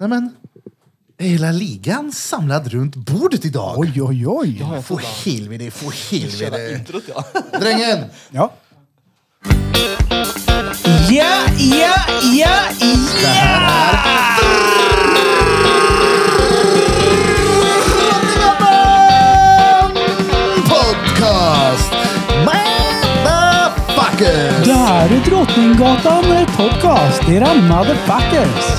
Nej men, det är hela ligan samlad runt bordet idag. Oj, oj, oj. Få helvete, få Köra helvete. introt ja. Drängen! Ja. Ja, ja, ja, ja! Podcast! Motherfuckers! Det här är Drottninggatan Podcast, era motherfuckers!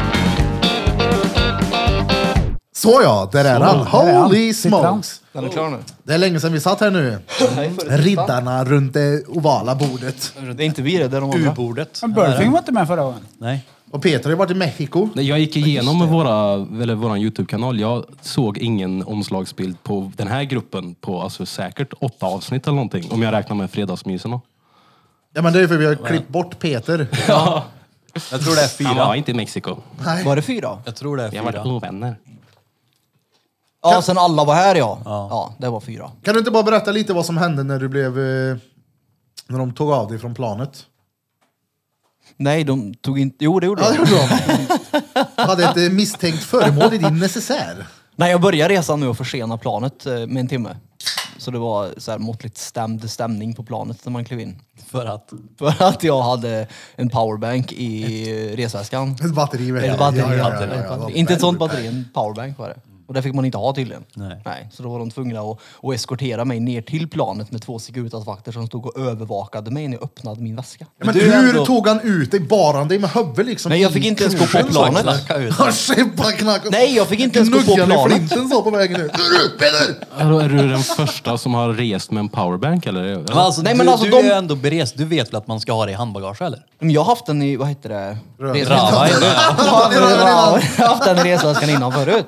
Så ja, där är han. där är han. Holy Sitter han. smokes! Den är klar nu. Det är länge sedan vi satt här nu. Nej, för- Riddarna runt det ovala bordet. Det är inte vi det, det är de andra. U-bordet. Men Burfing var inte med förra gången. Nej. Och Peter har ju varit i Mexiko. Nej, Jag gick igenom våra, eller våran Youtube-kanal. Jag såg ingen omslagsbild på den här gruppen på alltså, säkert åtta avsnitt eller någonting. Om jag räknar med fredagsmysen. Ja men det är ju för vi har klippt bort Peter. Ja. Jag tror det är Han var fyra. inte i Mexiko. Nej. Var det fyra? Jag tror det är Vi har varit fyra. ovänner. Ja, sen alla var här ja. Ja, det var fyra. Kan du inte bara berätta lite vad som hände när du blev... eh, När de tog av dig från planet? Nej, de tog inte... Jo, det gjorde Ja, det de. gjorde de. Hade ett eh, misstänkt föremål i din necessär. Nej, jag började resan nu och försena planet eh, med en timme. Så det var så här måttligt stämd stämning på planet när man klev in. För att. För att jag hade en powerbank i resväskan. Ett batteri. vet jag. Ett batteri. Ja, ja, ja, hade det. ja, ja, ja. Inte ett sånt batteri, en powerbank var det. Och det fick man inte ha tydligen. Nej. så då var de tvungna att, att eskortera mig ner till planet med två Securitas-vakter som stod och övervakade mig när jag öppnade min väska. Ja, men Du är hur ändå- tog han ut dig? Bar han dig med huvudet liksom? Nej, jag fick i inte ens gå på kroken, så? planet. Knacka ut. Han kämpade knack. Nej, jag fick inte ens gå på Knuggan i planet. flinten så på vägen ut. Hörru, Peter! Hallå, Är du den första som har rest med en powerbank eller? Men alltså, Nej, Nej, men men du, alltså, du de- är ju ändå berest. Du vet väl att man ska ha det i handbagage eller? Men jag har haft den i, vad heter det? Resa- Rava är det. Ja, men jag har haft den i resväskan innan förut.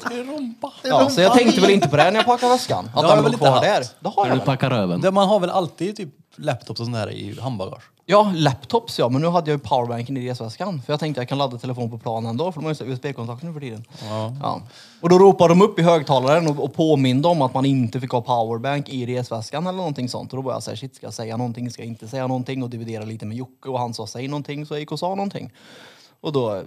Ja, så jag tänkte väl inte på det när jag packade väskan. Att har den jag låg väl inte kvar haft. där. Det har När jag du väl. packar röven. Det- Man har väl alltid typ laptops och sånt där i handbagage? Ja, laptops ja. Men nu hade jag ju powerbanken i resväskan. För jag tänkte jag kan ladda telefonen på planen ändå. För de har ju så här USB-kontakter nu för tiden. Ja. Och då ropade de upp i högtalaren och, och påminde om att man inte fick ha powerbank i resväskan eller någonting sånt. Och då var jag såhär, shit ska jag säga någonting, ska jag inte säga någonting? Och dividera lite med Jocke och han sa säg någonting. Så jag gick och sa någonting. Och då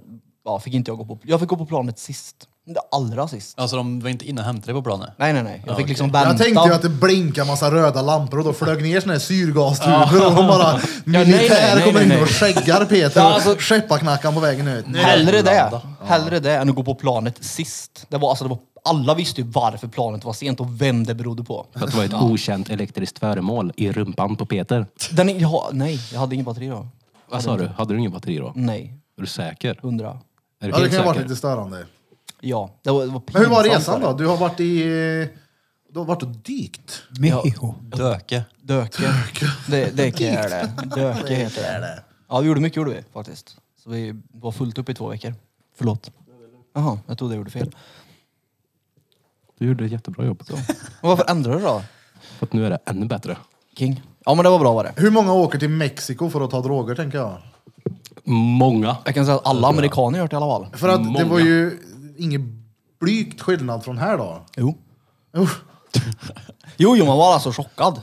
ja, fick inte jag gå på... Jag fick gå på planet sist. Det allra sist. Alltså de var inte inne och hämtade dig på planet? Nej, nej, nej. Jag fick liksom vänta. Jag tänkte ju att det blinkade massa röda lampor och då flög ner såna här syrgastuber och de bara... nej, nej, Militär nej, kommer nej, in nej. och skäggar Ja, Peter alltså- och skepparknackar på vägen ut. Hellre det. Hellre det än att gå på planet sist. Det var, alltså, det var, alla visste ju varför planet var sent och vem det berodde på. För att det var ett okänt elektriskt föremål i rumpan på Peter. Den, är- ja, nej, jag hade ingen batteri då. Vad sa du? Hade du ingen batteri då? Nej, Är du säker? hundra. Är du Ja, det helt kan ju ha varit säker? lite störande. Ja, det var, det var Men hur var pinsamt resan det. då? Du har varit i... eh, Du har varit och dykt. Meho. Döke. Döke. Det, det är det. Döke heter det. Ja, vi gjorde mycket gjorde vi faktiskt. Så vi var fullt upp i två veckor. Förlåt. Jaha, jag trodde jag gjorde fel. Du gjorde ett jättebra jobb. För Men varför ändrade du då? att nu är det ännu bättre. King? Ja men det var bra var det. Hur många åker till Mexiko för att ta droger tänker jag? Många. Jag kan säga att alla amerikaner gjort det i alla fall. För att det Många. var ju ingen blygt skillnad från här då. Jo. Usch. Jo, jo, man var alltså chockad.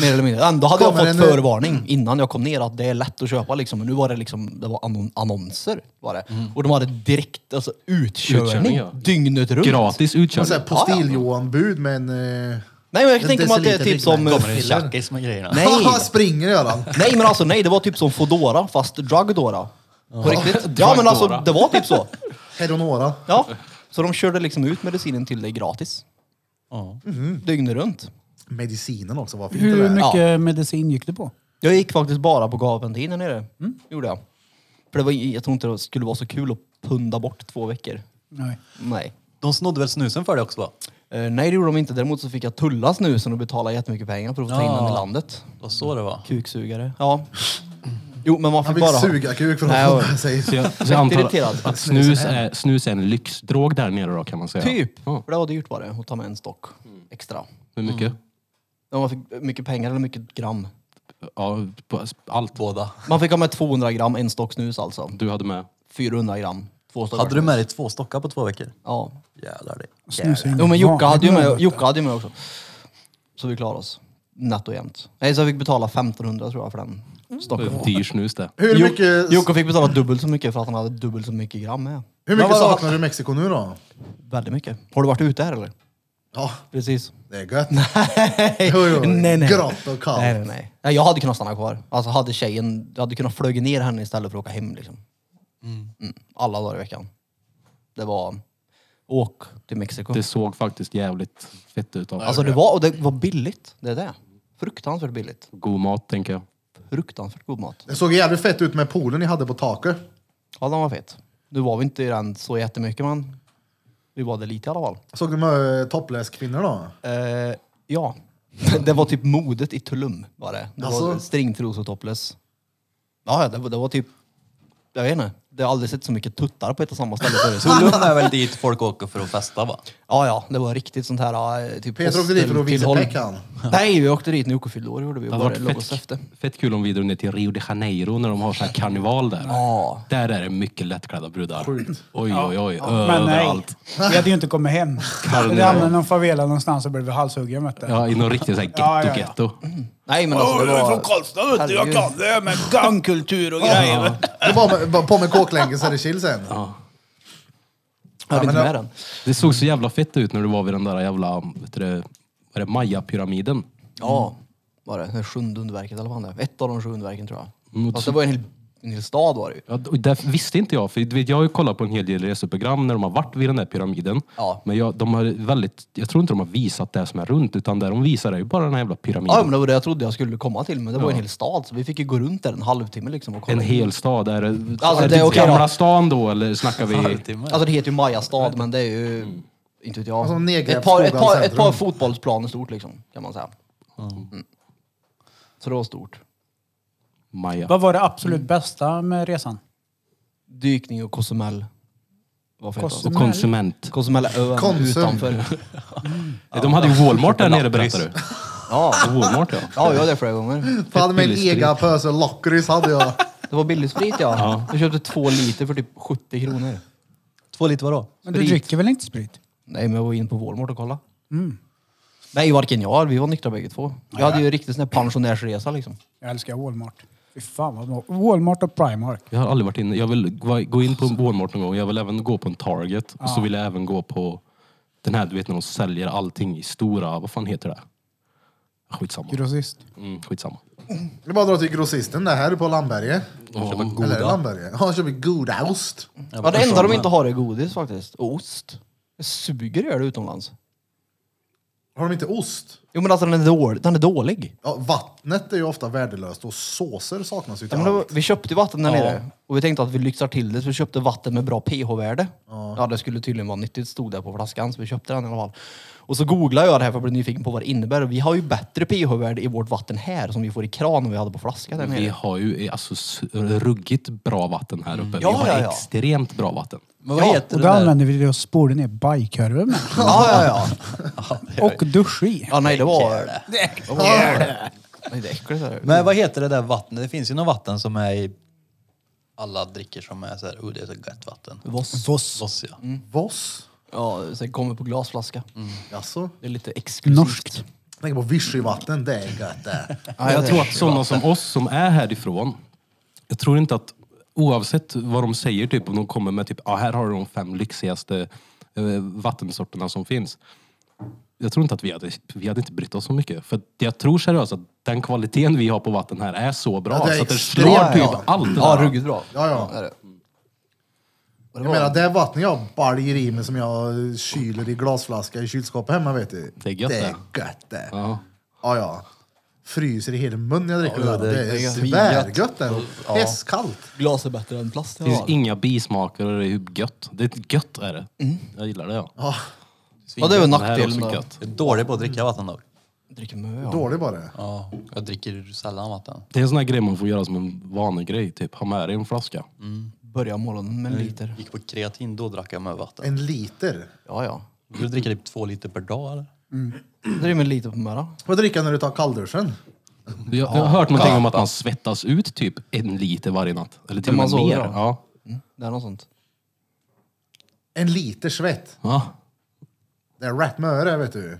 Mer eller mindre. Ändå hade jag Kommer fått det nu? förvarning innan jag kom ner att det är lätt att köpa liksom. Men nu var det liksom, det var annon- annonser. Var det. Och de hade direkt alltså, utkörning, Utkörning, ja. dygnet runt. Gratis Man säger utkörning. postil-Johan-bud med en... Alltså, eh, Nej men jag kan En tänka mig att det är deciliter typ som... drickmärk. Kommer det en tjackis med grejerna? Nej. Springer Göran. Nej men alltså nej, det var typ som Foodora fast Drugdora. På riktigt. Ja Drugdora. men alltså det var typ så. Heronora. Ja. Så de körde liksom ut medicinen till dig gratis. Ja. Mhm. Dygnet runt. Medicinen också, vad fint det Hur där. mycket medicin gick du på? Jag gick faktiskt bara på Gaventin här nere. Gjorde jag. För det var, jag tror inte det skulle vara så kul att punda bort två veckor. Nej. Nej. De snodde väl snusen för dig också va? Eh, nej, det gjorde de inte. Däremot så fick jag tulla snusen och betala jättemycket pengar för att få ta in den i Ja. landet. Det var så det var. Kuksugare. Ja. Jo, men man Han fick fick bara... suga kuk för Nej, att och- få sig. Så jag, så jag antar irriterad. att, att snus, är, snus är en lyxdrog där nere då kan man säga. Typ. Ja. För det var dyrt var det, att ta med en stock extra. Hur mycket? Ja, Man fick mycket pengar eller mycket gram. Ja, på- allt. Båda. Man fick ha med 200 gram, en stock snus alltså. Du hade med. 400 gram, två stockar Hade du snus. med dig två stockar på två veckor? Ja. Jävlar det. Snus är Jo men inget Jocke hade ju vanligt. med, Jocke hade ju med också. Så vi klarade oss. Nätt och jämnt. Nej, så jag fick betala 1500 tror jag för den stocken. Dyr snus det. Hur Jo- mycket... Jocke fick betala dubbelt så mycket för att han hade dubbelt så mycket gram med. Hur mycket Men vadå? saknar du Mexiko nu då? Väldigt mycket. Har du varit ute här eller? Ja, Precis. det är gött. Jo, jo. nej, nej. Grått och kallt. Nej, nej, nej. nej. Jag hade kunnat stanna kvar. Alltså hade tjejen, jag hade kunnat flyga ner henne istället för att åka hem liksom. Mm. Alla dagar i veckan. Det var, åk till Mexiko. Det såg faktiskt jävligt fett ut. Av. alltså det var, och det var billigt. Det är det. Fruktansvärt billigt. God mat tänker jag. Fruktansvärt god mat. Det såg jävligt fett ut med poolen ni hade på taket. Ja, den var fet. Nu var vi inte i den så jättemycket men vi var där lite i alla fall. Såg du med eh, topless-kvinnor då? Eh, ja. Det var typ modet i Tulum var det. Det var Alltså? stringtrosor och topless. Ja, ja, det, var- det var typ... Jag vet inte. Det har aldrig sett så mycket tuttar på ett och samma ställe förut. Tulum är väl dit folk åker för att festa va? Ja, ja, det var riktigt sånt här... ja, Typ Peter åkte dit för att visa hosteltillhåll. peck han. Nej, vi åkte dit när Jocke fyllde år. gjorde vi. Det och hade Bara låg varit oss efter. fett, fett kul om vi drog ner till Rio de Janeiro när de har så här karneval där. Ja. Där är det mycket lättklädda brudar. Oj, oj, oj. Men nej, Överallt. vi hade ju inte kommit hem. Karneval. Vi hamnade i någon favela någonstans och blev halshuggen vet du. Ja, i någon riktig såhär Ja, ja, ja. getto-getto. Nej, men alltså det var... Karlstad vet du. Jag Herregud. kan det med gangkultur och grejer. Det är bara, bara på med kåklänken så är det chill sen. Jag hade men inte det- med den. Det såg så jävla fett ut när du var vid den där jävla, vet du, det, vad är det, Maya-pyramiden. Ja, var det. Det sjunde underverket eller vad det var. Ett av de sju underverken tror jag. Mm, Fast det var en hel, en hel stad var det ju. Ja, och det visste inte jag, för du vet, jag har ju kollat på en hel del reseprogram när de har varit vid den där pyramiden. Ja. Men jag, de har väldigt, jag tror inte de har visat det som är runt, utan det de visar är ju bara den här jävla pyramiden. Ja, men det var det jag trodde jag skulle komma till, men det var en hel stad så vi fick ju gå runt där en halvtimme liksom och kolla. En hel stad. Är det, Alltså, är det är det okej Gamla då. stan då, eller snackar vi... Halvtimme. Alltså det heter ju Maya-stad, men det är ju... Mm. Inte vet jag. Alltså, nedgrävt ett, par, ett, par, ett par Skogaholmscentrum. fotbollsplaner stort liksom, kan man säga. Mm. Så det var stort. Maja. Vad var det absolut bästa med resan? Dykning och Cozumel. Vad fett alltså. Och konsument. Cozumel är ön Konsum. utanför. De hade ju Walmart där nere berättar du. Ja, Walmart ja. ja jag var där flera gånger. Fan hade med en billigt sprit. egen pöse lakrits hade jag. Det var billig sprit ja. Jag köpte två liter för typ 70 kronor. Två liter vadå? Men du Sprit. dricker väl inte sprit? Nej, men jag var inne på Walmart och kolla. Mm. Nej, varken jag eller vi var nyktra bägge två. Jag hade ju riktigt sån här pensionärsresa liksom. Jag älskar Walmart. Fy fan vad bra. Walmart och Primark. Jag har aldrig varit inne. Jag vill va- gå in på en Walmart någon gång. Jag vill även gå på en Target. Och så vill jag även gå på den här, du vet när de säljer allting i stora, vad fan heter det? Skitsamma. Grossist. Mm, skitsamma. Det är bara att dra till grossisten där, här är på Landberget. Köpa Eller goda. Landberget. Ja, han köper godaost. Ja, det enda de inte har är godis faktiskt. Och ost. Det suger gör det utomlands. Har de inte ost? Jo men alltså den är dålig. Den är dålig. Ja, vattnet är ju ofta värdelöst och såser saknas ju Ja, till men då, allt. vi köpte ju vatten där nere. Och vi tänkte att vi lyxar till det så vi köpte vatten med bra pH-värde. Ja. det skulle tydligen vara nyttigt. Stod där på flaskan så vi köpte den i alla fall. Och så googlade jag det här för att bli nyfiken på vad det innebär. Och vi har ju bättre pH-värde i vårt vatten här som vi får i kran än vi hade på flaskan där Vi nere. har ju alltså s- ruggigt bra vatten här uppe. Mm. Ja, vi har ja, ja. extremt bra vatten. Men vad Ja, heter Och det då där? använder vi det och spolar ner bajkorven med. Ja, ja, ja. Och dusch i. Ja, nej det var... Det var- Nej, det är äckligt. Är det. Men vad heter det där vattnet? Det finns ju något vatten som är i alla dricker som är såhär, oh det är så gött vatten. Voss. Voss. Voss ja. Voss? Ja, sen kommer på glasflaska. Jaså? Det är lite exklusivt. Norskt. Jag tänker på vichyvatten, det är gött det. Ja, jag det- tror att sådana som oss som är härifrån, jag tror inte att oavsett vad de säger, typ om de kommer med typ, ah, här har du de fem lyxigaste eh, vattensorterna som finns. Jag tror inte att vi hade, vi hade inte brytt oss så mycket. För att jag tror seriöst att den kvaliteten vi har på vatten här är så bra Ja, det är så att det extremt slår typ bra. allt det Ja, där. ruggigt bra. Ja, ja. Det är det. Och Jag det var- menar det vattnet jag baljer i mig som jag kyler i glasflaska i kylskåpet hemma vet du. Det är gött det. det. är gött det. Ja, Ja. ja. Fryser i hela munnen när jag dricker det. Ja, där. det- Det det är är svärgött det. Ja. Hästkallt. Glas är bättre än plast. Det finns Ja, inga bismaker och det är ju gött. Det är gött är det. Jag gillar det ja. Ja, ja det är väl Det här är Mm. nackdelen också då. gött. Jag är dålig på att dricka vatten dock. Dricker mö. Ja. dålig bara. Ja, jag dricker sällan vatten. Det är en sån här grej man får göra som en vanegrej, typ ha med dig en flaska. Mm. Börja morgonen med en liter. Gick på kreatin, då drack jag med vatten. En liter. Ja, ja. Du dricker typ två liter per dag eller? Dricker med en liter på morgonen. Vad dricker när du tar kallduschen? Jag, jag har hört någonting om att man svettas ut typ en liter varje natt. Eller till När och man med sover, mer. ja. Ja. Mm. Det är något sånt. En liter svett. ja. Det är rätt mycket det vet du.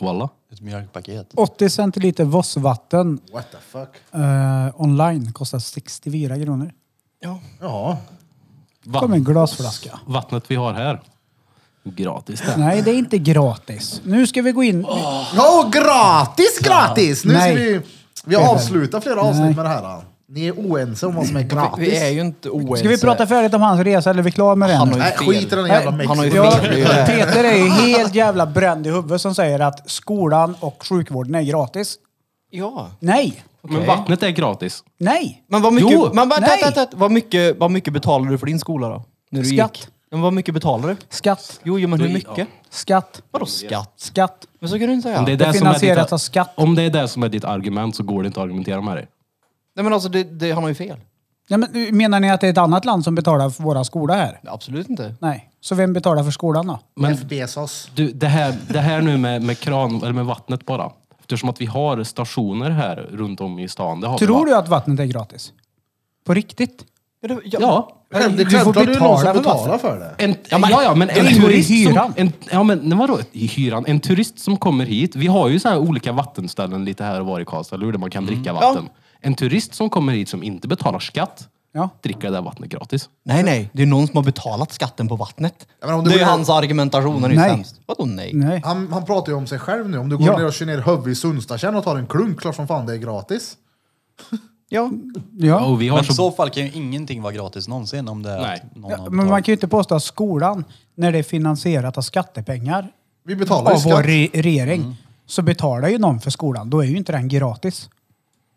Walla. Ett mjölkpaket. 80 centiliter Vossvatten What the fuck? eh, online kostar 64 kronor. Ja. Ja. Vatten- Kom en glasflaska. Vattnet vi har här. Gratis det. Nej, det är inte gratis. Nu ska vi gå in. Oh, Ja, gratis, gratis! Nu ska Nej. vi, vi avslutar flera avsnitt med det här. Ni är oense om vad som är gratis. Vi är ju inte oense. Ska vi prata färdigt om hans resa eller är vi klara med den? Han har ju Nej, fel. skit i den jävla Nej, Han har ju mixen. Ja, fel. Det är ju det. Peter är ju helt jävla bränd i huvudet som säger att skolan och sjukvården är gratis. Ja. Nej! Men vattnet är gratis. Nej! Men vad mycket, Jo, men vad, nej. tat, tat, tat, vad, mycket, vad mycket betalade du för din skola då? När du Skatt. Gick? Men vad mycket betalade du? Skatt, Jo, jo men hur Då- mycket? ja. skatt, Vadå skatt? skatt. Men så kan du inte säga. Om det, är Det det, som är finansieras ditt, av skatt. Om det är det som är ditt argument så går det inte att argumentera med dig. Nej men alltså, det, det, han har ju fel. Ja, men, menar ni att det är ett annat land som betalar för våra skola här? Absolut inte. Nej. Så vem betalar för skolan då? Men Jeff Bezos. Du, det, här, det här nu med, med kran, eller med vattnet bara. Eftersom att vi har stationer här runt om i stan. Det har vi, va? Tror du att vattnet är gratis? På riktigt? Ja, det, Ja. Det är får självklart det är någon som betala för betalar vatten. för det. En, ja, men, ja, ja, men en ingår i turist hyran. Som, en, ja, men nej, vadå i hyran? En turist som kommer hit. Vi har ju så här olika vattenställen lite här och var i Karlstad, eller hur? Där man kan Mm. dricka vatten. En turist som kommer hit som inte betalar skatt, Ja. dricker det där vattnet gratis. Nej, nej. Det är någon som har betalat skatten på vattnet. Ja, men om det du är ju blir- hans argumentation. Den är ju Nej. sämst. Vadå nej? Nej. Han, han pratar ju om sig själv nu. Om du går Ja. ner och kör ner huvudet i Sundstatjärn och tar en klunk, klart som fan det är gratis. Ja. Ja. Och vi har Men i så... så fall kan ju ingenting vara gratis någonsin om det är Nej. att någon har Ja, men betalat. man kan ju inte påstå att skolan, när det är finansierat av skattepengar Vi betalar ju av vår skatt. re- regering, så betalar ju någon för skolan. Då är ju inte den gratis.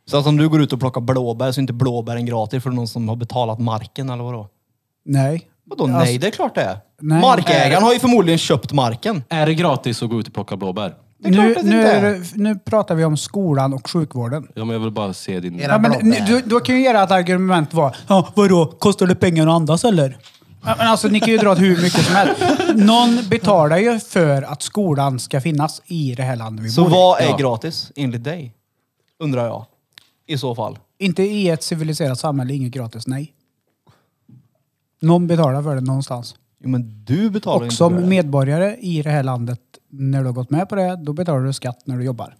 Så att om du går ut och plockar blåbär så är inte blåbären gratis för någon som har betalat marken eller vadå? Nej. Vadå Alltså- nej? Det är klart det är. Nej. Markägaren har ju förmodligen köpt marken. Är det gratis att gå ut och plocka blåbär? är klart Nu, att det nu, inte är är. det, nu pratar vi om skolan och sjukvården. Ja, men jag vill bara se din... Era Ja, men, blåbär. ni, du, då kan ju ert argument vara, ja, vadå, kostar det pengar att andas eller? Ja, Men alltså, ni kan ju dra åt hur mycket som helst. Någon betalar ju för att skolan ska finnas i det här landet vi Så bor i. vad är Ja. gratis enligt dig? Undrar jag. I så fall. Inte i ett civiliserat samhälle, inget gratis, nej. Någon betalar för det någonstans. Jo men du betalar Och inte som för det. medborgare i det här landet, när du har gått med på det, då betalar du skatt när du jobbar.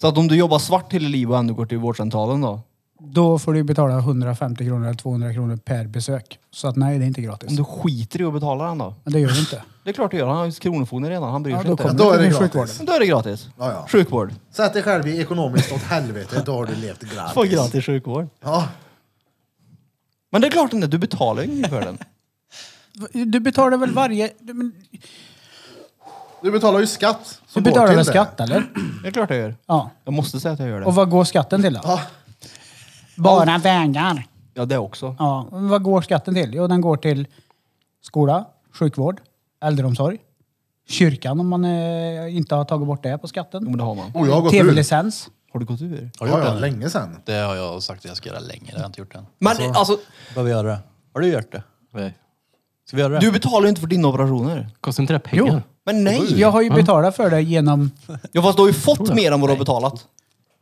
Så att om du jobbar svart hela livet och ändå går till vårdcentralen då? Då får du betala 150 kronor eller 200 kronor per besök. Så att nej, det är inte gratis. Om du skiter i att betala den då? Men det gör du inte. Det är klart du gör. Han har ju kronofogden redan. Han bryr Ja, sig då inte. kommer då du är till det gratis. sjukvården. Men Då är det gratis. Ja, ja. Sjukvård. Sätt dig själv i ekonomiskt åt helvete, då har du levt Få gratis. gratis sjukvård. Ja. Men det är klart inte. Du betalar ju inget för den. Du betalar väl varje... Du, men, Du betalar ju skatt. du som går betalar till väl det. skatt eller? Det är klart jag gör. Ja. Jag måste säga att jag gör Och det. vad går skatten till då? Ja. Bara vägar. Ja, det också. Ja. men Vad går skatten till? Jo, den går till skola, sjukvård, äldreomsorg, kyrkan om man eh, inte har tagit bort det på Jo, skatten. men det har man. Och jag har gått ur. Tv-licens. Har du gått ur? Har du Ja, gjort ja, det? länge sedan. Det har jag sagt att jag ska göra länge. Det har jag inte gjort än. Men alltså, Behöver göra det. Har du gjort det? Nej. Ska vi göra det? du betalar ju inte för dina operationer. Kostar inte det pengar? Men nej! Jag har ju betalat för det genom... Ja, fast du har ju fått mer än vad du har betalat.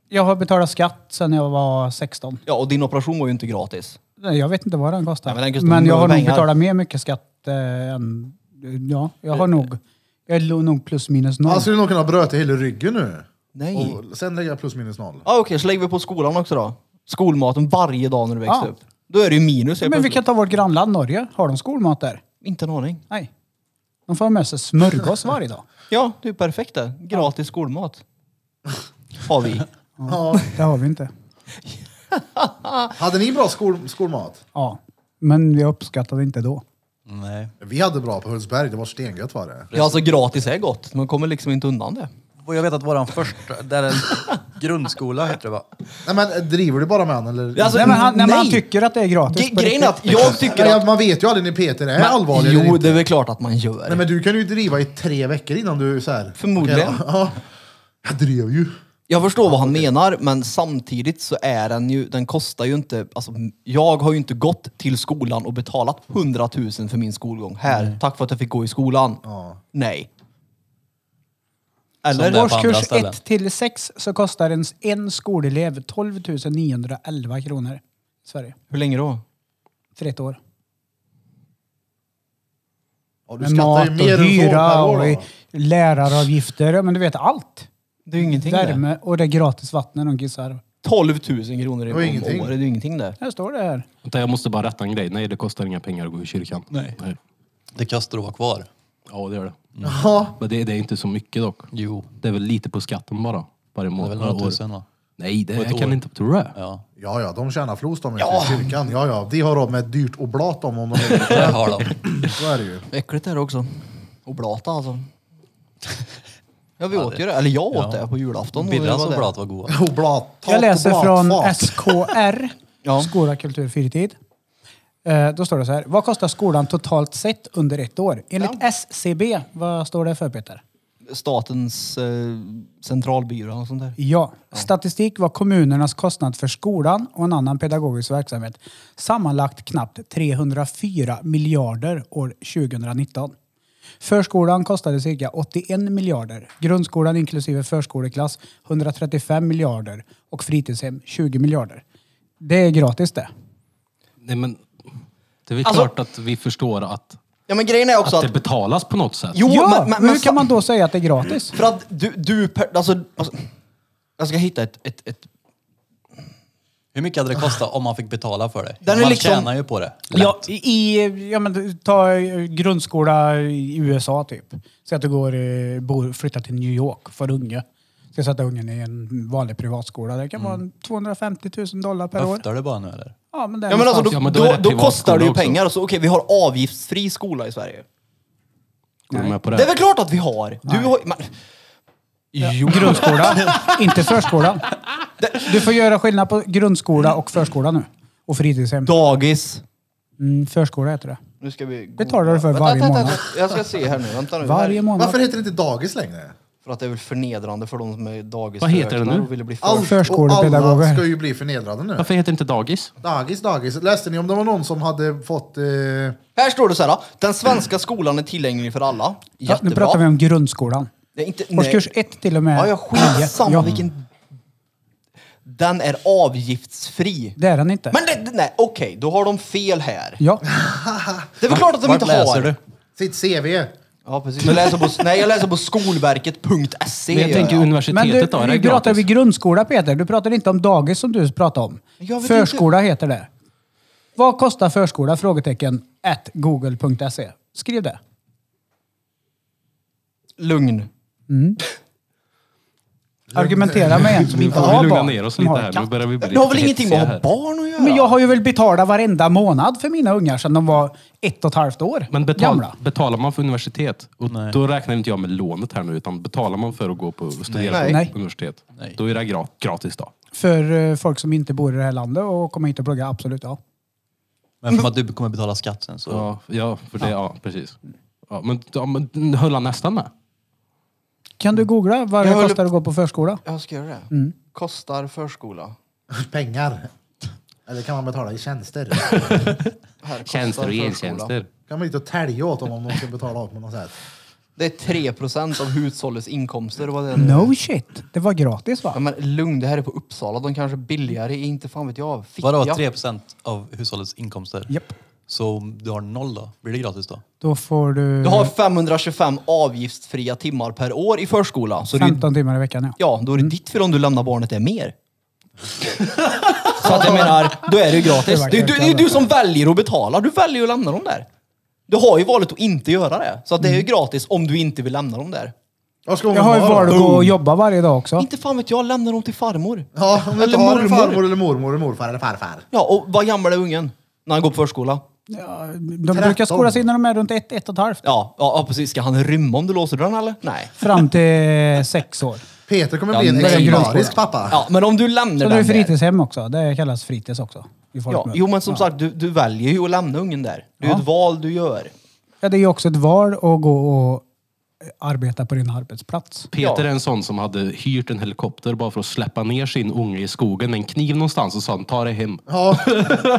Jag har betalat skatt sedan jag var 16. Ja, och din operation var ju inte gratis. Nej, Jag vet inte vad den kostar. Nej, men men den kostar jag har några nog pengar. betalat mer mycket skatt eh, än... Ja, jag har nog... Jag är lo- nog plus minus noll. Han skulle nog kunna bröta hela ryggen nu. Nej. Och sen lägga plus minus noll. Ja, Okej, så lägger vi på skolan också då. Skolmaten varje dag när du växte Ja. upp. Då är det ju minus helt men vi plötsligt. kan ta vårt grannland Norge. Har de skolmat där? Inte en aning. Nej. De får ha med sig smörgås varje dag. Ja, det är ju perfekt det. Gratis skolmat. Har vi. Ja. Det har vi inte. Hade ni bra skol, skolmat? Ja. Men vi uppskattade inte då. Nej. Vi hade bra på Hultsberg, det var stengött var det. Ja, alltså gratis är gott. Man kommer liksom inte undan det. Och jag vet att våran första, där en grundskola heter det va? Nej men eh, driver du bara med han eller? Alltså, nej, men han, nej, men han nej. tycker att det är gratis. Ge- på Grejen är riktigt. att jag tycker Nej, att... man vet ju aldrig när Peter är Men- allvarlig eller Jo, inte. det är väl klart att man gör. Nej men du kan ju driva i tre veckor innan du så här. Förmodligen. Okej, ja. Jag drev ju. Jag förstår vad han menar, men samtidigt så är den ju, den kostar ju inte, alltså jag har ju inte gått till skolan och betalat 100 000 för min skolgång här, tack för att jag fick gå i skolan. Nej. Som det Eller? är på andra Årskurs ställen. 1 till 6 så kostar en, en skolelev 12 911 kronor i Sverige. Hur länge då? För ett år. Ja, du Med skattar mat ju och mer än så hyra per år och då. i- läraravgifter. Ja, Men du vet allt. Det är ju ingenting det. Värme och det är gratis vatten när de kissar. 12 000 kronor i var om ingenting. året. Det är ju ingenting där. Här står det här. Vänta, jag måste bara rätta en grej. Nej, det kostar inga pengar att gå i kyrkan. Nej. Det kastar att vara kvar. Ja, det gör det. Ja, Men det, det är inte så mycket dock. Jo. Det är väl lite på skatten bara. Varje Det är månad. väl några några år. tusen va? Nej, det På ett jag kan år. inte tro det. Ja, ja, ja de tjänar flos de ja. i kyrkan. Ja, ja, de har råd med ett dyrt oblat om, om de vill. det har de. Så är det ju. Äckligt är det också. Oblata alltså. Ja, vi åt ju det. Eller jag åt Ja. det på julafton. och det Birras var det. oblat var goda. Oblat, Jag läser oblat, från fat. SKR, Ja. Skola Kultur Fritid. Eh, Då står det så här. Vad kostar skolan totalt sett under ett år? Enligt SCB, vad står det för Peter? Statens eh, centralbyrå och sånt där. Ja. Statistik var kommunernas kostnad för skolan och en annan pedagogisk verksamhet. Sammanlagt knappt 304 miljarder år 2019. Förskolan kostade cirka 81 miljarder, grundskolan inklusive förskoleklass 135 miljarder och fritidshem 20 miljarder. Det är gratis det. Nej, men det är väl Alltså- klart att vi förstår att, Ja, men grejen är också att att... det betalas på något sätt. Jo, ja, men, men, men hur kan man då säga att det är gratis? För att du... du per, alltså, alltså, jag ska hitta ett... ett, ett Hur mycket hade det kostat om man fick betala för det? Den är man liksom- tjänar ju på det. Ja, i, ja, men ta eh, grundskola i USA typ. Säg att du går, eh, bor, flyttar till New York för unge. Ska sätta ungen i en vanlig privatskola. Det kan vara 250 000 dollar per år. Höftar det bara nu eller? Ja, men, ja, men alltså, då, Ja, då... men då då, är det då, kostar det ju privatskola också. pengar. Så, okej, vi har avgiftsfri skola i Sverige. Går du med på Det är väl klart att vi har! Du har man, Jo. Grundskola, inte förskolan. Du får göra skillnad på grundskola och förskola nu. Och fritidshem. dagis. Mm, förskola heter det. Nu ska vi... Betalar du för varje månad? Jag ska se här nu. Vänta nu. Varje månad. Varför heter det inte dagis längre? För att det är väl förnedrande för de som är dagisfröknar Vad heter det nu? och vill bli Allt först. och Förskolepedagoger. alla ska ju bli förnedrade nu. Varför heter det inte dagis? Dagis, dagis. Läste ni om det var någon som hade fått... Eh, Här står det så här. Den svenska skolan är tillgänglig för alla. Ja, Jättebra. nu pratar vi om grundskolan. Det är inte, Årskurs nej. 1 till och med Ja, jag skitsamma nio. vilken... Den är avgiftsfri. Det är den inte. Men det, nej, okej, då har de fel här. Ja. Det är väl klart att de Vart inte läser har. du? sitt CV. Ja, precis. Jag läser på, nej, jag läser på skolverket.se. Men jag gör tänker Men jag. du, universitetet då, är det nu pratar vi gratis? grundskola Peter. Du pratar inte om dagis som du pratar om. Jag vet Förskola heter det. Vad kostar förskola? Frågetecken. At google.se. Skriv det. Lugn. Argumentera med en som Nu inte får har vi lugna barn. ner oss som lite har här. Nu katt. börjar vi bli Det har väl lite ingenting med att hetsiga ha här. barn att göra? Men jag har ju väl betalat varenda månad för mina ungar sedan de var ett och ett halvt år Men betal, gamla. betalar man för universitet, och Nej. då räknar inte jag med lånet här nu, utan betalar man för att gå på och studera Nej. på Nej. universitet, Nej. då är det gra- gratis då. För eh, folk som inte bor i det här landet och kommer hit och pluggar, absolut ja. Men för att du kommer betala skatt sen så... Ja, ja för det, ja, precis. Ja, men, ja, men den höll han nästan med. Kan du googla vad det Jag håller- kostar att gå på förskola? Jag ska göra det. Mm. Kostar förskola. Pengar. Eller kan man betala i tjänster? Här, kostar Tjänster och förskola. gentjänster. kan man inte tälja åt dem om de ska betala av på något sätt. Det är 3 procent av hushållets inkomster. Vad det är. No shit. Det var gratis va? Ja, men lugn, det här är på Uppsala. De kanske är billigare, inte fan vet jag. Fick Vadå, jag. 3% av hushållets inkomster? Japp. Så om du har noll då? Blir det gratis då? Då får du, Du har 525 avgiftsfria timmar per år i förskola. Så det är, 15 timmar i veckan ja. ja, då är det ditt fel om du lämnar barnet det mer. så att jag menar, då är det ju gratis. Det är, du, det är du som väljer att betala. Du väljer att lämna dem där. Du har ju valet att inte göra det. Så att det är ju gratis om du inte vill lämna dem där. Vad ska hon Jag har ju ha varit då? att gå och jobba varje dag också. Inte fan vet jag, lämna dem till farmor. Ja, om du Eller inte har en mormor. farmor eller mormor eller morfar eller farfar. Ja, och vad gammal är ungen? När han går på förskola? De brukar skolas in när de är runt ett, ett och ett halvt. Ja, ja, ja precis. Ska han rymma om du låser dörren eller? Nej. Fram till sex år. Peter kommer Ja, bli en nej. exemplarisk pappa. Ja, men om du lämnar Så den det är där- fritidshem också. Det kallas fritids också. I Ja, folkmun. jo men som sagt, du, du väljer ju att lämna ungen där. Det är ju ett val du gör. ja, det är ju också ett val att gå och arbeta på din arbetsplats. Peter Ja. är en sån som hade hyrt en helikopter bara för att släppa ner sin unge i skogen med en kniv någonstans och sa ta dig hem. Ja,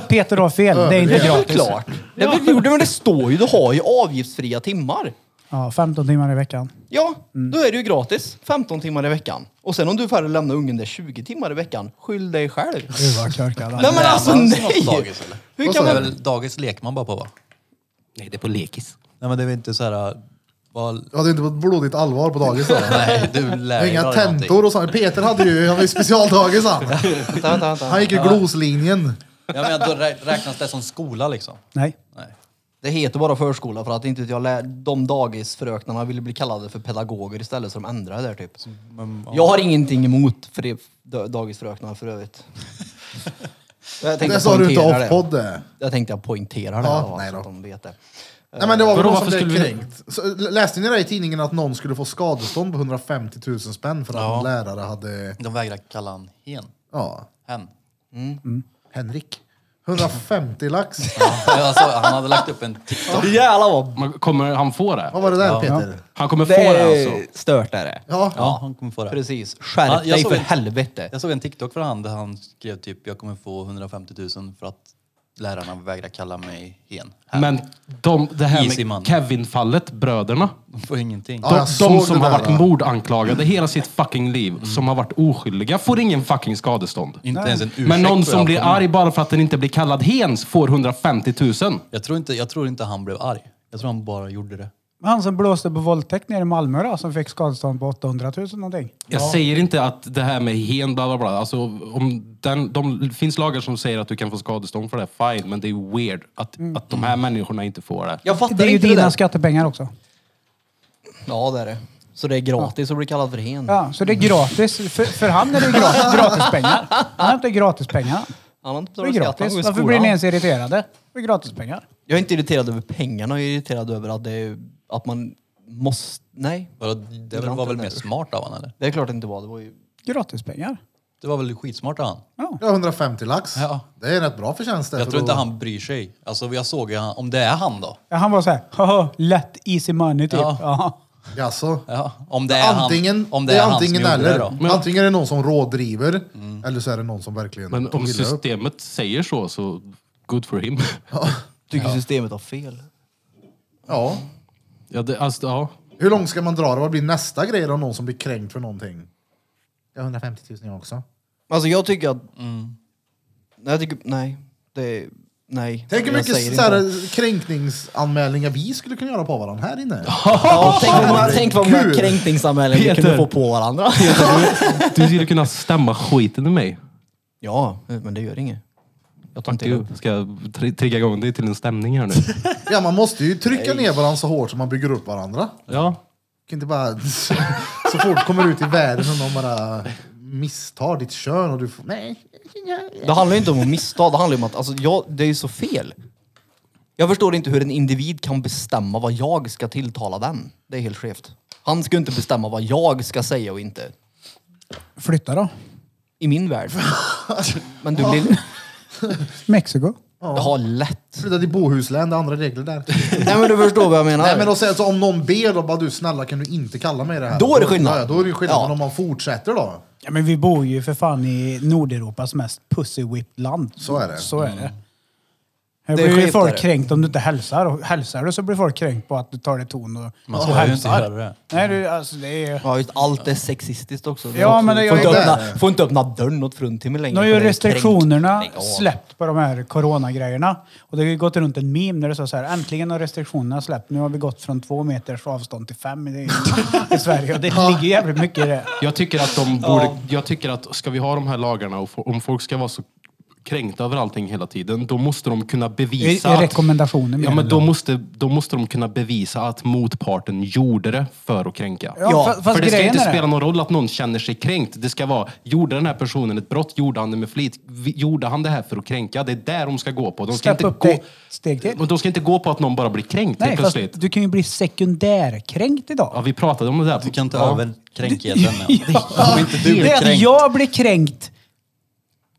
Peter har fel. Det är Det inte är väl gratis. klart. Det, är väl, jo, det- men det står ju, du har ju avgiftsfria timmar. Ja, 15 timmar i veckan. Ja, då är det ju gratis. 15 timmar i veckan. Och sen om du färre lämnar ungen där 20 timmar i veckan, skyll dig själv. Gud vad korkad han Nej är. men alltså man snart nej! dagis, eller? Hur Vad kan sa Det är man... väl dagis leker man bara på va? Nej, det är på lekis. Nej men det är väl inte så här... äh, Vad... Jag hade inte på blodigt allvar på dagis då. Nej, du lär dig Inga aldrig någonting. tentor och sånt. Peter hade ju, han var ju specialdagis han. Vänta, vänta, vänta. Han gick ju gloslinjen. Ja, men då rä- räknas det som skola liksom? Nej. Nej. Det heter bara förskola för att inte jag lär, de dagisfröknarna ville bli kallade för pedagoger istället så de ändrade det typ. Jag har ingenting emot för det, da- dagisfröknar för övrigt. Jag tänkte Det sa du inte poängtera off-podd det. Jag tänkte jag poängterar det Ja, då, nej så då. att de vet det. Nej men det var väl Vadå, någon som varför blev skulle vi- kränkt. Så, l- läste ni det i tidningen att någon skulle få skadestånd på 150 000 spänn för att en lärare hade, De vägrar kalla han hen. ja, Hen. Henrik. 150 lax. Jag sa, alltså, han hade lagt upp en TikTok. Jävlar vad Man, kommer han få det? Vad var det där Peter? Han kommer få det är det alltså? stört är det. Ja. Ja, han kommer få det. Precis, Ja, skärp jag dig såg för en- helvete. Jag såg en TikTok från han där han skrev typ jag kommer få 150 000 för att lärarna vägrar kalla mig hen. Hen. Men de, det Easy här man. med Kevin-fallet, bröderna. De får ingenting. Ja, jag De, de såg som det har där, va? varit mordanklagade hela sitt fucking liv, som har varit oskyldiga, får ingen fucking skadestånd. Mm. Inte ens en ursäkt Men någon för som allt blir de har arg bara för att den inte blir kallad hens får 150 000. Jag tror, inte, jag tror inte han blev arg. Jag tror han bara gjorde det. Han som blåste på våldtäkt nere i Malmö då, som fick skadestånd på 800 000 någonting. Jag säger inte att det här med hen, bla bla bla. Alltså, om den, de, det finns lagar som säger att du kan få skadestånd för det, fine. Men det är weird att, att de här människorna inte får det. Jag fattar Det är ju inte det dina där. skattepengar också. Ja det är det. Så det är gratis att bli kallad för hen. Ja, så det är gratis. För, för han är det gratis, gratispengar. Han har inte gratispengar. Han har inte Det är betalat skatt, gratis. han går i Varför skolan. blir ni ens irriterade? Det är gratispengar. Jag är inte irriterad över pengarna, jag är irriterad över att, det är, att man måste... Nej. Vadå, Det Ibland var väl är mer det. smart av han eller? Det är klart det inte var. Det var ju... Gratispengar. Det var väl skitsmart av han? Ja, 150 lax. Ja. Det är rätt bra förtjänst. där, Jag för tror då- inte han bryr sig. Alltså jag såg ju han, om det är han då. Ja, han var så här, haha, lätt easy money typ. Ja. Ja. Jaså? Ja, om det är antingen, han, om det är han antingen som gjorde eller. det då. Mm. Men- Antingen är det någon som rådriver, eller så är det någon som verkligen Men tog om illa upp. systemet säger så, så good for him. Tycker systemet har fel. Ja. ja, det, alltså, ja. Hur långt ska man dra det? Vad blir nästa grej då? Någon som blir kränkt för någonting? Ja, 150 000 jag också. Alltså jag tycker att... Nej, jag tycker... Nej. Det... Nej. Tänk hur Jag mycket säger så inte. här, kränkningsanmälningar vi skulle kunna göra på varandra här inne. Ja, tänk vad många- Tänk vad många Kul. kränkningsanmälningar vi Peter. kunde få på varandra. Du skulle kunna stämma skiten ur mig. Ja, men det gör inget. Jag tar inte Du, upp. ska jag tri- trigga igång dig till en stämning här nu? Ja, man måste ju trycka ner varandra så hårt så man bygger upp varandra. Man Ja. kan inte bara... så fort det kommer ut i världen och någon bara misstar ditt kön och du får... Nej. Det handlar ju inte om att missta, det handlar ju om att alltså, jag, det är ju så fel. Jag förstår inte hur en individ kan bestämma vad jag ska tilltala den. Det är helt skevt. Han ska ju inte bestämma vad jag ska säga och inte. Flytta då. I min värld. Men du blir... Mexiko. Jag har lätt. Flytta till Bohuslän, det är andra regler där. Nej men du förstår vad jag menar. Nej men då säger jag så om någon ber då bara du snälla kan du inte kalla mig det här. Då är det skillnad. Ja, då är det ju skillnad. Ja. Men om man fortsätter då. Ja, men vi bor ju för fan i Nordeuropas mest pussy-whipped-land. Så är det. Så är det. Här Det är blir ju skit, är folk det. kränkt om du inte hälsar. Och hälsar du så blir folk kränkt på att du tar det ton och, Man och ska ju inte hälsar. göra det. Nej, du, alltså det är ju... Ja, just, allt är sexistiskt också. Ja, men det- får, inte jag- där. öppna, får inte öppna dörren åt fruntimmer längre. Nu har för ju det är restriktionerna kränkt. Lägg av. släppt på de här coronagrejerna. Och det har ju gått runt en meme där det står så här, äntligen har restriktionerna släppt. Nu har vi gått från två meters avstånd till fem i, i Sverige. Och det ligger jävligt mycket i det. Jag tycker att de borde... Jag tycker att ska vi ha de här lagarna och få, om folk ska vara så kränkta över allting hela tiden, då måste de kunna bevisa... I- i att- rekommendationer menar Ja, men du? då måste, då måste de kunna bevisa att motparten gjorde det för att kränka. Ja, fa- för det ska grejen inte är det- spela någon roll att någon känner sig kränkt. Det ska vara, gjorde den här personen ett brott? Gjorde han det med flit? Vi- Gjorde han det här för att kränka? Det är där de ska gå på. De ska, Step inte upp gå, dig ett steg till. Men de ska inte gå på att någon bara blir kränkt Nej, helt fast plötsligt. du kan ju bli sekundärkränkt idag. Ja, vi pratade om det där. Du kan ta Ja. över kränkigheten. Ja. Om inte du det blir är att kränkt. jag blir kränkt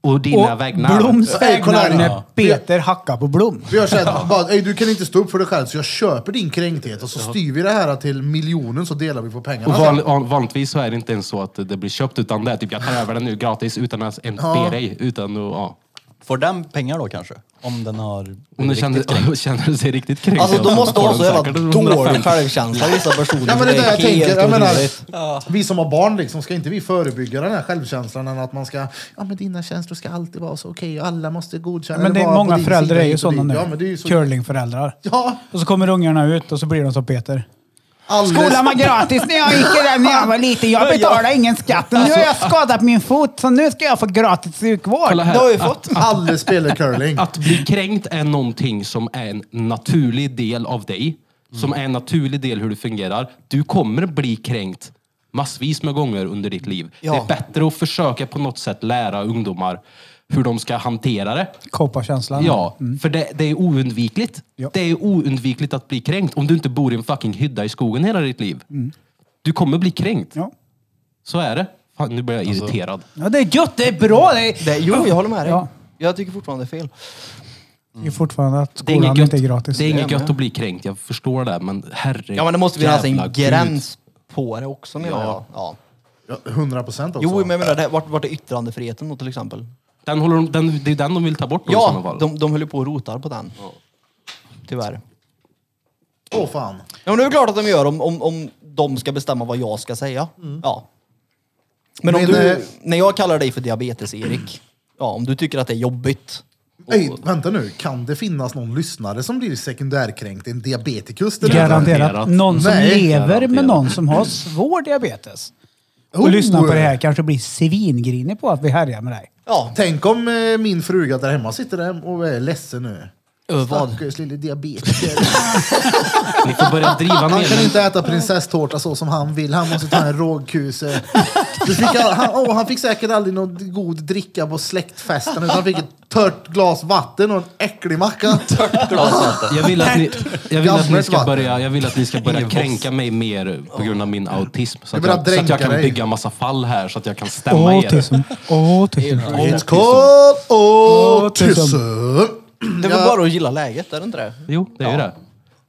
Och dina och vägnar. Bloms Nej, kolla vägnar här. när Ja. Peter hackar på Blom. Vi gör så här, bara, "Ey, du kan inte stå upp för dig själv så jag köper din kränkthet och så styr vi det här till miljonen så delar vi på Och pengarna. van, van, vanligtvis så är det inte ens så att det blir köpt utan det är typ jag tar över den nu gratis utan att ens be dig. Utan att, ja. Får den pengar då kanske? Om den har... Om du känner, känner du sig riktigt kränkt. Alltså de ja, måste får ha så jävla säkert 150. dålig självkänsla vissa personer. Ja men det är det jag helt tänker. Jag menar, otroligt. vi som har barn liksom, ska inte vi förebygga den här självkänslan än att man ska, ja men dina känslor ska alltid vara så okej och alla måste godkänna. Men eller det är vara på många din föräldrar sida är ju hit och sådana dit. nu. Ja men det är ju så. Curlingföräldrar. Ja, Och så kommer ungarna ut och så blir de som Peter. Alldeles- Skolan var gratis när jag gick i den när jag var liten. Jag betalade ingen skatt. Nu har jag skadat min fot, så nu ska jag få gratis sjukvård. Kolla här. Det har vi fått. Alla spelar curling. Att bli kränkt är någonting som är en naturlig del av dig. Som Mm. är en naturlig del hur du fungerar. Du kommer bli kränkt massvis med gånger under ditt liv. Ja. Det är bättre att försöka på något sätt lära ungdomar hur de ska hantera det. Kopparkänslan. Ja, för det, det är oundvikligt. Mm. Ja. Det är oundvikligt att bli kränkt om du inte bor i en fucking hydda i skogen hela ditt liv. Du kommer bli kränkt. Mm. Ja. Så är det. Fan, nu blir jag Alltså, irriterad. ja, det är gött. Det är bra. Det är, Det, jo, jag håller med dig. Ja. Jag tycker fortfarande det är fel. det är fortfarande att Det är inget skolan gött, inte är gratis. det är inget Det är gött att bli kränkt, jag förstår det. Men herregud. Ja, men det måste finnas jävla en gud. gräns på det också menar jag. Ja. Ja, 100 procent alltså. också. Jo, men jag menar, det, vart, vart är yttrandefriheten då till exempel? Den håller, de- den, det är den de vill ta bort då, i sådana Ja, fall. de, de höll ju på och rotar på den. Tyvärr. Åh fan. Ja, men det är väl klart att de gör om, om, om de ska bestämma vad jag ska säga. Ja. Men, om Men, eh, du, när jag kallar dig för diabetes-Erik, ja, om du tycker att det är jobbigt. och- Ej, vänta nu, kan det finnas någon lyssnare som blir sekundärkränkt? En diabetikus? där ute? Garanterat. Någon som Nej. lever med Garanterat. någon som har svår diabetes. Och Oh. lyssnar på det här kanske blir svingrinig på att vi härjar med dig. Ja, Tänk om eh, min fruga där hemma sitter där och är ledsen nu. över vad? Stackars lille diabetiker. Ni får börja driva Han kan med inte äta prinsesstårta så som han vill. Han måste ta en rågkuse. Du fick all, han, åh, han fick säkert aldrig någon god dricka på släktfesten. Utan han fick ett tört glas vatten och en äcklig macka. jag vill, att ni, jag, vill att ni Gammalt ska vatten. börja, jag vill att ni ska börja kränka mig mer på grund av min autism. Så Jag att börjar jag, så att jag dränka kan dig. bygga massa fall här så att jag kan stämma er. Autism. Autism. It's called autism. Det är väl bara att gilla läget, är det inte det? Jo, det är ju det.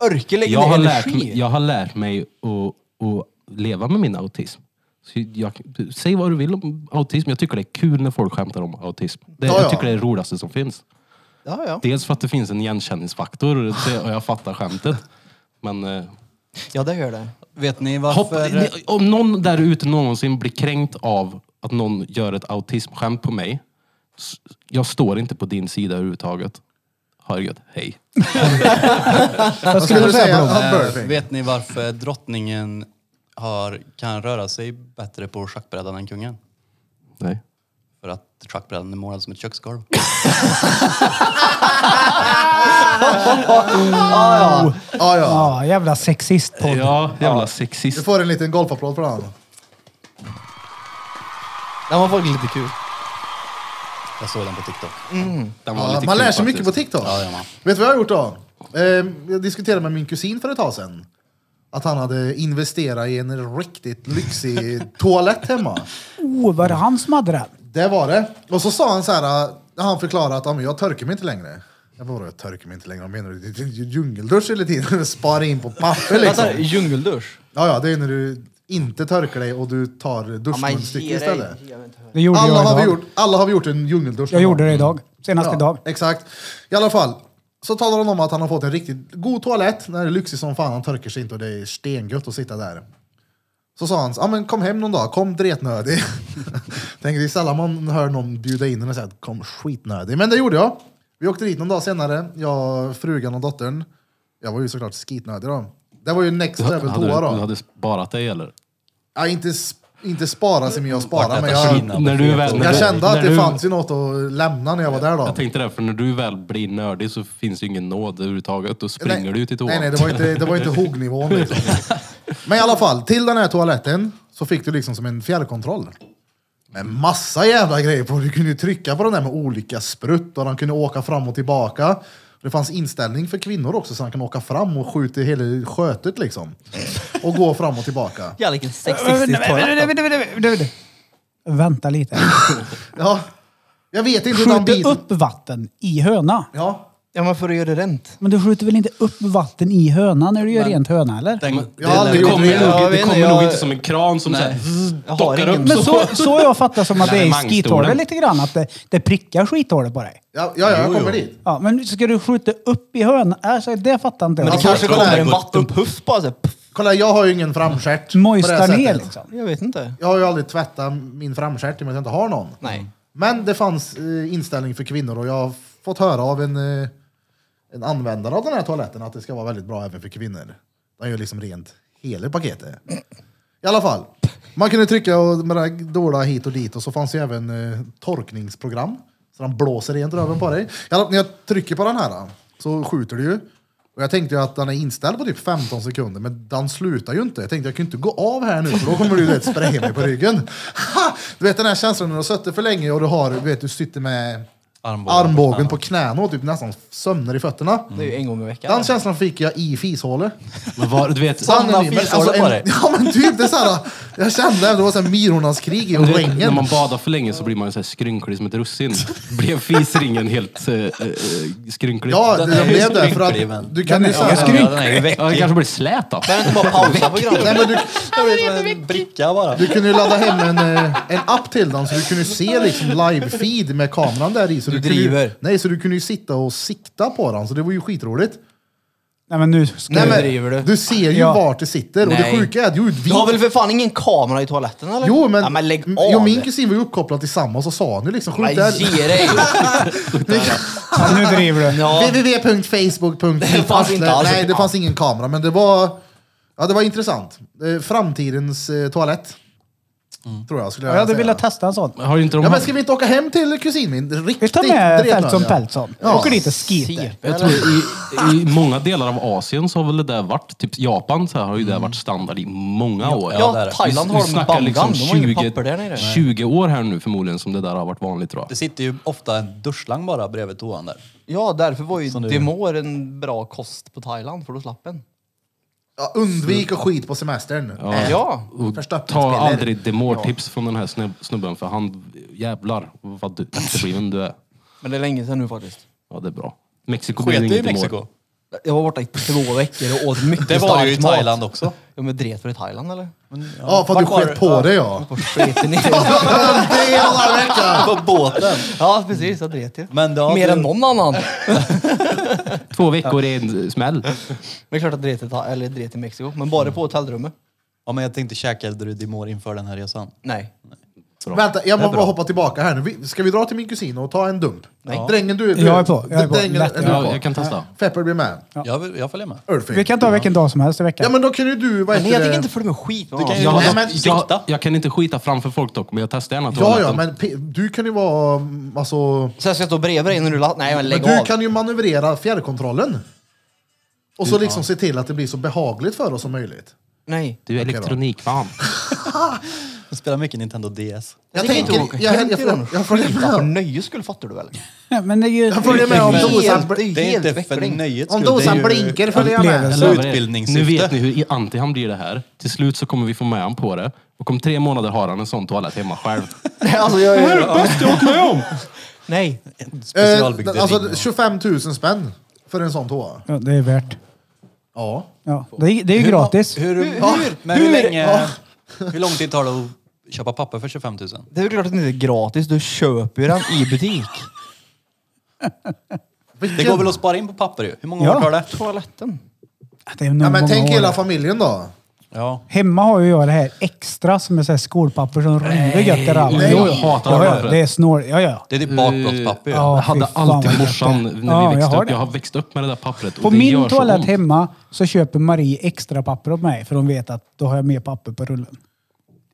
Örke lägger Jag har, ner lärt, energi. mig- jag har lärt mig att, att leva med min autism. Så jag, säg vad du vill om autism. Jag tycker det är kul när folk skämtar om autism. Det, Ja, ja. Jag tycker det är det roligaste som finns. Ja, ja. Dels för att det finns en igenkänningsfaktor det- och jag fattar skämtet. Men eh, ja, det gör det. Vet ni hopp, varför... ni- om någon där ute någonsin blir kränkt av att någon gör ett autismskämt på mig. s- Jag står inte på din sida överhuvudtaget. Ha det gött. Hej. Vad skulle du Skulle säga säga Blom? a Eh, birthday. vet ni varför drottningen har, kan röra sig bättre på schackbrädan än kungen? Nej. För att schackbrädan är målad som ett köksgolv. Ja, ja. Ja, jävla sexistpodd. Ja, jävla Du sexist. får en liten golfapplåd för den. Den var faktiskt lite kul. Jag såg den på TikTok. Den var Ja, lite man lär kul sig faktiskt. mycket på TikTok. Ja, det gör man. Vet du vad jag har gjort då? Ehm, Jag diskuterade med min kusin för ett tag sedan. Att han hade investerat i en riktigt lyxig toalett hemma. Oh, var det han som hade den? Det var det. Och så sa han så här, äh, när han förklarade att "Ja, men jag törker mig inte längre. Jag bara, jag törker mig inte längre? Vad menar du? Det är ju djungeldusch hela tiden. Spara in på papper liksom. Vänta, djungeldusch? Ja, ja, det är när du inte törker dig och du tar duschmunstycke istället. Det gjorde Alla jag har, vi idag. gjort, alla har vi gjort en djungeldusch. Jag någon gjorde gång. det idag. Senast Ja, idag. Exakt. I alla fall. Så talar han om att han har fått en riktigt god toalett. Den är lyxig som fan. Han torkar sig inte och det är stengött att sitta där. Så sa han, ja men kom hem någon dag. Kom dretnödig. Tänk det är sällan man hör någon bjuda in en och säga att kom skitnödig. Men det gjorde jag. Vi åkte dit någon dag senare. Jag, frugan och dottern. Jag var ju såklart skitnödig då. Det var ju next level hade, toa du, du då. hade sparat dig eller? Ja, inte, s- inte spara sig men jag sparar. Men Vart detta jag, Kina på När du fet väl- år. när jag du- kände när att det du- fanns ju något att lämna när jag var där då. Jag tänkte det, för när du väl blir nördig så finns det ju ingen nåd överhuvudtaget. Då springer nej, du ut i toan. Nej, nej, det var inte, det var inte huggnivån. Liksom. Men i alla fall, till den här toaletten så fick du liksom som en fjärrkontroll. Med massa jävla grejer på. Du kunde ju trycka på den där med olika sprutt och den kunde åka fram och tillbaka. Det fanns inställning för kvinnor också så han kan åka fram och skjuta i hela skötet liksom. Och gå fram och tillbaka. Jävlar vilken sexistisk toalett. Vänta lite. Ja, jag vet inte hur den Skjuter biten... upp vatten i höna. Ja, Ja, men för att göra det rent. Men du skjuter väl inte upp vatten i hönan när du gör rent höna eller? Den, jag har aldrig Det gjort kommer, det. Jag nog, det vet kommer inte, nog jag- inte som en kran som Nej. såhär... zzz, Jag har dockar ingen- upp. Men så, så jag fattar som att det Nej, är mangstolen. skithålet lite grann, att det, det prickar skithålet på dig. Ja, ja, jag kommer dit. Ja, men ska du skjuta upp i hönan? Alltså, det fattar inte Men jag. det Alltså, kanske kolla kommer här, en går- vattenpuff bara så här, pff, Kolla, jag har ju ingen framstjärt. på det Mojsta Alltså, ner sättet. liksom. Jag vet inte. Jag har ju aldrig tvättat min framstjärt i och med att jag inte har någon. Nej. Men det fanns eh, inställning för kvinnor och jag har fått höra av en, eh, en användare av den här toaletten att det ska vara väldigt bra även för kvinnor. Den gör liksom rent hela paketet. I alla fall. Man kunde trycka och med det här dåla hit och dit och så fanns ju även eh, torkningsprogram. Så den blåser rent röven på dig. I alla, när jag trycker på den här så skjuter det ju. Och jag tänkte ju att den är inställd på typ 15 sekunder, men den slutar ju inte. Jag tänkte jag kan ju inte gå av här nu, för då kommer du ju, du vet, spraya mig på ryggen. Ha! Du vet den här känslan när du har suttit för länge och du har, du vet, du sitter med Armbågen. armbågen på knäna Mm. och typ nästan sömnar i fötterna. Det är ju en gång i veckan. Den känslan fick jag i fishålet. Men var, du vet, Sanna men alltså en- Ja men typ, det är såhär, jag kände att det var såhär myrornas krig i Du vet, när rängen. man badar för länge så blir man ju så här skrynklig som ett russin. Blev fisringen helt eh, eh, skrynklig? Ja, Den jag är ju blev det för skrynklig, att men- du kan ju Ja, såhär... den är ju Ja, det väckig. kanske blir slät då. Kan inte bara pausa Nej, programmet? men du, Jag vet, som en bricka bara. du kunde ju ladda hem en, eh, en app till den så du kunde ju se liksom live-feed med kameran där i. Så du, Kunde ju, driver. nej, så du kunde ju sitta och sikta på den, så det var ju skitroligt. Nej men nu ska Nej, du... men, driver du. Du ser ju Ja. vart det sitter och det Nej. sjuka är att jo, vi Du har väl för fan ingen kamera i toaletten eller? Jo, men, ja, men lägg av! jo, min kusin var ju uppkopplad tillsammans och sa nu liksom, Nej, skjut där. ge dig! Ja, nu driver du. Ja. www.facebook.com Det fanns inte alls. Nej, det fanns ingen kamera, men det var, ja, det var intressant. Eh, Framtidens eh, toalett. Mm. Tror jag skulle jag Jag hade säga. velat testa en sån. Har ju inte de Ja, men haft- ska vi inte åka hem till kusin min? Vi Riktigt tar med dretnödiga. Peltson Peltson. Ja. Åker dit och skiter. Jag tror i, i många delar av Asien så har väl det där varit, typ Japan så här har ju det varit standard i många år. Ja, där. Thailand Vi- har de vi snackar liksom bandgan. De har inget papper där nere. 20 år här nu förmodligen som det där har varit vanligt tror Det jag. sitter ju ofta en duschslang bara bredvid toan där. Ja, därför var ju Demor en bra kost på Thailand, för då slapp en. Ja, undvik och skit på semestern. Äh, Ja. Och ta Förstoppningspiller. aldrig demortips från den här snub- snubben för han, jävlar vad du efterbliven du är. men det är länge sedan nu faktiskt. Ja det är bra. Mexiko blir Sket du i inget Mexiko? Mexiko. Jag var borta i två veckor och åt mycket Det var stark ju i mat. Thailand också. Ja, men dret för i Thailand eller? Men, ja. Ja, för att du Vart var sket du? på dig ja. På skiten i Det är alla veckan. På båten. Ja, precis. Jag dret ju. Men då har Mer du- än någon annan. Men Två veckor i en smäll. det är klart att dret i, Tha- eller dret i Mexiko, men bara på hotellrummet. Ja, men jag tänkte, käkade du Dimor inför den här resan? Nej. Vänta, jag måste bara hoppa tillbaka här nu. Vi- Ska vi dra till min kusin och ta en dump? Nej. Drängen du... du Jag är på, jag är på. Drängen, Lätt. är du Ja, på? jag kan testa. Fepper blir med. Jag, vill, jag följer med. Ulfing. Vi kan ta vilken dag som helst i veckan. Ja men då kan ju du... Vad Men heter jag tänker det? inte följa med skit. Du kan ju- Jag, Nej, har, men jag, sikta. jag kan inte skita framför folk dock, men jag testar gärna Ja, ja, toaletten. men P- du kan ju vara... mm, Alltså, Sen ska jag stå bredvid dig när du la... Nej men men lägg du av. kan ju manövrera fjärrkontrollen. Och så liksom se till att det blir så behagligt för oss som möjligt. Nej. Du är Okej då. elektronikfan. Jag spelar mycket Nintendo DS. Jag tänker tänker... inte åka Jag, jag, hem jag, till jag, dem. jag följer För med. nöjes skull fattar du väl? Ja, men det är ju... Jag följer med om Det är ju dosan... helt- bl- ju Det är helt inte för väckling. nöjets Om skull, det är dosan ju- blinkar följer jag Upplevelse. med. Eh, Jag lovar er, utbildningssyfte. Nu vet ni hur anti han blir det här. Till slut så kommer vi få med han på det. Och om tre månader har han en sån toalett hemma själv. alltså jag är... bästa jag varit med om! Nej. Specialbyggd Eh, alltså ring. 25 000 spänn för en sån toa. Ja, det är värt. Ja. Ja, det är, det är ju gratis. Hur, hur, hur, men hur, länge, hur lång tid tar det att köpa papper för 25 000? Det är väl klart att det inte är gratis. Du köper ju den i butik. Det går väl att spara in på papper ju. Hur många Ja. år tar det? Toaletten. Ah, Det är nog Ja, men många tänk år. hela familjen då. Ja. Hemma har ju jag det här extra som är så här skolpapper som river gött i rallen. nej. Jag hatar ja, det ja, pappret. Det är snål... Ja, ja. Det är ditt bakplåtspapper ju. Ja, jag fy hade fan, vad alltid gött morsan det är. Ja, jag när vi växte har upp. det. Jag har växt upp med det där pappret. och På det min gör så toalett ont. hemma så köper Marie extra papper åt mig för hon vet att då har jag mer papper på rullen.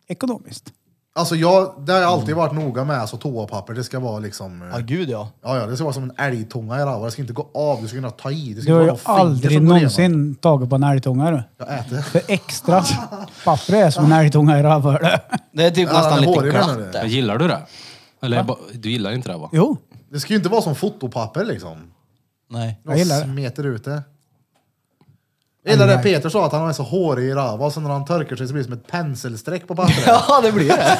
Ekonomiskt. Alltså jag, det har jag alltid varit noga med, alltså toapapper, det ska vara liksom... eh, Ja gud ja. Ja, ja, det ska vara som en älgtunga i rallar. Det ska inte gå av, du ska kunna ta i. Det ska Du har inte ju vara någon finger aldrig som går igenom. någonsin tagit på en älgtunga du. Jag äter. För extra papper är som en älgtunga i rövhålet. Det är typ Ja, den nästan är lite hårig, menar glatt du? där. Men Gillar du det? Eller ba- du gillar inte det va? Jo, Det ska ju inte vara som fotopapper liksom. Nej. De Jag gillar det. smeter ut det. Jag gillar det Peter sa, att han har en så hårig röv och sen när han torkar sig så blir det som ett penselstreck på pappret. Ja det blir det.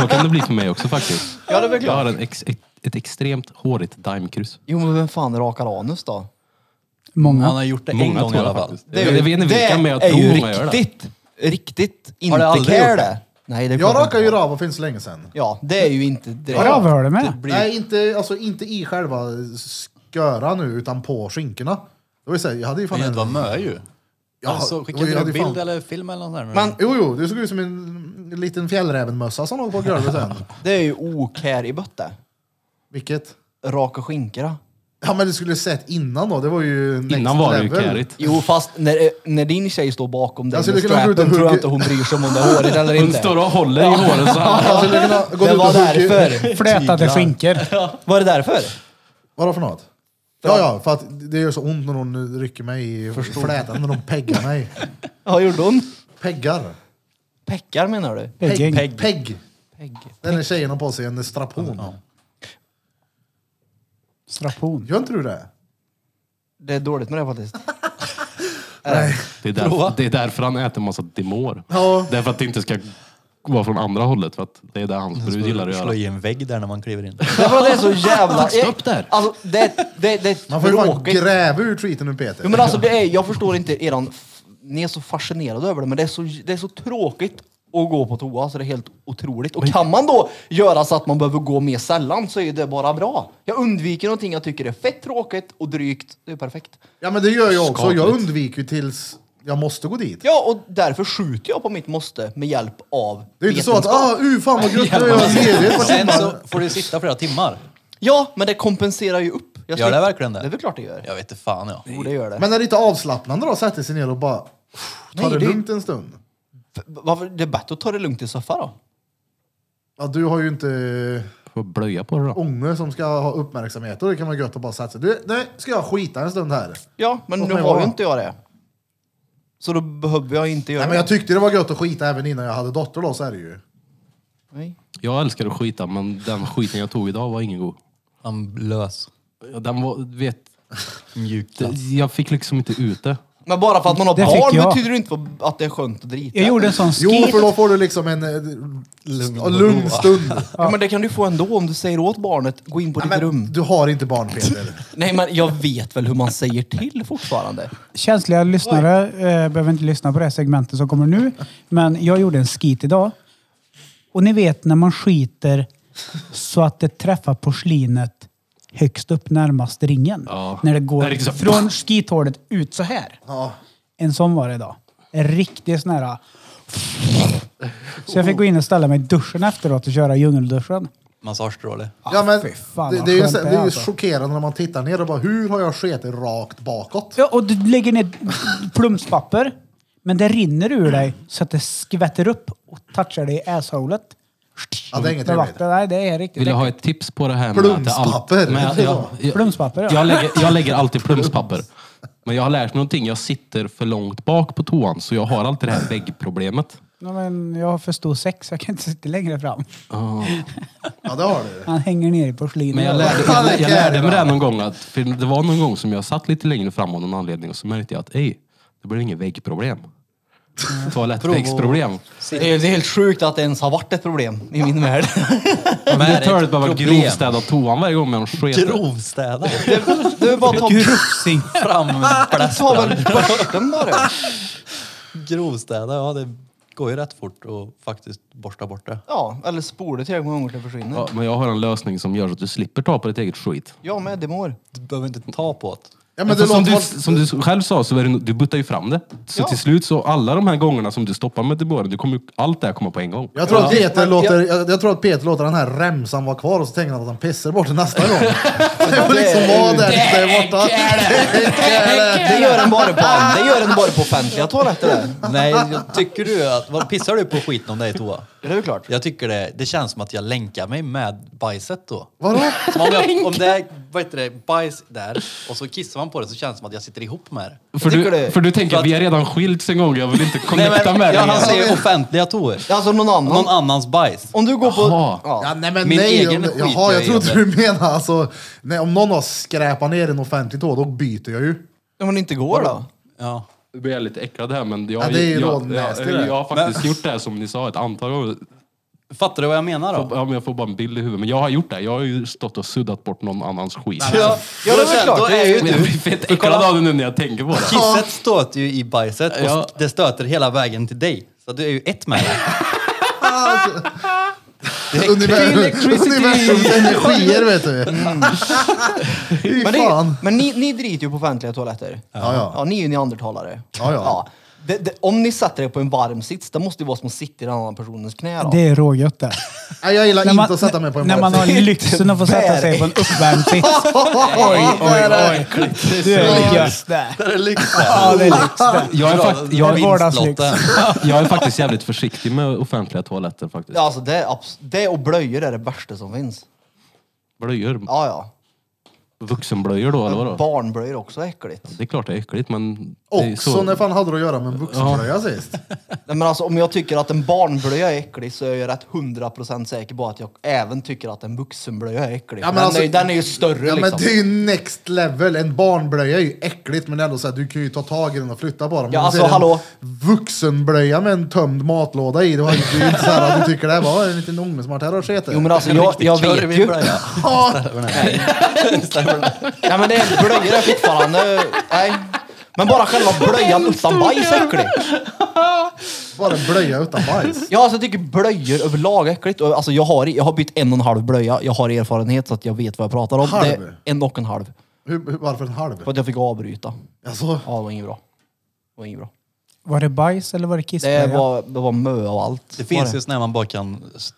Så kan det bli för mig också faktiskt. Ja, det är väl Jag klart. har en ex, ett, ett extremt hårigt daimkryss. Jo men vem fan rakar anus då? många. Han har gjort det en Många gång tror i alla jag fall. faktiskt. Jag vet inte vilka, men jag är ju tror många gör det. riktigt, riktigt inte du aldrig care gjort det? det. Nej det är Jag klart rakar inte. ju röv för inte så länge sedan. Ja det är ju inte Ja, direkt. Rövhålet med. Blir- Nej, inte, alltså, inte i själva sköran nu, utan på skinkorna. Det var ju så här, jag hade ju fan Men det var en... mö ju. Ja, alltså, skickade och jag du hade bild fan- eller film eller något sånt? där? Men- Jo, jo, det såg ut som en liten fjällrävenmössa som låg på golvet sen. Det är ju okär i bötte. Vilket? Raka skinkorna. Ja men du skulle sett innan då, det var ju next Innan var det ju liksom level. kärigt. Jo, fast när, när din tjej står bakom dig Alltså, med du kan gå ut och strappen tror jag hugga- inte hon bryr sig om det är hårigt eller Hon inte. står och håller i håret så här. Alltså, du kunde ha gått Det ut och var huggit- därför. Flätade skinkor. Var det därför? Vadå för något? Ja, ja, för att det gör så ont när hon rycker mig i flätan, när de peggar mig. Ja, gjorde hon? Peggar. Peckar menar du? Pegg. Pegging. Pegg. Pegg. Pegg. Den där tjejen har på sig en strapon. Strapon. Gör inte du det? Det är dåligt med det faktiskt. Det är, därför, det är därför han äter massa demor. Ja. Därför att det inte ska vara från andra hållet. För att det är det hans brud gillar att Slå göra. i en vägg där när man kliver in. Jag tror att det är så jävla... Stopp där. Alltså, det, det, det är Man får ju fan tråkigt. gräva ur skiten nu Peter. Jo, men alltså, det är, jag förstår inte eran... f- Ni är så fascinerade över det, men det är så, det är så tråkigt att gå på toa, så det är helt otroligt. Och kan man då göra så att man behöver gå mer sällan så är det bara bra. Jag undviker någonting jag tycker är fett tråkigt och drygt. Det är perfekt. Ja men det gör jag också. Jag Skapligt. undviker ju tills jag måste gå dit. Ja, och därför skjuter jag på mitt måste med hjälp av Det är ju inte så att, vetenskap. ah, uh, fan vad gött, nu är jag ledig. Vad Sen timmar. så får du sitta flera timmar. Ja, men det kompenserar ju upp. Jag Gör slipper- det verkligen det? Det är väl klart det gör. Jag vet inte fan ja. Jo, det gör det. Men är det inte avslappnande då att sätta sig ner och bara ta Nej, det det- lugnt en stund? F- Varför, det är bättre att ta det lugnt i soffan då. Ja, du har ju inte Får blöja på det då. Ånge som ska ha uppmärksamhet och det kan vara gött att bara sätta sig. Du, nej, ska jag skita en stund här? Ja, men Låt nu mig har vara. ju inte jag det. Så då behöver jag inte göra Nej men jag tyckte det var gött att skita även innan jag hade dotter då, så är det ju. det. Nej. Jag älskar att skita men den skiten jag tog idag var ingen god. Han lös. Ja, Den var, du vet, Mjukt. det- jag fick liksom inte ut det. Men bara för att man har Det fick barn jag. betyder det inte att det är skönt att drita. Jag gjorde en sån Jo, skit. för då får du liksom en eh, lugn, lugn stund. Ja, men det kan du få ändå om du säger åt barnet, gå in på ditt rum. Du har inte barn Peter. Nej, men jag vet väl hur man säger till fortfarande. Känsliga lyssnare eh, behöver inte lyssna på det här segmentet som kommer nu. Men jag gjorde en skit idag. Och ni vet när man skiter så att det träffar porslinet högst upp närmast ringen. Ja. När det Det är liksom- går riktigt så- från skithålet ut så här. Ja. En sån var det idag. En riktig sån här... Så jag fick gå in och ställa mig i duschen efteråt och köra djungelduschen. Massagestråle. Ja, men, fy fan, det, vad det är ju, skönt så- det det är är ju alltså. chockerande när man tittar ner och bara, hur har jag sketit rakt bakåt? Ja, och du lägger ner plumspapper. Men det rinner ur dig så att det skvätter upp och touchar dig i assholet. Ja, det är inget Med trevligt. vatten. Nej, det är riktigt Vill du ha äckligt. ett tips på det här med att det all- Plumspapper. med att jag, jag, Plumspapper, ja. jag, lägger, jag lägger alltid plumspapper. Men jag har lärt mig någonting. Jag sitter för långt bak på toan så jag har alltid det här väggproblemet. Ja, men jag har för stor sex, jag kan inte sitta längre fram. Ja, det har du. Han hänger ner i porslinet. Men jag lärde, Fan, jag, vilken jag lärde mig jävla- det här någon gång. Att, för det var någon gång som jag satt lite längre fram av någon anledning och så märkte jag att ej, det blir inget väggproblem. Mm. Toalettväggsproblem. Det är, det är helt sjukt att det ens har varit ett problem i min värld. Men det är töligt behöva problem. grovstäda toan varje gång med en sket. Grovstäda. Du är bara att ta... Grufsig. Ta Framplästrad. väl börsten bara. Grovstäda, ja det går ju rätt fort och faktiskt borsta bort det. Ja, eller spola tillräckligt många gånger till det försvinner. Ja, men jag har en lösning som gör så att du slipper ta på ditt eget skit. Jag med, det mår. Du behöver inte ta på det. Ja, men För det som, låter du, folk- som du själv sa så är det, no- du buttar ju fram det. Så Ja. till slut så alla de här gångerna som du stoppar med demoren, du kommer, ju- allt det här kommer på en gång. jag tror, att Peter Men jag- låter, jag, jag tror att Peter låter den här remsan vara kvar och så tänker han att han pissar bort den nästa gång. Det får liksom vara där tills det är borta. Det gör en bara på, det gör en bara på offentliga toaletter. där. Nej, jag tycker du att... Vad, pissar du på skiten om dig i toa? Det är väl klart. Jag tycker det, det känns som att jag länkar mig med bajset då. Vadå? Som om, jag, om det är vad heter det, bajs där och så kissar man på det så känns det som att jag sitter ihop med det. För tycker du, det- för du tänker, för att- vi är redan skilts en gång, jag vill inte Nej, connecta men, med jag dig. igen. anser offentliga toor. Alltså någon annan. Någon annans bajs. Om du går på... Jaha. Ja, Ja. nej men Min nej. egen om- skit Jaha, jag jag trodde gör. du menade alltså, nej, om någon har skräpat ner en offentlig tå, då byter jag ju. Om det inte går då? Ja. Nu blir jag lite äcklad här men jag, Ja, det är ju jag, rådnäst, jag, det där. jag, har faktiskt gjort det här som ni sa ett antal gånger. Fattar du vad jag menar då? Ja, men jag får bara en bild i huvudet. Men jag har gjort det. Jag har ju stått och suddat bort någon annans skit. Ja, Ja, det är då- väl klart. Då är Jag ju blir du... fett äcklad av det nu när jag tänker på det. Kisset stöter ju i bajset och Ja. det stöter hela vägen till dig. Så du är ju ett med det. Univer- Universums energier vet du. Fy Men, fan. det, men ni, ni driter ju på offentliga toaletter. Ja, ja. ni är ju neandertalare. Ja, ja. Det, det, om ni sätter er på en varm sits, det måste ju vara som att sitta i den andra personens knä då. Det är rågött det. Nej, jag gillar När inte man- att sätta mig på en När man har lyxen att få sätta sig på en uppvärmd sits. Oj, oj, oj. Det är just det. Det är lyx Ja, det är lyx det. Jag är, fakt- jag, Det är, var- vardagslyx. Vinstlotten. jag är faktiskt jävligt försiktig med offentliga toaletter faktiskt. Ja, Alltså det, är abs- det och blöjor är det värsta som finns. Blöjor. Ja, ja. Vuxenblöjor då, eller vadå? Barnblöjor är också äckligt. Det är klart det är äckligt, men... det är Också, när fan hade du att göra med en vuxentröja sist? Nej, men alltså, om jag tycker att en barnblöja är äcklig så är jag rätt 100% säker på att jag även tycker att en vuxenblöja är äcklig. Ja, men den, alltså- är, ju- den är ju större Ja, men liksom. det är ju next level. En barnblöja är ju äckligt, men det är ändå så här, du kan ju ta tag i den och flytta på den. Men Ja, om du alltså, ser en hallå. Vuxenblöja med en tömd matlåda i. Det var ju det är ju inte så här att du tycker det här var en liten unge som har varit här och sketit. Jo men alltså jag, jag Körv vet i ju. blöja. Nej men det är blöjor är fortfarande... Nej. Men bara själva blöjan utan bajs är äcklig. Bara en blöja utan bajs. Ja, alltså, jag tycker blöjor överlag är äckligt. Och, Alltså, jag, har, jag har bytt en och en halv blöja. Jag har erfarenhet så att jag vet vad jag pratar om. Halv? Det är en och en halv. Hur, hur, varför en halv? För att jag fick avbryta. Alltså, Ja, det var inget bra. Det var inget bra. Var det bajs eller var det Det kissblöja? var, det var mö och allt. Det Var finns ju såna här man bara kan s-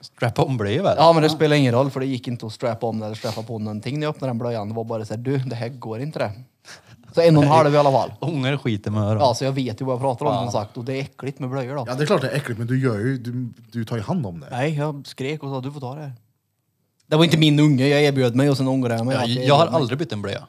strappa om blöjor väl? Ja, men det spelar ingen roll för det gick inte att strappa om eller strappa på någonting när jag öppnade den blöjan. Det var bara såhär, du, det här går inte det. Så en och en halv i alla fall. Ångar skiten med öron. Ja, så jag vet ju vad jag pratar om som sagt. Och det är äckligt med blöjor då. ja, det är klart det är äckligt, men du, gör ju, du, du tar ju hand om det. Nej, jag skrek och sa du får ta det här. Det var inte min unge, jag erbjöd mig och sen ångrade jag mig. Jag, att jag har erbjöd mig. aldrig bytt en blöja.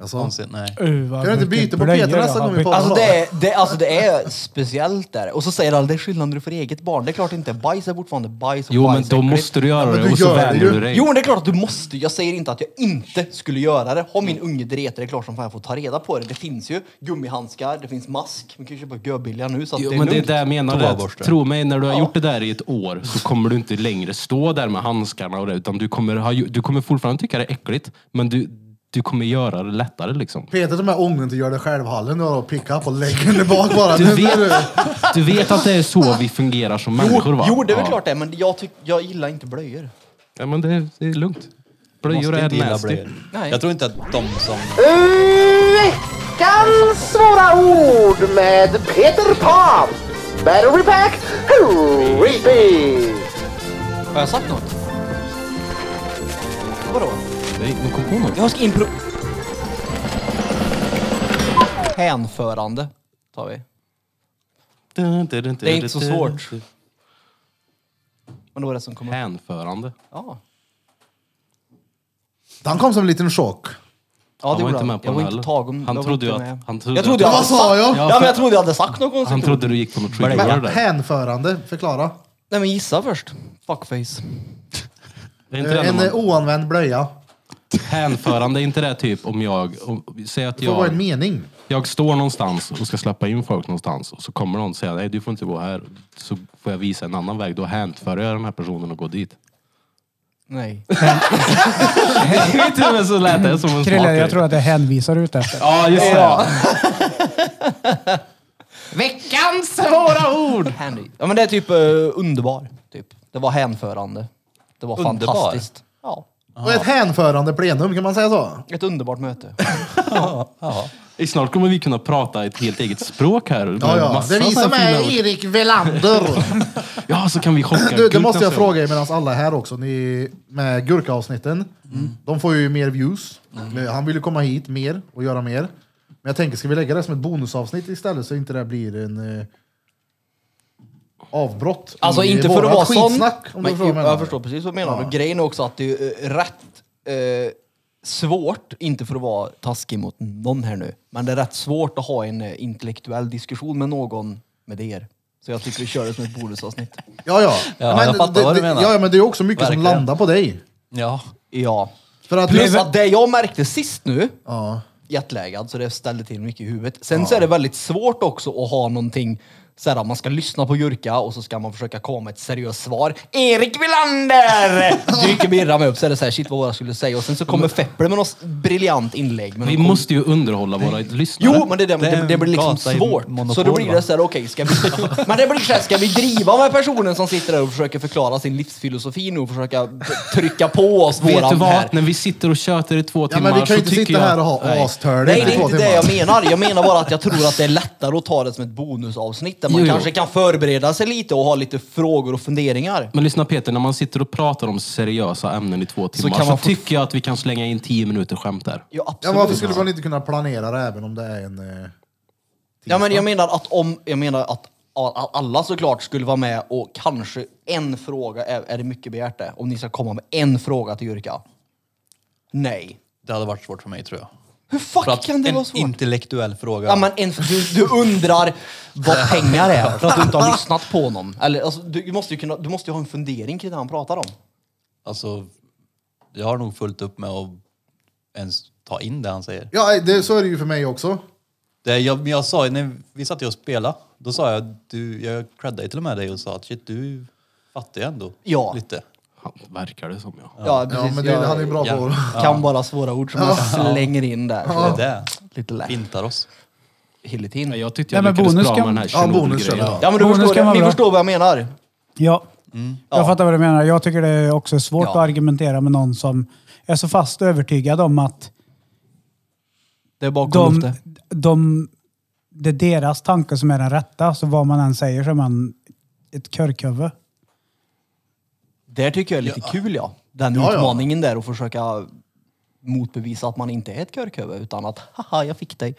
Alltså, Någonsin, nej. Uh, vad Kan du inte mycket byta på blöjor Peter jag nästa har gång vi bytt. poddar? Alltså det, är, det, alltså det är speciellt där. Och så säger alla det är skillnad när du får eget barn. Det är klart inte. Bajs är fortfarande bajs och Jo, men bajs är då äckligt. måste du göra men det du och så gör det ju. vänjer du dig. Jo men det är klart att du måste. Jag säger inte att jag inte skulle göra det. Har min unge dretat det är klart som fan jag får ta reda på det. Det finns ju gummihandskar, det finns mask. Man kan ju köpa göbilliga nu så att Jo, det är men det är lugnt. det jag menar. Det. att Toaborste. Tro mig, när du har gjort det där i ett år så kommer du inte längre stå där med handskarna och det, utan du kommer, ha, ju- du kommer fortfarande tycka det är äckligt, men du, du kommer göra det lättare liksom. Peter tar med ången till gör det själv-hallen och pick-up och lägger den bak bara. Du Nu- vet, nu- du vet att det är så vi fungerar som människor va? Jo, jo det är väl Ja. klart det. Men jag, tyck, jag gillar inte blöjor. Ja, men det, är- det är lugnt. Blöjor Måste inte är gilla nasty. blöjor. Nej. Jag tror inte att de som... Veckans svåra ord med Peter Pan. Battery pack, repeat. Har jag sagt något? Vadå? Nej, men kom på något. Jag ska impro... Hänförande tar vi. Det är inte så svårt. Men då är det som kommer... Hänförande. Ja, Han kom som en liten chock. ja det var gjorde inte med på jag den var inte heller. tagen. Han jag var trodde ju inte att- med. han trodde jag trodde att- jag Vad hade sa sagt- jag? Ja, men jag trodde jag hade sagt något konstigt. Han trodde du gick på något trigger Men, där. hänförande, förklara. Nej men gissa först. Fuckface. Det är inte det Eh, när En man- eh, oanvänd blöja. Hänförande, är inte det typ om jag... Om, säg att Det får vara en jag, mening. jag står någonstans och ska släppa in folk någonstans och så kommer någon och säger nej du får inte gå här. Så får jag visa en annan väg. Då hänför jag den här personen och går dit. Nej. Jag vet inte men så lät det som en smart Krille, grej. jag tror att det hänvisar du ute efter. Ja just det. Veckans svåra ord! Handy. Ja men det är typ eh, underbar. Typ. Det var hänförande. Det var Underbar? fantastiskt. Ja. Och ett hänförande plenum, kan man säga så? Ett underbart möte. Snart kommer vi kunna prata ett helt eget språk här. med Ja, ja. massa Det är vi så här som fina är ord. Erik Velander. Ja så kan vi chocka Du, det Gurkan måste jag sen. fråga er medan alla är här också. Ni, med Gurka-avsnitten, Mm. de får ju mer views. Han vill ju komma hit mer och göra mer. Men jag tänker, ska vi lägga det som ett bonusavsnitt istället så inte det blir en eh, avbrott? Alltså i inte för att Mm. vårat vara sån. skitsnack, Om du Men, förstår vad jag, menar. förstår precis vad du menar. Och Grejen är också att det är eh, rätt eh, svårt, inte för att vara taskig mot någon här nu, men det är rätt svårt att ha en eh, intellektuell diskussion med någon med er. Så jag tycker vi kör det som ett bonusavsnitt. Ja, ja. Ja, men jag fattar det, vad du det- menar. Ja, ja, men det är också mycket som Verkligen. landar på dig. Ja. Ja. För att Plus du, att det jag märkte sist nu, ja. jetlaggad, så det ställde till mycket i huvudet. Sen så är det väldigt svårt också att ha någonting så här, man ska lyssna på Jurka och så ska man försöka komma med ett seriöst svar. Erik Wilander! Dyker birran upp så är det så här, shit vad våra skulle säga. Och sen så kommer Feppel med något briljant inlägg. Men Vi de kommer- måste ju underhålla våra lyssnare. Jo, men det, är det, Det är det, det blir liksom gata i svårt. monopol, så då blir det va? så här, okej, ska vi... men det blir så här, ska vi driva med personen som sitter där och försöker förklara sin livsfilosofi nu och försöka b- trycka på oss Vet du våran vad? här... När vi sitter och tjötar i två Ja, timmar men vi kan ju inte så tycker sitta jag... här och ha astörning Nej, i det är två inte timmar. det jag menar. Jag menar bara att jag tror att det är lättare att ta det som ett bonusavsnitt där man Jo, jo. kanske kan förbereda sig lite och ha lite frågor och funderingar. Men lyssna Peter, när man sitter och pratar om seriösa ämnen i två timmar så, kan man få- tycker jag att vi kan slänga in tio minuter skämt där. Ja, Ja, absolut. varför skulle man inte kunna planera det även om det är en... Eh, Ja, men tisdag? jag menar att om... Jag menar att a- a- alla såklart skulle vara med och kanske en fråga, är, är det mycket begärt det? Om ni ska komma med en fråga till Jyrka? Nej. Det hade varit svårt för mig tror jag. Hur fuck För att kan det en vara svårt? intellektuell fråga. Ja, men en, du, du undrar vad pengar är för att du inte har lyssnat på honom. Eller, alltså, du, måste ju kunna, du måste ju ha en fundering kring det han pratar om. Alltså, jag har nog fullt upp med att ens ta in det han säger. Ja, det, så är det ju för mig också. Det jag, men jag sa, ju när vi satt ju och spelade, då sa jag, du, jag creddade ju till och med dig och sa att shit, du fattar ju ändå Ja. lite. Han, verkar det som ja. Ja, Ja, precis. men det, Jag han är ju bra ja. på... Kan bara svåra ord som jag slänger in där. Det är det. Lite lätt. Fintar oss. Hylligt in. Jag tyckte jag Nej, men lyckades bonus bra kan- med den här Ja, bonus kör vi. Tjernobyl-grejen. Ja, men du Bonus förstår, kan det. vara ni bra. förstår vad jag menar. Ja. Jag Ja. fattar vad du menar. Jag tycker det är också svårt Ja. att argumentera med någon som är så fast övertygad om att Det är bakom de, luften. de, det är deras tanke som är den rätta. Så vad man än säger så är man ett körkhuvud. Det tycker jag är lite kul, ja. Den Ja, ja. utmaningen där att försöka motbevisa att man inte är ett körköve utan att haha, jag fick dig.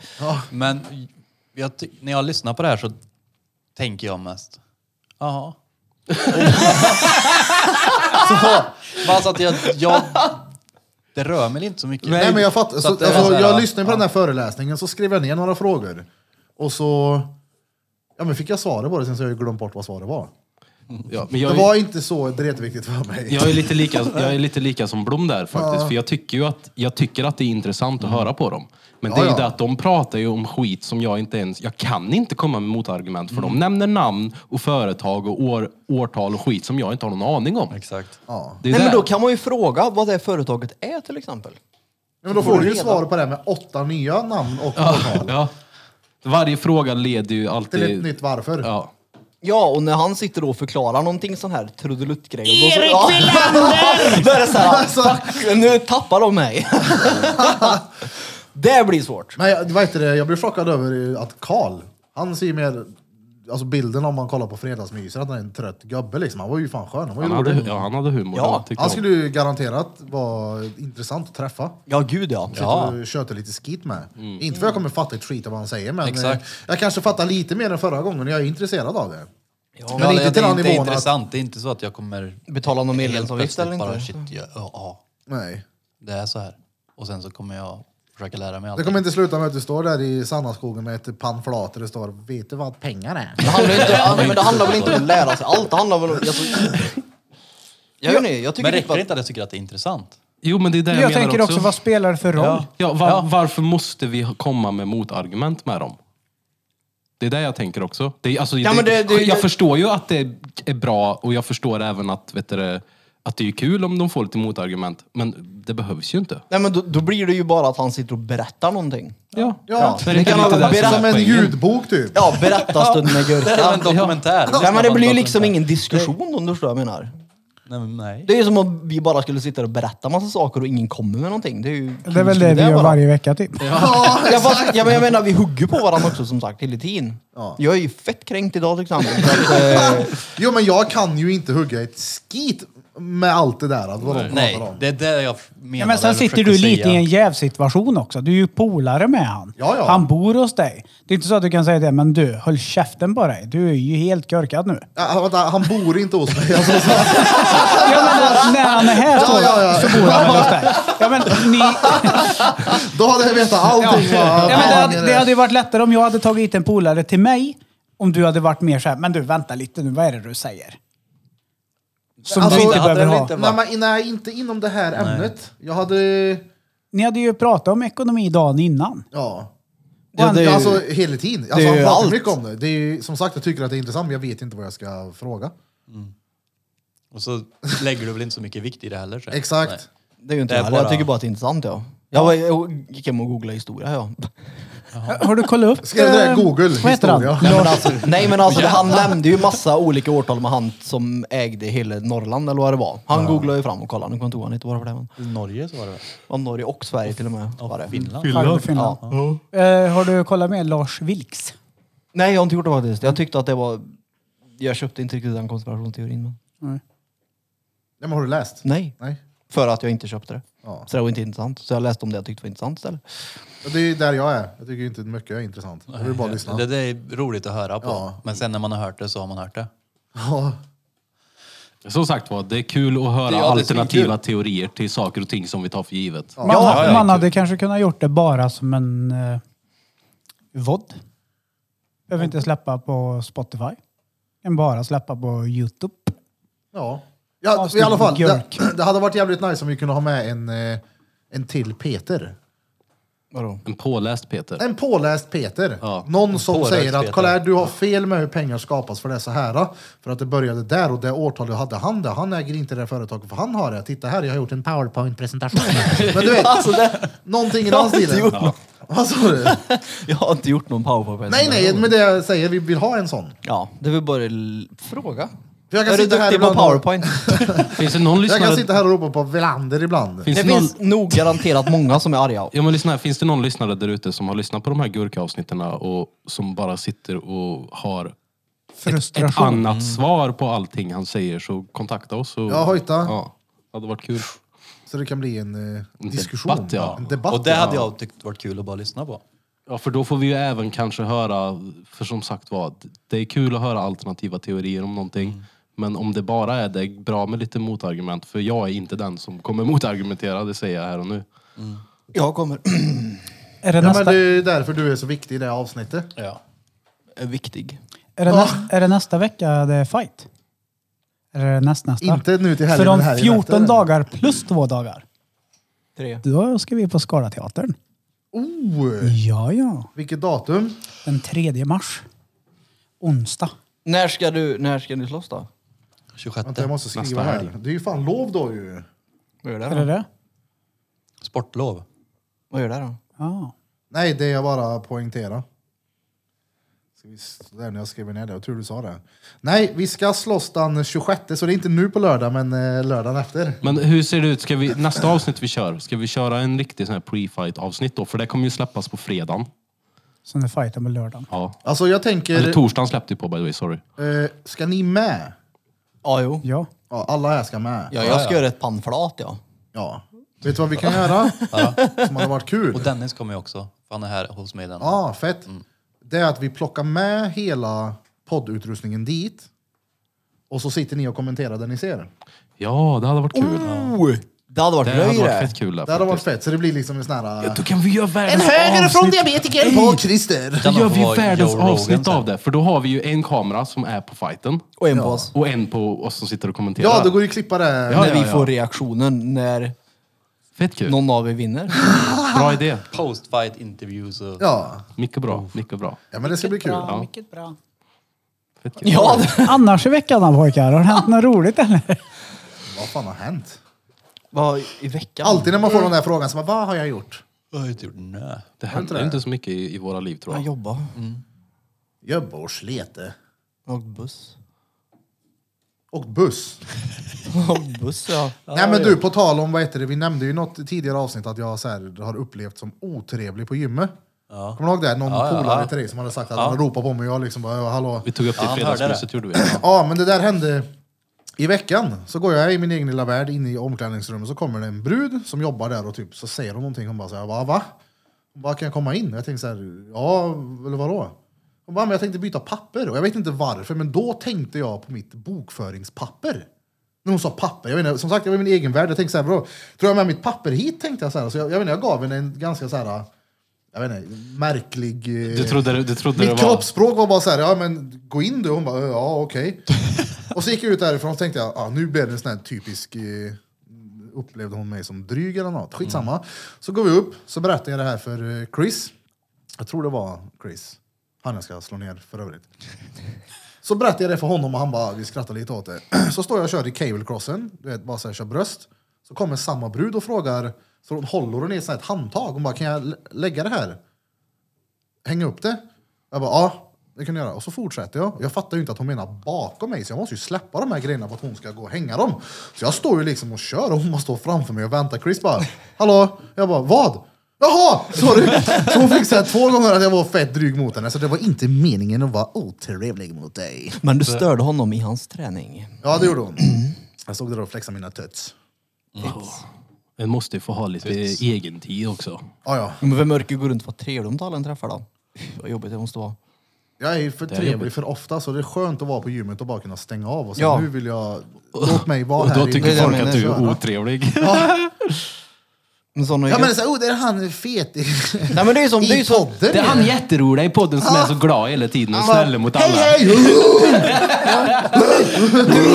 Men jag, ty- när jag lyssnar på det här så tänker jag mest, jaha. så, men alltså att jag, jag, det rör mig inte så mycket. Nej, men jag fattar. Så, att det är alltså, så här, jag ja. lyssnade på den här föreläsningen, så skrev jag ner några frågor. Och så ja, men fick jag svaret på det, sen så har jag ju glömt bort vad svaret var. Ja, men jag, Det är- var inte så dretviktigt för mig. jag, är lite lika, jag är lite lika som Blom där faktiskt. För jag tycker ju att, jag tycker att det är intressant att höra på dem. Men det är Mm. Ja, ju ja. det att de pratar ju om skit som jag inte ens... Jag kan inte komma med motargument för Mm. de nämner namn och företag och år, årtal och skit som jag inte har någon aning om. Exakt. Ja. Det är Nej, men där. då kan man ju fråga vad det företaget är till exempel. Men då får du ju Redan. svar på det här med åtta nya namn och årtal. Ja. Varje fråga leder ju alltid... Till ett nytt varför. Ja. Ja, och när han sitter då och förklarar någonting sån här trudeluttgrej. Erik Wilander! då är det så här, Alltså- fuck, nu tappar de mig. det blir svårt. Men jag, vet du, det, jag blev chockad över att Karl, han ser ju mer, alltså bilden om man kollar på fredagsmyset, att han är en trött gubbe liksom. Han var ju fan skön, han var ju Han, hade, rolig. ja, han hade humor. Ja, det tyckte Han jag. skulle ju garanterat vara intressant att träffa. Ja, gud ja. Ja. Och köta lite skit med. Inte för jag kommer fatta ett skit av vad han säger, men Exakt. eh, jag kanske fattar lite mer än förra gången. Jag är intresserad av det. men Ja, inte det- till det den är inte nivån att... intressant. Det är inte så att jag kommer Betala någon helt medlemsavgift eller plötsligt inte? bara shit, ja, ja, ja, Nej. det är så här. Och sen så kommer jag försöka lära mig allt. Det kommer inte sluta med att du står där i Sannaskogen med ett pannflat och det står “Vet du vad pengar är?” Det handlar, ju inte, ja, men det handlar väl inte om att lära sig allt? Det handlar väl om... Jag, tror- jag, vet inte, jag tycker Men typ räcker att- det inte att jag tycker att det är intressant? Jo, men det är det Jag, jag, menar tänker också, vad spelar det för roll? Ja, ja, var, Varför måste vi komma med motargument med dem? Det är det jag tänker också. Det, är- alltså, Ja, det, men det- det- jag förstår ju att det är bra och jag förstår även att, vet du, det, att det är kul om de får lite motargument. Men det behövs ju inte. Nej, men då, då blir det ju bara att han sitter och berättar någonting. Ja. Ja, Det är inte kan lite man det berätta som som är en poängen. ljudbok typ. Ja, berättarstund med Det är en Gurka. dokumentär. Nej, men det blir ju liksom ingen diskussion om du förstår vad jag menar. Nej, men nej. Det är ju som om vi bara skulle sitta och berätta massa saker och ingen kommer med någonting. Det är ju Det är väl det vi gör bara. varje vecka typ. Ja, fast, ja, men jag menar, vi hugger på varandra också som sagt hela tiden. Ja. Jag är ju fett kränkt idag till exempel. för att, eh, Jo men jag kan ju inte hugga ett skit med allt det där. Att vad de pratar Nej, om. det är det jag menar. Ja, men sen eller sitter försöker du lite säga. i en jävsituation också. Du är ju polare med han. Ja, ja. Han bor hos dig. Det är inte så att du kan säga det, men du, håll käften på dig. Du är ju helt körkad nu. Ja, Han, vänta, han bor inte hos mig. Alltså, så, Ja, men när han är här så, Ja, ja, ja. så bor han väl hos dig. Ja, men ni, då hade jag vetat allting. vad- ja, men det, vad hade, han det är. hade ju varit lättare om jag hade tagit hit en polare till mig. Om du hade varit mer såhär, men du vänta lite nu, vad är det du säger? Som Alltså, du inte det hade behöver väl ha. inte- Nej, men, nej, inte inom det här ämnet. Jag hade... Ni hade ju pratat om ekonomi dagen innan. Ja. Ja, det är ju- alltså hela tiden. Alltså, det är han ju pratar allt. mycket om det. det är ju, som sagt, jag tycker att det är intressant, men jag vet inte vad jag ska fråga. Och så lägger du väl inte så mycket vikt i det heller? Så. Exakt. Nej. Det är ju inte Det det är Jag bara- tycker bara att det är intressant ja. Jag, var, jag gick hem och googlade historia ja. Har du kollat upp? Skrev du det? eh, Google Vad heter han? historia. Nej men alltså, nej, men alltså det, han nämnde ju massa olika årtal med han som ägde hela Norrland eller vad det var. Han googlade ju fram och kollade, nu kommer jag inte ihåg han inte bara för det. Men, I Norge så var det väl? om Norge och Sverige till och med. Var det. Finland? Finland. Finland. Eh, har du kollat med Lars Vilks? Nej jag har inte gjort det faktiskt. Jag tyckte att det var... Jag köpte inte riktigt den konspirationsteorin. Men... Ja, men har du läst? Nej, Nej. för att jag inte köpte det. Ja. Så det var inte intressant. Så jag läste om det jag tyckte var intressant istället. Och Det är ju där jag är. Jag tycker ju inte mycket är intressant. Jag vill bara lyssna. Det, det är roligt att höra på. Ja. Men sen när man har hört det så har man hört det. Ja. Som sagt var, det är kul att höra Ja, det är alternativa svinkul. teorier till saker och ting som vi tar för givet. Man, ja, ja, man kul. hade kanske kunnat gjort det bara som en eh, vodd. Behöver inte släppa på Spotify. Kan bara släppa på Youtube. Ja. ja Avsnitt I alla fall, det, Björk. det hade varit jävligt nice om vi kunde ha med en, eh, en till Peter. Vadå? En påläst Peter. En påläst Peter. Ja. Någon som Påläst säger att Peter. kolla här, du har fel med hur pengar skapas för det är så här. För att det började där och det årtalet hade han det. Han äger inte det företaget för han har det. Titta här, jag har gjort en powerpoint-presentation. Men du vet, Alltså det... någonting i den Jag har inte stilen. gjort något. Vad sa du? Jag har inte gjort någon powerpoint. Nej, nej, men det jag säger, vi vill ha en sån. Ja, det vill bara l- fråga. För jag kan är du sitta här duktig på ibland och- powerpoint? Finns det någon Jag lyssnare... kan sitta här och ropa på Velander ibland. Finns Det det någon... finns nog garanterat många som är arga. Ja, men lyssna här. Finns det någon lyssnare där ute som har lyssnat på de här gurkaavsnitten och som bara sitter och har ett Frustration. annat Mm. svar på allting han säger så kontakta oss. Och... Ja, hojta. Ja, det hade varit kul. Så det kan bli en eh, diskussion. debatt, ja. En debatt, och det ja. hade jag tyckt varit kul att bara lyssna på. Ja, för då får vi ju även kanske höra, för som sagt var, det är kul att höra alternativa teorier om någonting. Mm. Men om det bara är det, är bra med lite motargument. För jag är inte den som kommer motargumentera, det säger jag här och nu. Jag kommer... Är det, Ja, nästa, men det är ju därför du är så viktig i det här avsnittet. Ja. är viktig. är, det nästa, är det nästa vecka det är fight? Är det näst, nästa? Inte nu till helgen, För men om helgen 14 efter. dagar plus två dagar. Tre. Då ska vi på Skalateatern. Oh, Ja, ja. vilket datum? Den 3 mars. Onsdag. När ska du, när ska ni slåss då? 26. Vänta, jag måste skriva Nästa här. helg. Det är ju fan lov då ju. Vad gör det Är det då? det? Sportlov. Vad gör det då? Ja. Nej, det jag bara poängtera. Ska vi s- Där när jag skriver ner det, jag tror du sa det. Nej, vi ska slåss den 26, så det är inte nu på lördag, men eh, lördagen efter. Men hur ser det ut? Ska vi, nästa avsnitt vi kör, ska vi köra en riktig sån här pre-fight avsnitt då? För det kommer ju släppas på fredagen. Sen är fighten på lördagen. Ja. Alltså jag tänker, Eller torsdagen släppte ju på by the way, sorry. eh, ska ni med? Ja, jo. Ja. Ja, alla här ska med. Ja, jag ska göra ett pannflat ja. Ja. Vet du vad vi kan göra? Som hade varit kul. Och Dennis kommer ju också. för Han är här hos mig den. Ja, fett. Mm. Det är att vi plockar med hela poddutrustningen dit. Och så sitter ni och kommenterar det ni ser. Ja, det hade varit kul. Oh! Det hade varit Det hade röj varit fett det. kul. Mm. Det hade varit fett, så det blir liksom en sån här... Då kan vi göra världens från avsnitt. diabetiker på Christer! Då Den gör får vi vara världens Joe Rogan avsnitt sen. av det. För då har vi ju en kamera som är på fighten Och en på oss. och en på oss som sitter och kommenterar. Ja, då går ju klippa det. Ja, när ja, vi ja. får reaktionen när Fett kul. någon av er vinner. Bra idé. Post-fight interviews och... Ja. Mycket bra. Mycket bra. ja, men det ska bli kul. Bra, mycket bra. Fett kul. ja, det- Annars i veckan då pojkar, har det hänt något roligt eller? Vad fan har hänt? vad i veckan? Alltid när man får den där frågan, så bara, vad har jag gjort? Jag har inte gjort typ, nö. Det händer inte så mycket i, i våra liv tror Jag jag. jobbar. Jobba och slete. Jag åkte buss. Och buss. Jag åkte buss ja. Nej men du, på tal om vad heter det, vi nämnde ju något tidigare avsnitt att jag så här, har upplevt som otrevlig på gymmet. Kommer du ihåg det? Någon ja, polare ja. till dig som hade sagt att han ropade på mig och jag liksom bara, "Ja, hallå. Vi tog upp det i han hörde fredagsmyset gjorde vi. Ja, men det där hände i veckan. Så går jag i min egen lilla värld in i omklädningsrummet så kommer det en brud som jobbar där och typ så säger hon någonting. Hon bara såhär, va? va? Hon bara, kan jag komma in? Jag tänkte såhär, ja, eller vadå? Hon bara, men jag tänkte byta papper. Och jag vet inte varför, men då tänkte jag på mitt bokföringspapper. När hon sa papper, jag vet inte, som sagt jag var i min egen värld. Jag tänkte såhär, vadå? Tror jag med mitt papper hit? Tänkte jag såhär. Så jag, jag vet inte, jag gav henne en ganska såhär, jag vet inte, märklig... eh, Du trodde, det- du trodde det mitt var... kroppsspråk var bara så här, ja men gå in du. Hon bara, ja okej. och så gick jag ut därifrån och tänkte jag, ah, nu blev det en sån här typisk, eh, Mm. upplevde hon mig som dryg eller något. Skitsamma. Så går vi upp, så berättar jag det här för eh, Chris. Jag tror det var Chris. Han jag ska slå ner för övrigt. Så berättade jag det för honom och han bara, vi skrattade lite åt det. Så står jag och kör i cable crossen, du vet, bara så här, kör bröst. Så kommer samma brud och frågar, så hon håller hon i ett sånt här handtag. Hon bara, kan jag lä- lägga det här? Hänga upp det? Jag bara, ja, det kan du göra. Och så fortsätter jag. Jag fattar ju inte att hon menar bakom mig, så jag måste ju släppa de här grejerna för att hon ska gå och hänga dem. Så jag står ju liksom och kör och hon bara står framför mig och väntar. Chris bara, hallå? Jag bara, vad? Jaha! Sorry! Så hon fick säga två gånger att jag var fett dryg mot henne, så det var inte meningen att vara otrevlig mot dig. Men du störde honom i hans träning. Ja, det gjorde hon. Jag stod där och flexade mina tuts. En måste ju få ha lite egen tid också. Ja, ja. Men vem orkar gå runt och vara trevlig om inte alla en träffar då? Uff, Vad jobbigt det måste vara. Jag är ju för trevlig jobbigt. för ofta, så det är skönt att vara på gymmet och bara kunna stänga av och säga Ja. nu vill jag... Låt mig vara Och här. då i- det tycker jag folk menar, att du så, är va? otrevlig. Men sådana Ja men det är såhär, oh, där är han fet i, Nej men det är ju som... Det är i ju som podden. Det är han jätteroliga i podden som är så glad hela tiden och snäll mot alla. Hej hej! du, vet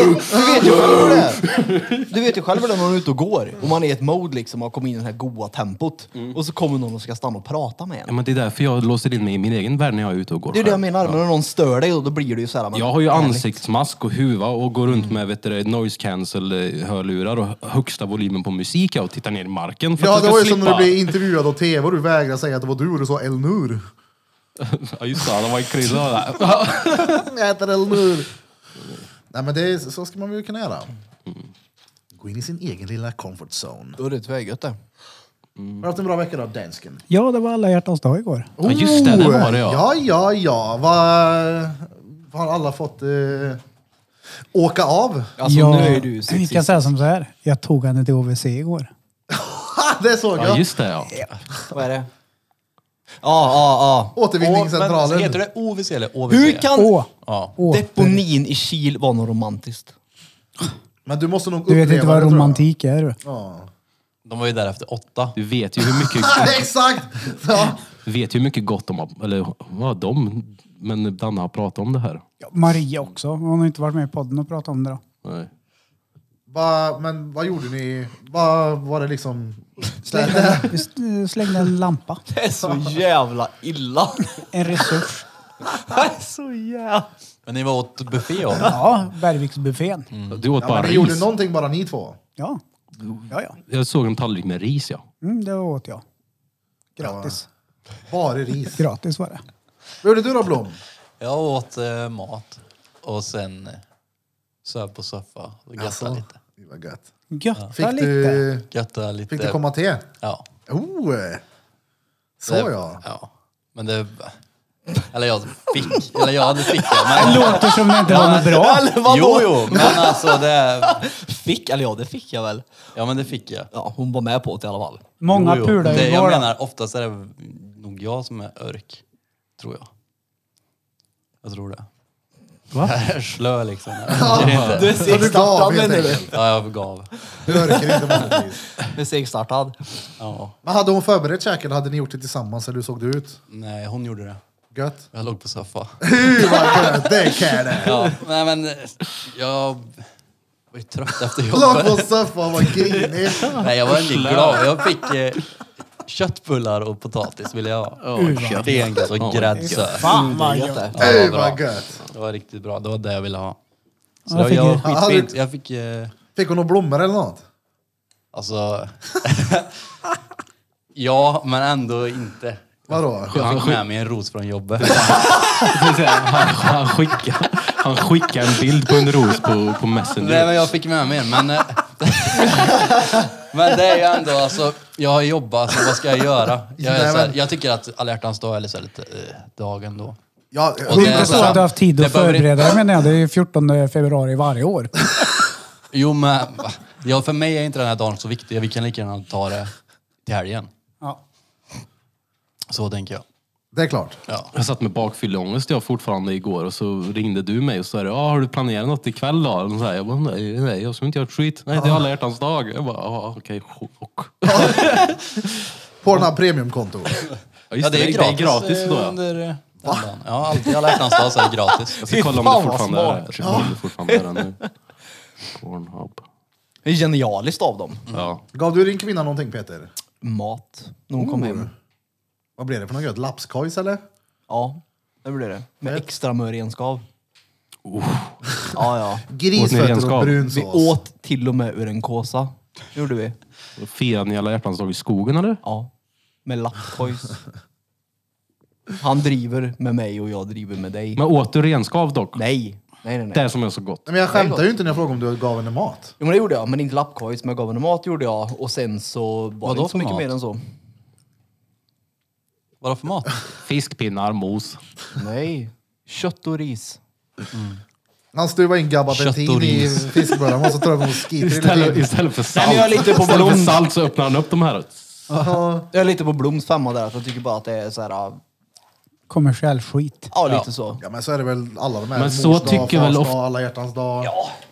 ju själv det är. du vet ju själv hur det är när man är ute och går och man är i ett mode liksom och har kommit in i det här goa tempot. Och så kommer någon och ska stanna och prata med Ja, en. men det är därför jag låser in mig i min egen värld när jag är ute och går Det är ju det jag själv. menar, men när någon stör dig då blir det ju såhär... Jag har ju ansiktsmask och huva och går runt med vet du, det, noise cancel-hörlurar och högsta volymen på musik jag och tittar ner i marken för Ja att det jag var ska ju som slippa. när du blev intervjuad av tv och du vägrade säga att det var du och du sa El Nur. Ja, just det, han var ju krydda där. Jag heter El Nur. Nej men det är, så ska man väl kunna göra. Gå in i sin egen lilla comfort zone. Då är det tvärgött det. Har du haft en bra vecka då, dansken? Ja, det var alla hjärtans dag igår. Ja, just det, det var det, ja. Ja, ja, ja. Va- Har alla fått eh, åka av? Alltså jag, nu är du Vi kan sexist. säga som så här. Jag tog henne till OVC igår. Ha, det såg Ja, jag! just det ja. Vad är det? Ja, ja, ja. Åh, men Återvinningscentralen. Heter det OVC eller OVC? Hur kan Åh! Ja. Åh. deponin i Kil vara något romantiskt? Men du måste nog uppleva Du vet inte vad det, tror jag. romantik är du. Ja. De var ju där efter åtta. Du vet ju hur mycket, Exakt! Ja. vet ju hur mycket gott de har, eller vad de, men Danne har pratat om det här. Ja, Maria också. Hon har inte varit med i podden och pratat om det då. Nej. Va, men vad gjorde ni? Va, var det liksom... Där, Vi s- slängde en lampa. Det är så jävla illa. En resurs. Det är så jävla... Men ni var åt buffé och... Ja, Bergviksbuffén. Du Mm. åt ja, bara men ni ris. gjorde någonting bara ni två. Ja. Ja, ja. Jag såg en tallrik med ris ja. Mm, det åt jag. Gratis. Bara ris. Gratis var det. Vad gjorde du då Blom? Jag åt eh, mat och sen eh, söp på soffa och göttade lite. Det var gött. Fick Götta lite. du, Göttade lite. fick du komma till? Ja. Oh! eh. Så Det- ja. ja. Men det... Eller jag fick. Eller jag hade fick det. Men... Låter som det inte var något bra. Eller vadå? Jo, jo, men alltså det... Fick, eller ja det fick jag väl. Ja, men det fick jag. Ja, hon var med på det i alla fall. Många Jo, jo. pular det, igår då. Jag menar, oftast är det nog jag som är örk. Tror jag. Jag tror det. Va? Jag är slö liksom. Jag tycker inte. Du är Så du gav segstartad helt menar du? enkelt? Ja, jag gav. Du orkar inte vanligtvis. Du är segstartad. Ja. Men hade hon förberett käken eller hade ni gjort det tillsammans eller hur såg det ut? Nej, hon gjorde det. Gött? Jag låg på soffa. Gud vad gött! Det kan det! Ja, nej men eh, jag var ju trött efter Låg jobbet. på soffan, vad grinig! Nej, jag var inte glad. Jag fick eh, köttbullar och potatis ville jag ha. Stengött och gräddsös. Fan vad gött. Gött Ja, det Gud var vad bra. gött! Det var riktigt bra. Det var det jag ville ha. Så Ja, jag, fick jag, du- var skitfint. Jag fick... Eh, Fick hon några blommor eller något? Alltså... ja, men ändå inte. Vadå? Jag fick med mig en ros från jobbet. Det vill säga, Han, han, skickar, han skickar en bild på en ros på, på Nej, Messenger. men jag fick med mig en. Men, eh, men det är ju ändå, alltså, jag har jobbat, så vad ska jag göra? Jag, är Nej, så här, men- jag tycker att alla hjärtans dag är lite, så här, lite eh, dagen då. Ja, Och det är alltså Inte så så- att du har haft tid det att behöver förbereda dig menar jag. Det är ju 14 februari varje år. Jo, men ja, för mig är inte den här dagen så viktig. Vi kan lika gärna ta det till helgen. Ja. Så tänker jag. det är klart. Ja. Jag satt med bakfylleångest jag fortfarande igår och så ringde du mig och sa ah, har du planerat något ikväll då? Och så här, jag bara, nej, nej, jag som inte gjort skit. Nej, det är alla hjärtans dag. Jag bara, ah, okej, chock. På den här premiumkontot. Ja, just det, det är gratis eh, då. ja. Under, eh, den dagen. Ja, alltid alla hjärtans dag så är det gratis. Jag ska kolla om Fan, det vad fortfarande är smart. Jag ska kolla om det fortfarande är där nu. Pornhub. Det är genialiskt av dem. Ja. Gav du din kvinna någonting Peter? Mat, när hon kom hem. Vad blir det för något gött? Lapskojs eller? Ja, det blir det. Med extra mör renskav. Ja, ja. Grisfötter och renskav? brunsås. Vi åt till och med ur en kåsa. Det gjorde vi. Firade ni alla hjärtans dag i skogen eller? Ja. Med lappkojs. Han driver med mig och jag driver med dig. Men åt du renskav dock? Nej. Nej, nej, nej. Det som är så gott. Nej, men jag skämtar ju inte när jag frågade om du gav henne mat. Jo, men det gjorde jag, men inte lappkojs. Men jag gav henne mat gjorde jag och sen så var Vadå det inte så för mycket mat? mer än så. Vadå för mat? Fiskpinnar, mos. Nej. Kött och ris. Han stuvade in Kött och gabapentini i ris. fiskbullarna och så tror jag hon skiter i Istället, det. istället för salt. men jag är lite på istället för ballong. salt så öppnar han upp de här. Jag är lite på Bloms femma där, för jag tycker bara att det är så här... Ja, Kommersiell skit. ja. lite så. Ja men så är det väl alla de här. Men Mors så dag, tycker fars väl dag, ofta- Alla hjärtans dag.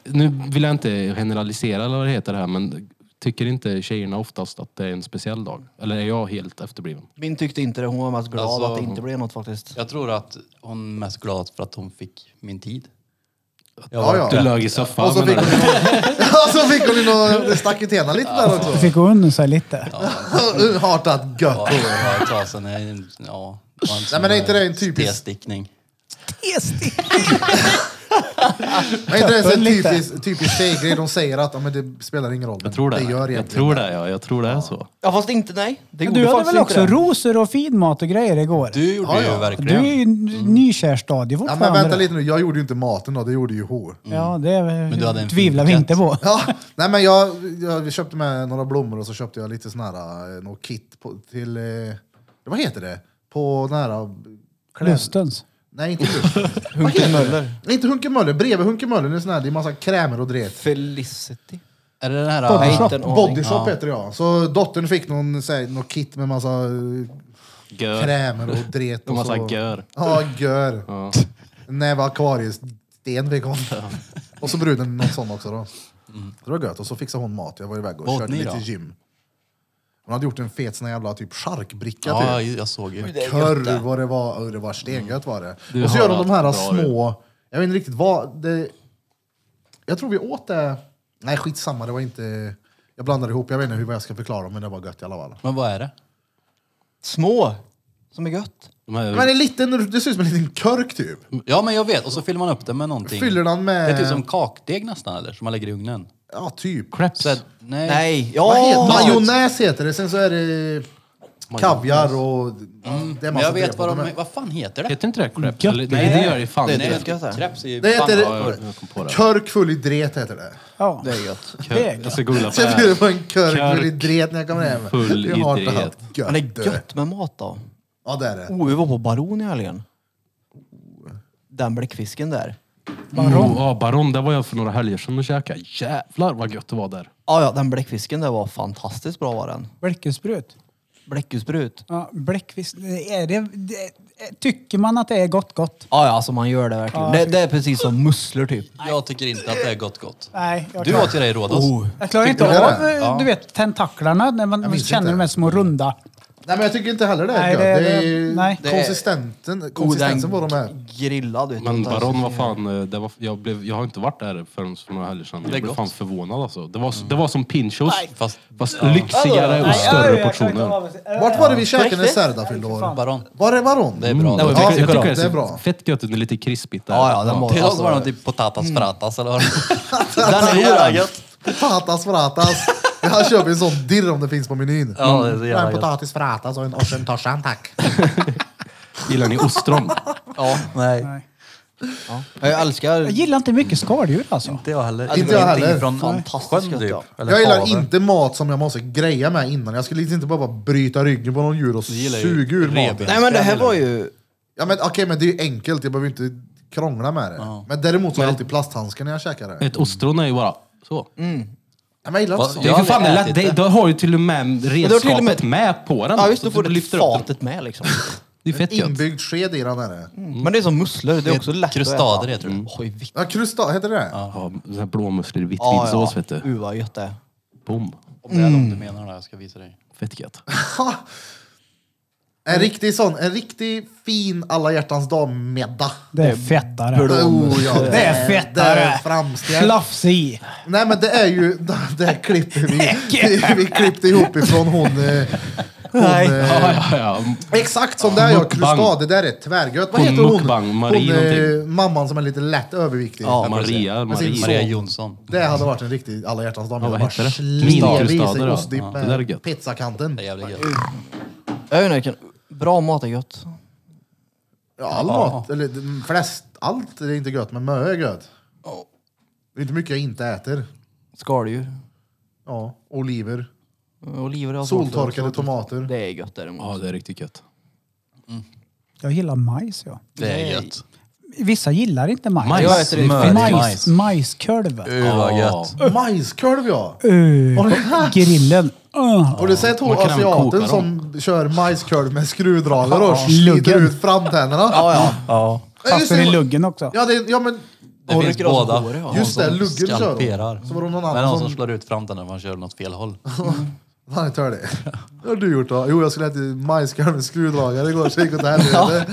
Nu vill jag inte generalisera eller vad det heter här men tycker inte tjejerna oftast att det är en speciell dag? Eller är jag helt efterbliven? Min tyckte inte det. Hon var mest glad Alltså, att det inte blev något faktiskt. Jag tror att hon är mest glad för att hon fick min tid. Jag Ja, var ja. Du lög i soffan. Och så fick hon ju någon- och så fick hon ju någon... Det stack i tena lite där också. Du fick gå undan sig lite. Hartat gött. Ja, det var ett tag sedan. Jag- Ja, det var Nej, men är inte det en typisk- T-stickning. Men inte det är så en Öl lite. typisk, typisk tjejgrej. De säger att ja, men det spelar ingen roll. Jag tror det. Det gör jag egentligen tror det, ja. Jag tror det är så. Ja, fast inte nej. Det gjorde Du hade faktiskt väl också inte det. rosor och finmat och grejer igår? Du Mm. gjorde Ja, ja. ju Du verkligen. är ju n- nykär Ja, stadie fortfarande. men vänta lite nu, jag gjorde ju inte maten då, det gjorde ju hon. Ja, det Mm. du hade en tvivlar vi fin inte på. Ja, nej men jag, jag köpte med några blommor och så köpte jag lite sån här, eh, något kit på, till, eh, vad heter det? På den här... eh, kläd- Lustens. Nej, inte lusten. Hunke Möller. Nej, inte Hunke Möller, bredvid Hunke Möller, det är, sån här, det är massa krämer och dret. Felicity. Är det den här... Nej, Shop. inte en aning. Bodyshop heter det ja. Så dottern fick någon, så här, något kit med massa eh, Gör. krämer och dret. Och massa så- gör. Ja, gör. Näve akvariesten fick hon. Och så bruden någon sån också då. Det var gött. Och så fixade hon mat. Jag var iväg och Vad åt körde ni lite då? gym. Hon hade gjort en fet sån här jävla typ charkbricka Ja, typ. jag såg ju. Det är gött Körv det. vad det var. Oj, Det var stengött var det. Du och så har gör de de här allt bra, små... Jag vet inte riktigt vad... Det, jag tror vi åt det... Nej skitsamma, det var inte... Jag blandar ihop, jag vet inte hur jag ska förklara men det var gött i alla fall. Men vad är det? Små. Som är gött. De här, Men en liten, det ser ut som en liten körk typ. Ja, men jag vet. Och så fyller man upp den med någonting. Fyller den med- Det är typ som kakdeg nästan, eller? Som man lägger i ugnen. Ja, typ. Så att, nej. Nej. Vad heter- Ja! Majonnäs heter det, sen så är det kaviar och... Det är Men massa jag vet brev på vad dem. de... Vad fan heter det? heter inte det crepes? Eller, nej, det gör det fan Det, inte. det, ska jag säga. Kreps är ju... Det fan- heter... ja, jag- jag kom på det. Körk full i dret heter det. Ja. Det är gött. Jag ska googla på det Sen blir det här. på en körk, Körk full i dret när jag kommer hem. full Det är i hart och dret. halt. Gött. Men det är gött med mat då. Ja, det är det. Oh, vi var på Baron i helgen. Den bläckfisken där. Baron. Ja, Baron. Där var jag för några helger sedan och käkade. Jävlar vad gött det var där. Ja, ja, den bläckfisken där var fantastiskt bra var den. Bläckesprut. Bläckusprut. Ja, bläckfisk. Det är det, det, tycker man att det är gott gott? Ja, ja, alltså man gör det verkligen. Det, det är precis som musslor typ. Jag tycker inte att det är gott gott. Nej, jag Du klarar, åt ju det i Rhodos. Oh. jag klarar inte Tycker du av det? eh, du vet, tentaklarna när man minns känner inte. de här små runda. Nej, men jag tycker inte heller det är Nej, gött. det- Det, är det- ju nej. konsistenten, Oh, konsistensen på de här. grillad ut. Men Baron var fan, eh, det var, jag, blev, jag har inte varit där förrän för några helger sedan. Jag blev fan förvånad alltså. Det var, det var som pinchos, Fast fast lyxigare och större portioner. Vart var det vi käkade när Riktigt? Serda fyllde år? Baron. Var det Baron? Det är bra. Mm. Det Ja, Jag tycker bra. det är Det är så bra. fett gött, det är lite krispigt där. Ja, ja, den var... Till oss Alltså, var det någon typ potatas fratas eller vad det den är god, den. Fatas fratas. Jag köper en sån dirr om det finns på menyn. Ja, det är så jävla en gött. potatis fratas och en orsen torsan tack. Gillar ni ostron? Ja, nej. Ja. Jag älskar... Jag gillar inte mycket skaldjur alltså. Inte jag heller. Inte jag heller. Från Fantastiskt sjön gött, ja. typ. Eller Jag gillar havet. inte mat som jag måste greja med innan. Jag skulle liksom inte bara, bara bryta ryggen på någon djur och gillar ju suga ur revben. maten. Nej men det här var ju... Ja, men, okej, men det är ju enkelt. Jag behöver inte krångla med det. Men däremot så har jag alltid plasthandskar när jag käkar det. Nej, Ett ostron är ju bara så. men jag gillar inte Vad- sånt. Det är för Jag har fan, aldrig lätt- ätit det, då det. har ju till och med har till och redskapet med- med, på den. Ja just Så det, får du lyfter upp den. fatet med liksom. Det är fett gött. Inbyggd sked i den är det. Men det är som musslor, det är också lätt krustader att äta. Mm. heter det. Oj, vitt. Ja, krusta, heter det det? Ja, sån här blåmusslor Ja, i ja. vitvinsås vet du. Uh, vad gött det är. Boom. Om det är Mm. de du menar då, jag ska visa dig. Fett gött. En riktig sån, en riktig fin alla hjärtans dag-middag. Det är fettare. Oh, ja, Det är Det är fettare. framsteg. Slafs i. Nej men det är ju det här klippet vi, vi, vi klippte ihop ifrån hon, eh, Hon, Nej. eh, Ja, ja, ja. Exakt som där jag Mukbang. krustad, det där är tvärgött. Vad Hon heter hon? mukbang, Marie hon eh, någonting. mamman som är lite lätt överviktig. Ja, Maria. Men sin Maria. son. Maria Jonsson. Det hade varit en riktig alla hjärtans dag. Ja, vad hette det? Slev i sig Kristader, ja. ostdipp Ja, det där är med gött. pizzakanten. Det är jävligt gött. Jag vet inte, vilken- bra mat är gött. Ja, all mat, eller de flest, allt är inte gött, men mö är gött. Det är inte mycket jag inte äter. Skaldjur. Ja, oliver, Oliver och tomater. soltorkade tomater. Det är gött däremot. ja, det är riktigt gött. Jag gillar majs ja. Det är gött. Vissa gillar inte majs. Majs. Jag äter det Smör. majs, Majs. majs. Majskorv. Uh, vad gött. Majskolv ja! Uh, grillen. Uh. Har du sett hon Man kan även koka asiaten dem. som kör majskolv med skruvdragare och sliter Luggen. ut framtänderna? Ja, Ja. Fastnar i luggen också. Ja, det, ja men Det Och finns rycker av sig båda. håret, ja. Någon Just det, som luggen kör de. skalperar. Så var det någon Men annan någon som- som slår ut framtänderna när man kör åt fel håll. han är tördig. Vad har du gjort då? Jo, jag skulle äta majskolv med skruvdragare igår så gick åt helvete.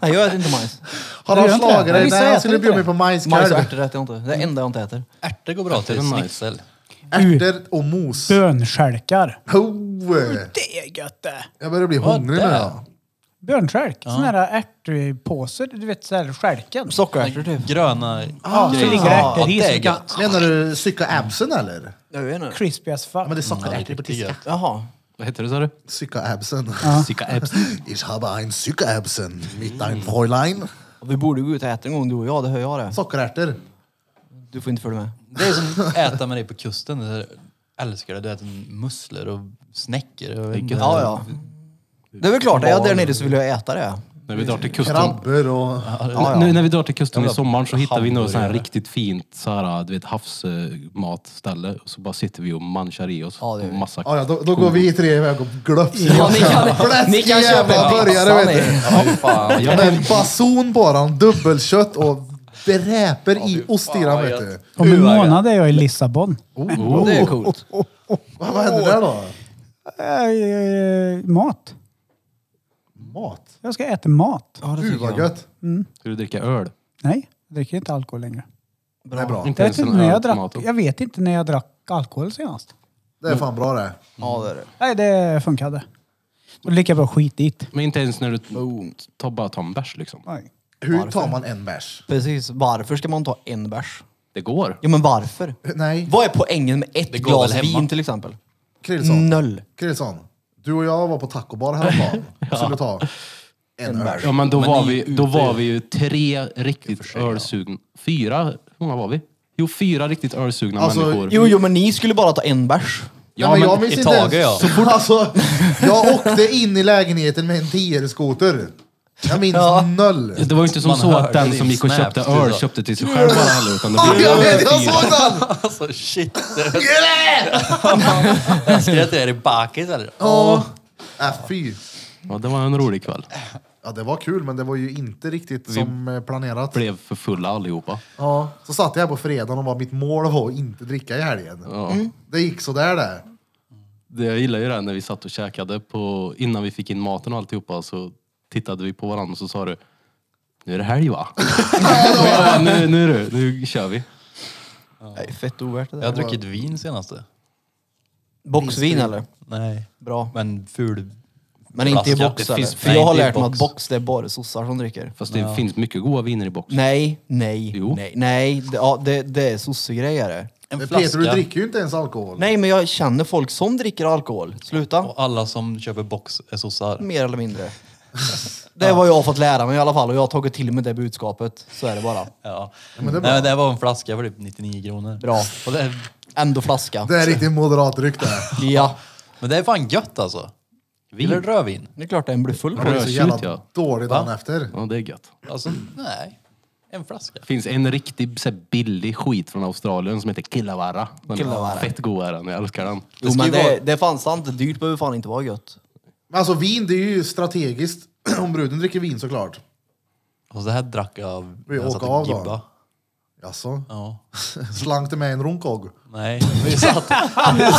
Nej, jag äter inte majs. Har han gör inte slagit det? dig? Vissa Nej, alltså, han skulle äter inte bjuda mig det. på Majs och majskolv. ärtor äter jag inte. Det är det enda jag inte äter. Ärtor går bra till. är nice. Schnitzel. Ärtor och mos. Bönskälkar. Oh, eh. Det är gött det. Jag börjar bli hungrig nu. där? ja. Bönskälk. Såna där ärtpåsar. Du vet såhär skälken. Sockerärtor typ. Gröna Ja, så ligger det Ja, ärtor i. det är så kan- gött. Menar du psyka absen eller? Jag vet inte. Crispy as fuck. Ja, men det är Ja, det är sockerärtor på riktigt tyska. gött. Jaha. Vad heter det sa du? Psyka absen. Sicka Epps. Ich habe ein psyka absen mit ein Fräulein. Vi borde gå ut och äta en gång du och jag, det hör jag det. Sockerärtor. Du får inte följa med. Det är som att äta med dig på kusten. Det är- Älskar det. Du äter musslor och snäckor. och- Ja, ja. Det är väl klart, är jag där nere så vill jag äta det. När vi drar till kusten. Krabbor och... Nu när vi drar till kusten i sommar så hittar vi något sån här Hamburgare. riktigt fint så här, du vet, havsmatställe. Och så bara sitter vi och manchar i oss Ja, det är vi. massa Ja, ja, då, då går vi tre iväg och glöps. Ja, ni kan- ni kan köpa en pizza, burgare vet ni. du. Ja, fan. Med en bason på den, dubbelkött och dräper i osthyran vet du. Om en månad är jag i Lissabon. Det är coolt. Vad, vad hände där då? Eh, eh, mat. Mat? Jag ska äta mat. Gud vad gött. Ska du dricka öl? Nej, jag dricker inte alkohol längre. Det är bra. Inte Jag vet, ens inte en när öl jag, till drack, maten. jag vet inte när jag drack alkohol senast. Det är fan bra det. Ja, det är det. Nej, det funkade. Och lika bra skit i det. Men inte ens när du tar, bara tar en bärs liksom. Nej. Hur tar man en bärs? Precis, varför ska man ta en bärs? Det går. Ja, men varför? Nej, Vad är poängen med ett går glas väl hemma. vin till exempel? Krillson. Noll. Krillson, du och jag var på tacobar häromdagen. Skulle ta en öl. Ja men då, Men var, ni är vi, då ute. var vi ju tre riktigt ölsugna. Fyra, hur många var vi? Jo, fyra riktigt ölsugna Alltså, människor. Jo, jo, men ni skulle bara ta en bärs. ja, Nej, men, jag minns i inte taget, ens. ja. Alltså, jag åkte in i lägenheten med en 10-skoter. Jag minns noll. det var ju inte som Man så hör att den det som i gick och Snap, köpte du öl sa. köpte till sig själv bara heller. Utan det Ah, blev jag vet, jag fyra. såg den! Alltså shit. Jag skrev till dig bakis eller? Ja. Äh, fy. Ja, det var en rolig kväll. Ja, det var kul, men det var ju inte riktigt som eh, planerat. Blev för fulla allihopa. Ja. Så satt jag här på fredagen och bara, mitt mål var att inte dricka i helgen. Ja. Det gick sådär det. Det, jag gillar ju det här när vi satt och käkade på, innan vi fick in maten och alltihopa så tittade vi på varandra och så sa du Nu är det helg va? ja, nu, nu, nu, nu kör vi. Nej, fett ovärt det Jag har där. druckit vin senaste. Boxvin eller? Nej. Bra. Men ful. Men inte i Flaska, box det eller? finns- För nej, jag har inte i lärt mig att box. box, det är bara sossar som dricker. Fast det finns mycket goda viner i boxen. Nej, nej, Jo. nej, nej. Det, ja, det, det är sossegrejer det. En Men flaska. Peter, du dricker ju inte ens alkohol. Nej, men jag känner folk som dricker alkohol. Sluta. Och alla som köper box är sossar. Mer eller mindre. Det är vad jag har fått lära mig i alla fall och jag har tagit till mig det budskapet. Så är det bara. Ja. men det är bra. Nej, men det var en flaska för typ 99 kronor. Bra. Och det är, Ändå flaska. Det är riktigt moderatryck det. Ja, men det är fan gött alltså. Gillar du rödvin? det är klart den blir full. Jag blev så Rödtjut, jävla ja. dålig dagen efter. Ja, det är gött. Alltså, Mm. nej. En flaska. finns en riktig så här, billig skit från Australien som heter Killavara. Den Killavara. är fett god är den, jag älskar den. Jo, ska men ju det, vara- det är fan sant. Dyrt behöver fan inte vara gött. Men alltså vin, det är ju strategiskt. Om bruden dricker vin såklart. Och det här drack jag av Vi åker jag satt av och då. gibba. Jaså? Ja. Slank det med en runkog? Nej, vi satt... Vi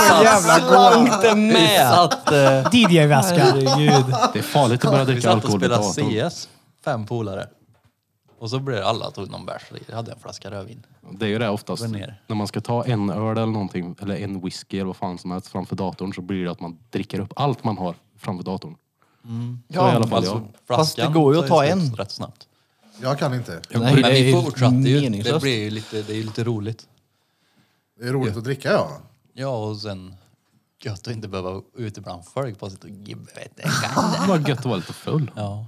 Slank det Vi med! satt, eh, DJ-väska. Det är farligt att börja vi dricka satt och alkohol vid spelade 18. CS. Fem polare. Och så blev alla tog någon bärs. Jag hade en flaska rödvin. Det är ju det oftast. Gå ner. När man ska ta en öl eller någonting, eller en whisky eller vad fan som helst framför datorn så blir det att man dricker upp allt man har framför datorn. Mm. Så i alla Alltså, fall jag. Fast det går ju att tar ta slut en. Rätt snabbt. Jag kan inte. Nej, Men vi fortsatte ju. Det meningslöst. blir ju lite, det är ju lite roligt. Det är roligt att dricka ja. Ja, och sen gött att inte behöva vara ute bland folk på sitt och gibba. Vet du. Det var gött att vara lite full. Ja,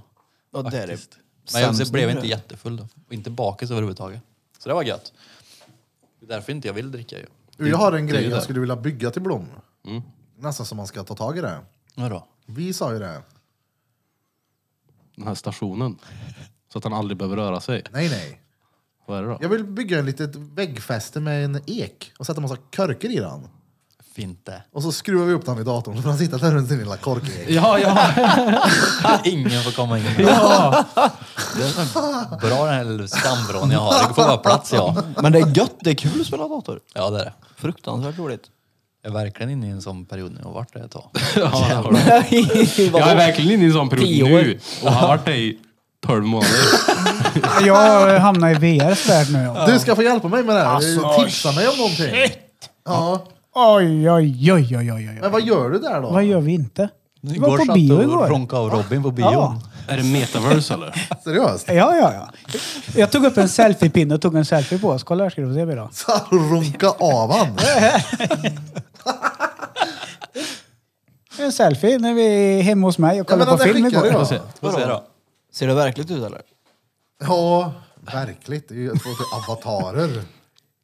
Och där är faktiskt. Men jag sämst blev nu. inte jättefull då. Och inte bakis överhuvudtaget. Så det var gött. Det är därför inte jag vill dricka ju. Du, Jag har en det grej är jag det. skulle vilja bygga till Blom. Nästan som man ska ta tag i det. Vadå? Vi sa ju det. Den här stationen. Så att han aldrig behöver röra sig. Nej, nej. Vad är det då? Jag vill bygga en litet väggfäste med en ek och sätta massa körker i den. Fint det. Och så skruvar vi upp den i datorn så får han sitta där runt sin lilla korkek. Ja, ja. Ingen får komma in. Det är så bra den här lilla skambron jag har. Det får vara plats jag. Men det är gött, det är kul att spela dator. Ja, det är det. Fruktansvärt roligt. Jag är verkligen inne i en sån period nu och vart det ett tag. Jag är verkligen inne i en sån Tio period år. nu. Och har varit det i 12 månader. Jag eh, hamnar i VRs värld nu. ja. Alltså, Du ska få hjälpa mig med det här. Tipsa mig om någonting. Ja. Oj, oj, oj, oj, oj. oj. Men vad gör du där då? Vad gör vi inte? Vi var på satt bio du igår. och ronkade av Robin på bion. Ja. Är det metaverse eller? Seriöst? Ja, ja, ja. Jag tog upp en selfiepinne och tog en selfie på oss. Kolla här ska du få se mig då. Så här, runka av han. En selfie när vi är hemma hos mig och kollar men på den film skickar igår. jag. Får se. Får se då. Ser det verkligt ut eller? Ja, verkligt. Det är ju två till avatarer.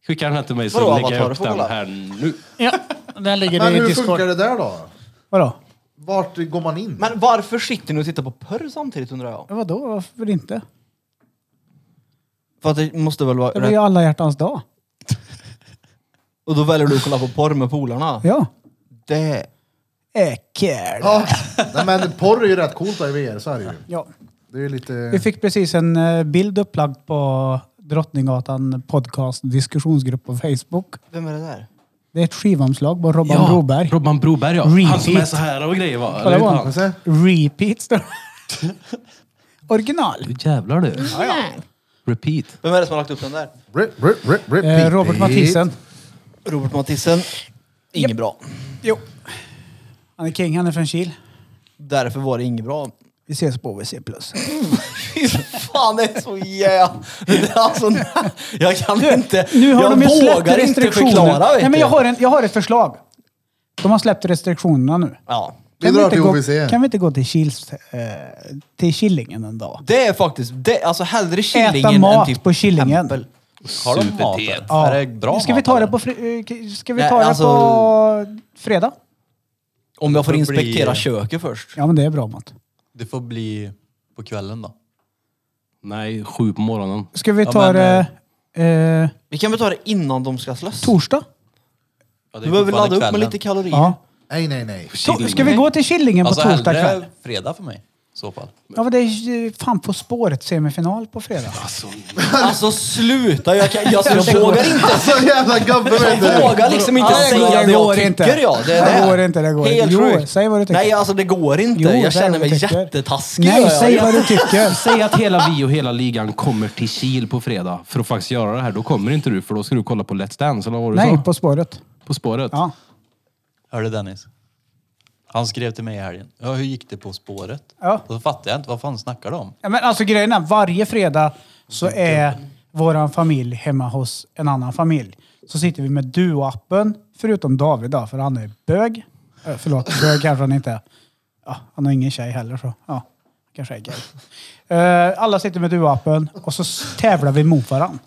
Skicka den här till mig så Vadå, lägger jag avatar? upp Får kolla. den här nu. Ja, den ligger Men i hur funkar Discord. det där då? Vadå? Vart går man in? Men varför sitter ni och tittar på porr samtidigt undrar jag? Ja, Vadå? Varför inte? För att det måste väl vara Det var ju rätt. alla hjärtans dag. Och då väljer du att kolla på porr med polarna? Ja. Det... Äckel. Ja, nej, men porr är ju rätt coolt då i VR, så är det ju. Ja. Det är ju lite... Vi fick precis en eh, bild upplagd på Drottninggatan podcast diskussionsgrupp på Facebook. Vem är det där? Det är ett skivomslag på Robban Broberg. Robban Broberg ja. Han som är Repeat. så här och grejer va? Kolla Eller på hur? honom. Får jag se? Repeat står det. Original. Eh, Du jävlar du. Repeat. Vem är det som har lagt upp den där? Rip, rip, rip, rip, Eh, beat. Robert Mathisen. Robert Mathisen. Inget bra. Jo. Han är king, han är från Kil. Därför var det inget bra. Vi ses på OVC+. Plus. Fy fan, det är så jävla... Alltså, jag kan inte... Nu har jag de ju släppt vågar inte restriktionerna. förklara, vet Nej, men jag du. har, en, jag har ett förslag. De har släppt restriktionerna nu. Ja. Vi Kan drar inte till gå, OVC. Kan vi inte gå till, Kils, eh, till Killingen en dag? Det är faktiskt... Det, alltså hellre Killingen Äta än mat typ på Killingen. Tempel. Har de mat där? Är det bra ska vi mat, ta det eller? på, fri- eh, ska vi Nej, ta alltså- det på fredag? Om jag får Det blir- inspektera köket först. Ja, men det är bra mat. Det får bli på kvällen då. Nej, sju på morgonen. Ska vi Ja, ta men, det eh, Vi kan väl ta det innan de ska slåss? torsdag? Ja, det är Du behöver fortfarande ladda upp med kvällen. lite kalorier. Ja. Nej, nej, nej. To- ska vi Nej. gå till Killingen Alltså på torsdag kväll? hellre fredag för mig i så fall. Ja, men det är eh, fan På spåret semifinal på fredag. Alltså sluta! Jag, kan, jag, jag vågar inte. Alltså jävla gubbe vet Jag du. vågar liksom inte Ja, det går- säga det det går jag tycker inte. jag. Det, är Det går inte, det går Helt inte. Jo, sjukt. säg vad du tycker. Nej, alltså det går inte. Jo, jag säg känner vad mig du tycker. jättetaskig. Nej, jag, säg vad du tycker. Säg att hela vi och hela ligan kommer till Kil på fredag för att faktiskt göra det här. Då kommer inte du för då ska du kolla på Let's Dance eller vad var det du Nej, sa? På spåret. På spåret. Ja. Hörde Dennis? Han skrev till mig i helgen. Ja, hur gick det På spåret? Ja. Och så fattade jag inte. Vad fan snackar de om? Ja, men alltså grejen är, varje fredag så Mm, är våran familj hemma hos en annan familj. Så sitter vi med Duo-appen, förutom David då, för han är bög. Äh, förlåt, bög kanske han inte är. Ja, han har ingen tjej heller så, ja, kanske är gay. Eh, alla sitter med Duo-appen och så s- tävlar vi mot varann.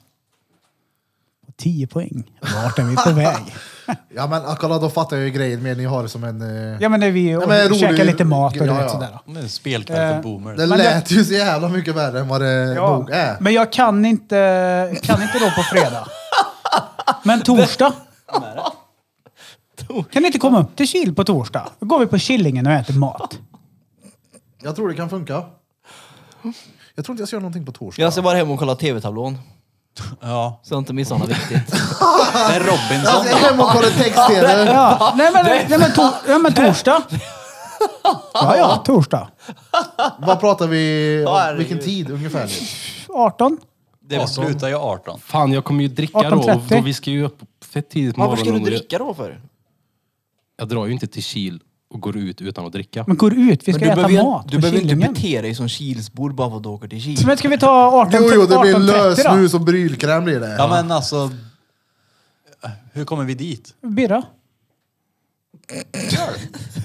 På 10 poäng. Vart är vi på väg? Ja men ah, kolla då fattar jag ju grejen med ni har det som en... eh, Ja men det är vi och Ja, men rolig- käkar lite mat och Ja, du vet ja. sådär. Det är en spelkväll för boomers. Det men det- lät ju så jävla mycket värre än vad det nog är. Men jag kan inte, kan inte då på fredag. Men torsdag. Kan ni inte komma upp till Kil på torsdag? Då går vi på Killingen och äter mat. Jag tror det kan funka. Jag tror inte jag ska göra någonting på torsdag. jag ska bara hem och kolla tv-tablån. Ja. Så jag inte missar något viktigt. Det är Jag ska Robinson. hem och kolla text-tv. Ja, nej, men, nej, men, to, nej men torsdag. Ja, ja, torsdag. Vad pratar vi om? Herregud. Vilken tid ungefär? 18. Det 18. slutar ju 18. Fan, jag kommer ju dricka då. Och 18.30. då vi ska ju upp fett tidigt på Varför ska morgonen. du och jag- dricka då för? Jag drar ju inte till Kil och går ut utan att dricka. Men går ut, vi Men ska du äta behöver, ju- mat du på behöver inte Kilingen. bete dig som Kilsbor bara för att du åker till Kil. Så men ska vi ta 18, Jo, jo, det blir 18.30 lösnus och brylkräm blir det. Ja men alltså, hur kommer vi dit? då? Birra?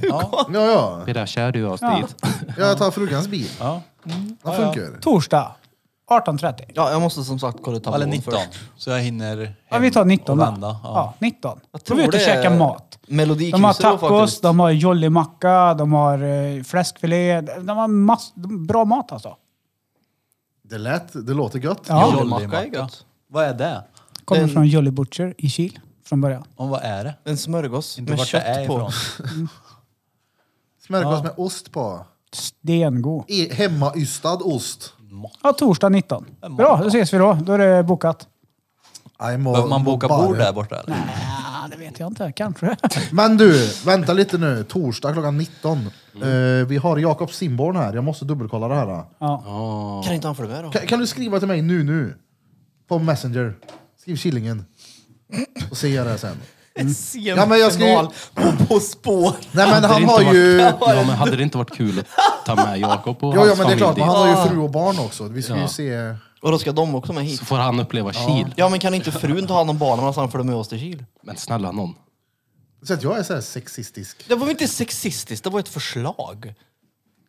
Ja, ja. Det där kär du oss Ja. dit. Jag tar frugans bil. Ja. Det funkar. Torsdag 18.30. Ja, jag måste som sagt kolla Eller tablån 19. först. Så jag hinner hem Ja, vi tar 19 och då. vända. Ja. Ja. 19. Jag Då tror är vi ute och det käkar är mat. De har Melodikrysset då tacos, faktiskt. de har jollimacka, de har eh, fläskfilé. De har mass- bra mat alltså. Det lät, det låter gött. Ja. Jollimacka är gött. Vad är det? Kommer Den- från Jolly Butcher i Kil från början. Om vad är det? En smörgås Inte med vart det är kött på. ifrån. Smörgås med ost på. Stengod. E- Hemmaystad ost. Ja, torsdag 19. Bra, då ses vi då. Då är det bokat. I'm all- Behöver man boka bara. bord där borta eller? Ja, det vet jag inte. Kanske. Men du, vänta lite nu. Torsdag klockan 19. Eh, vi har Jakob Simborn här. Jag måste dubbelkolla det här. då. Kan inte han följa med då? Kan, kan du skriva till mig nu, nu? På Messenger. Skriv Killingen. Och ser jag det sen. Ja, men jag ska ju- Semifinal på På spåret. Nej men Hade det han inte har ju... Varit, ja, men hade det inte varit kul att ta med Jakob Jo, och ja, hans men det är familj klart, dit? men han har ju fru och barn också. Vi ska ju Ja. se... Och då ska de också med hit. Så får han uppleva Kil. Ja men kan inte frun ta hand om barnen så han följer med oss till Kil? Men snälla någon. Så att jag är så här sexistisk. Det var väl inte sexistiskt, det var ett förslag.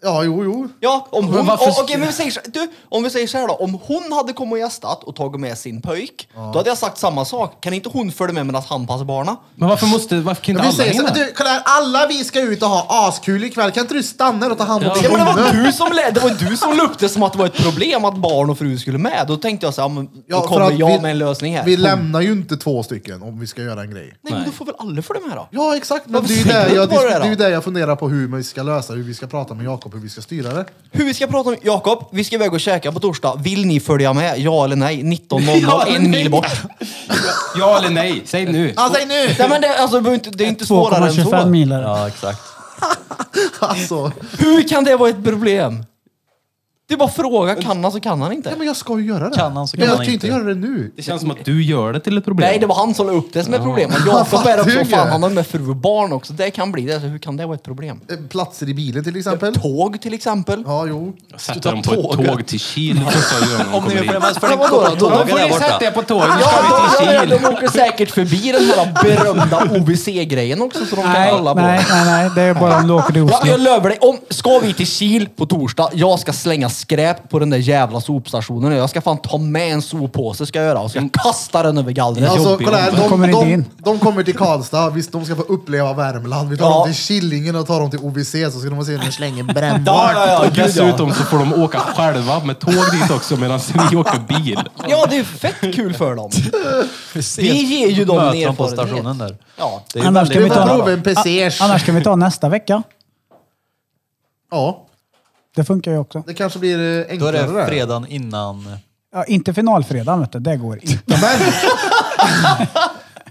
Ja, jo, jo. Ja, om hon... Men varför- Okej, men vi säger, så- du, om vi säger så här då. Om hon hade kommit och gästat och tagit med sin pöjk, då hade jag sagt samma sak. Kan inte hon följa med medan han passar barna? Men varför måste, varför kan inte Vi alla säger så, hinna? du, kolla här, alla vi ska ut och ha askul ikväll. Kan inte du stanna här och ta hand om Ja. din Ja, men det var bonde? du som lä- det var du som lukte som att det var ett problem att barn och fru skulle med. Då tänkte jag så här, ja, men Ja, då för kommer att jag vi- med en lösning här. Vi lämnar ju inte två stycken om vi ska göra en grej. Nej, men då får väl alla följa med då? Ja, exakt. Men Varför det är ju säger det du jag, inte bara dis- det då? det är ju det jag funderar på hur vi ska lösa, hur vi ska prata med Jakob, hur vi ska styra det. Hur vi ska prata om... Jakob, vi ska iväg och käka på torsdag. Vill ni följa med? Ja eller nej? 19.00, Ja eller en nej. mil bort. Ja eller nej? Säg nu. Ja, säg nu! Nej, men det, alltså, det behöver inte, det är inte svårare än 2,25 så. miler. Ja exakt. Alltså, Hur kan det vara ett problem? Det är bara att fråga. Kan han så kan han ja, inte. men jag ska ju göra det. Kan han så men kan jag han kan ju inte inte. göra det nu. Det känns som att du gör det till ett problem. Nej, det var han som la upp det som ett problem. Men Jakob fattar är också... ju. Fan, han har med fru och barn också. Det kan bli det. Alltså, hur kan det vara ett problem? Eh, Platser i bilen till exempel. Tåg till exempel. Ja, jo. Sätta dem på ett tåg till Kil första gången de Om kommer ni vill hit. följa med så får ni Ja, vadå? kolla Då tågen får där ni borta. på tåget så Ja, de, ja, Kil. de åker säkert förbi den här berömda OVC-grejen också som de kan Nej, kolla på. nej, nej, nej. Det är bara om du åker till Ja, Oslo. jag löver dig. Om, ska vi till Kil på torsdag, jag ska slänga skräp på den där jävla sopstationen. Jag ska fan ta med en soppåse ska jag göra och ska kasta den över gallret. Alltså, jobbig kolla här, omväg. de, Kommer kommer inte de, in. de, kommer till Karlstad, visst de ska få uppleva Värmland. Vi tar Ja. dem till Killingen och tar dem till OVC så ska de få se hur de slänger brännbart. Och dessutom så får de åka själva med tåg dit också medan ni åker bil. Ja, det är fett kul för dem. Vi ger ju dem Möter en dem på erfarenhet. stationen där. Ja. Det är ju Annars väldigt kan vi Vi ta- får nära. prova en pesege. Annars kan vi ta nästa vecka. Ja, Det funkar ju också. det kanske blir eh, Då är enklare det där. fredagen innan. Ja, inte finalfredagen, vet du. Det går inte. Men,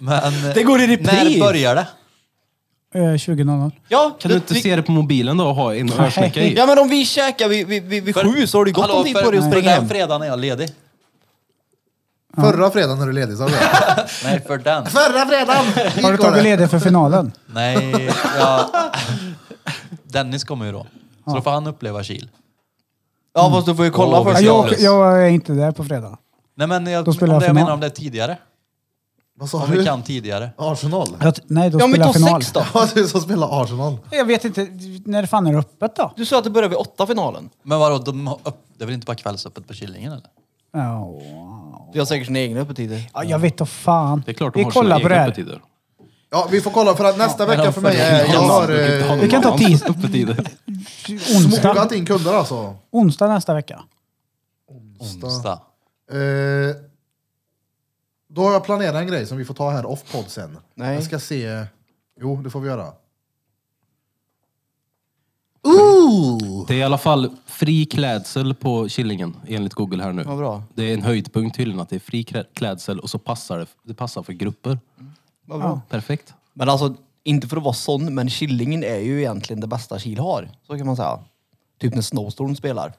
Men Det går i när repris. börjar det? Eh, 20.00. Ja, Kan du inte vi, se det på mobilen då och ha en hörsnäcka i? Ja, men om vi käkar vid, vid, vid, vid sju så har du gått Hallå, om tid för- på dig att för springa hem. Den fredagen är jag ledig. förra fredagen är du ledig, sa du det? Nej, för den. Förra fredagen! Har du tagit ledigt för finalen? Nej, jag... Dennis kommer ju då. Så då får han uppleva Kil. Ja, fast du får ju kolla Åh, Ja, först. vi jag, ser. åker- jag är inte där på fredag. Nej men jag, Då om spelar det jag jag menar final. om det är tidigare. Vad sa Om vi du? kan tidigare. Arsenal? Jag, t- nej, då Ja, men spelar ta jag final. sex då. Ja, du som spelar Arsenal. Jag vet inte när det fan är öppet då. Du sa att det börjar vid åtta finalen. Men vadå, de har upp, det är väl inte bara kvällsöppet på Killingen eller? Ja, Du har säkert sina egna öppettider. Ja, jag vet inte fan. Det är klart de Vi har sina kollar på det egna här. öppettider. Ja, vi får kolla för att nästa vecka för mig Ja, är... Jag har du eh, kan inte ha någon Vi kan ta annan tis- öppettider. Onsdag, smokat in kunder alltså. onsdag nästa vecka. Onsdag. Eh, Då har jag planerat en grej som vi får ta här off-podd sen. Nej. Jag ska se... Jo, det får vi göra. Ooh! Det är i alla fall fri klädsel på Killingen enligt Google här nu. Vad bra. Det är en höjdpunkt tydligen att det är fri krä- klädsel och så passar det, det passar för grupper. Vad bra. Perfekt. Men alltså, inte för att vara sån, men Killingen är ju egentligen det bästa Kil har. Så kan man säga. Typ när Snowstorm spelar.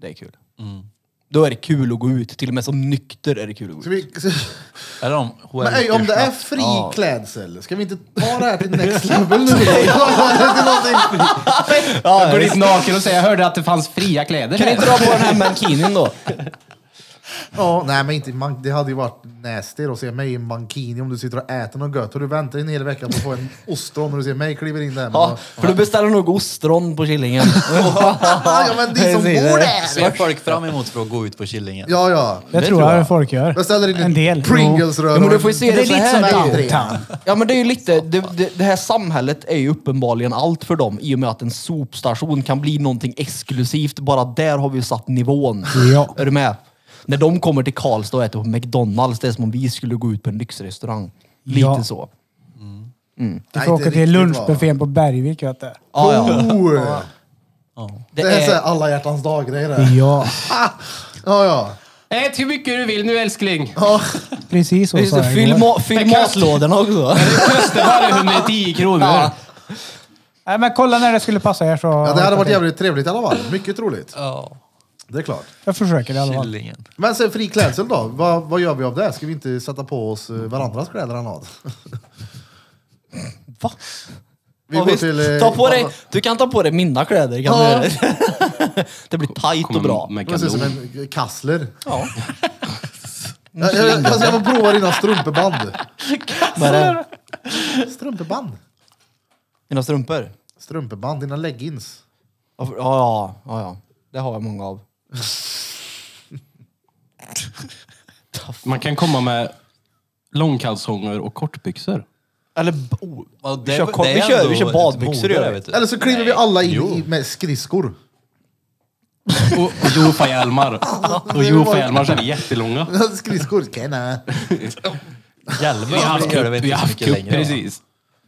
Det är kul. Då är det kul att gå ut. Till och med som nykter är det kul att Ska gå ut. vi, Eller om HR men ey, om det är fri klädsel, ska vi inte ta det här till next level nu? Till någonting- Ja, Jag går dit naken och säger jag hörde att det fanns fria kläder kan ni inte här. dra på den här mankinin då? ja, nej, men inte, man, det hade ju varit nasty då, att se mig i en mankini om du sitter och äter något gött och du väntar en hel vecka på att få en ostron och du ser mig kliver in där. Ja, Ja. för du beställer nog ostron på Killingen. ja, men de som bor där! Ser folk fram emot för att gå ut på Killingen? Ja, ja. Det, tror jag, folk gör. Beställer in en del. Pringles-röra. Ja, men du får ju se Jo. Det det är så lite som här. det är ju. downtown. Ja men det är ju lite, det, det, det här samhället är ju uppenbarligen allt för dem i och med att en sopstation kan bli någonting exklusivt. Bara där har vi ju satt nivån. Ja. Är du med? När de kommer till Karlstad och äter på McDonalds, det är som om vi skulle gå ut på en lyxrestaurang. Lite Ja. så. Du Nej, får inte åka till riktigt, va? lunchbuffén på Bergvik. Vet du. Ja, ja. Oh. Det Det är så här är, Mm. alla hjärtans dag-grej det. här. Ja, Ja, ja. Ät hur mycket du vill nu älskling. precis så just sa det, jag fyll, igår. ma- fyll matlådorna också. Kostar bara 110 kronor. Ja. Nej, men kolla när det skulle passa er så... ja. Det hade varit jävligt trevligt i alla fall. Mycket roligt. Det är klart. Jag försöker i alla fall. Killingen. Men sen fri klädsel då? Vad, vad gör vi av det? Ska vi inte sätta på oss eh, varandras kläder eller något? Va? Vi Ja, går visst. till... eh, ta på dig, du kan ta på dig mina kläder. Kan Ja. du göra. det blir tajt och bra. Med Det ser ut som galon. en eh, kassler. Ja. Jag, jag, jag, jag får prova dina strumpeband. Vad är det? Strumpeband? Mina strumpor? Strumpeband, dina leggings. Ja, för- ja, ja, ja, ja. Det har jag många av. Man kan komma med långkalsonger och kortbyxor. Eller, b- oh, Ja, det- vi, kör, kor- det är vi, kör, ändå vi kör ett badbyxor i mode där, övrigt. vet du. Eller så kliver vi alla in i, med skridskor. Och, och Jofa-hjälmar. Och Jofa-hjälmar så är det jättelånga. skridskor? Kena. Hjälmen Vi har haft det gör det cup, väl vi inte har så haft mycket cup, längre? va? precis.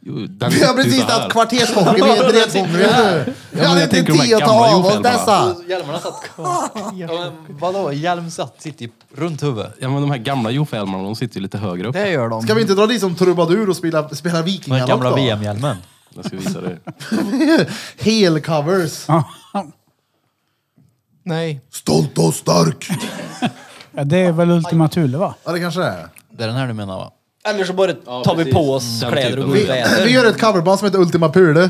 Jo, den Vi har sitter ju precis Typ så här. haft kvartershockey, vi är dretsångare. Vi men hade jag inte tänker de här tid att gamla ta av oss jordfelen bara. dessa. Hjälmarna satt kvar. Ja, men vadå, hjälm satt, sitter ju runt huvudet. Ja men de här gamla Jofa-hjälmarna, de sitter ju lite högre upp. Det gör de. Ska vi inte dra dit som trubadur och spela, spela Den här vikingalopp gamla då? VM-hjälmen. Jag ska visa dig. Helcovers. Nej. Stolt och stark. Ja, det är väl Ultima Thule va? Ja, det kanske det är. Det är den här du menar va? Eller så bara tar vi på oss Den kläder och typen. går ut och äter. Vi gör ett coverband som heter Ultima Pule.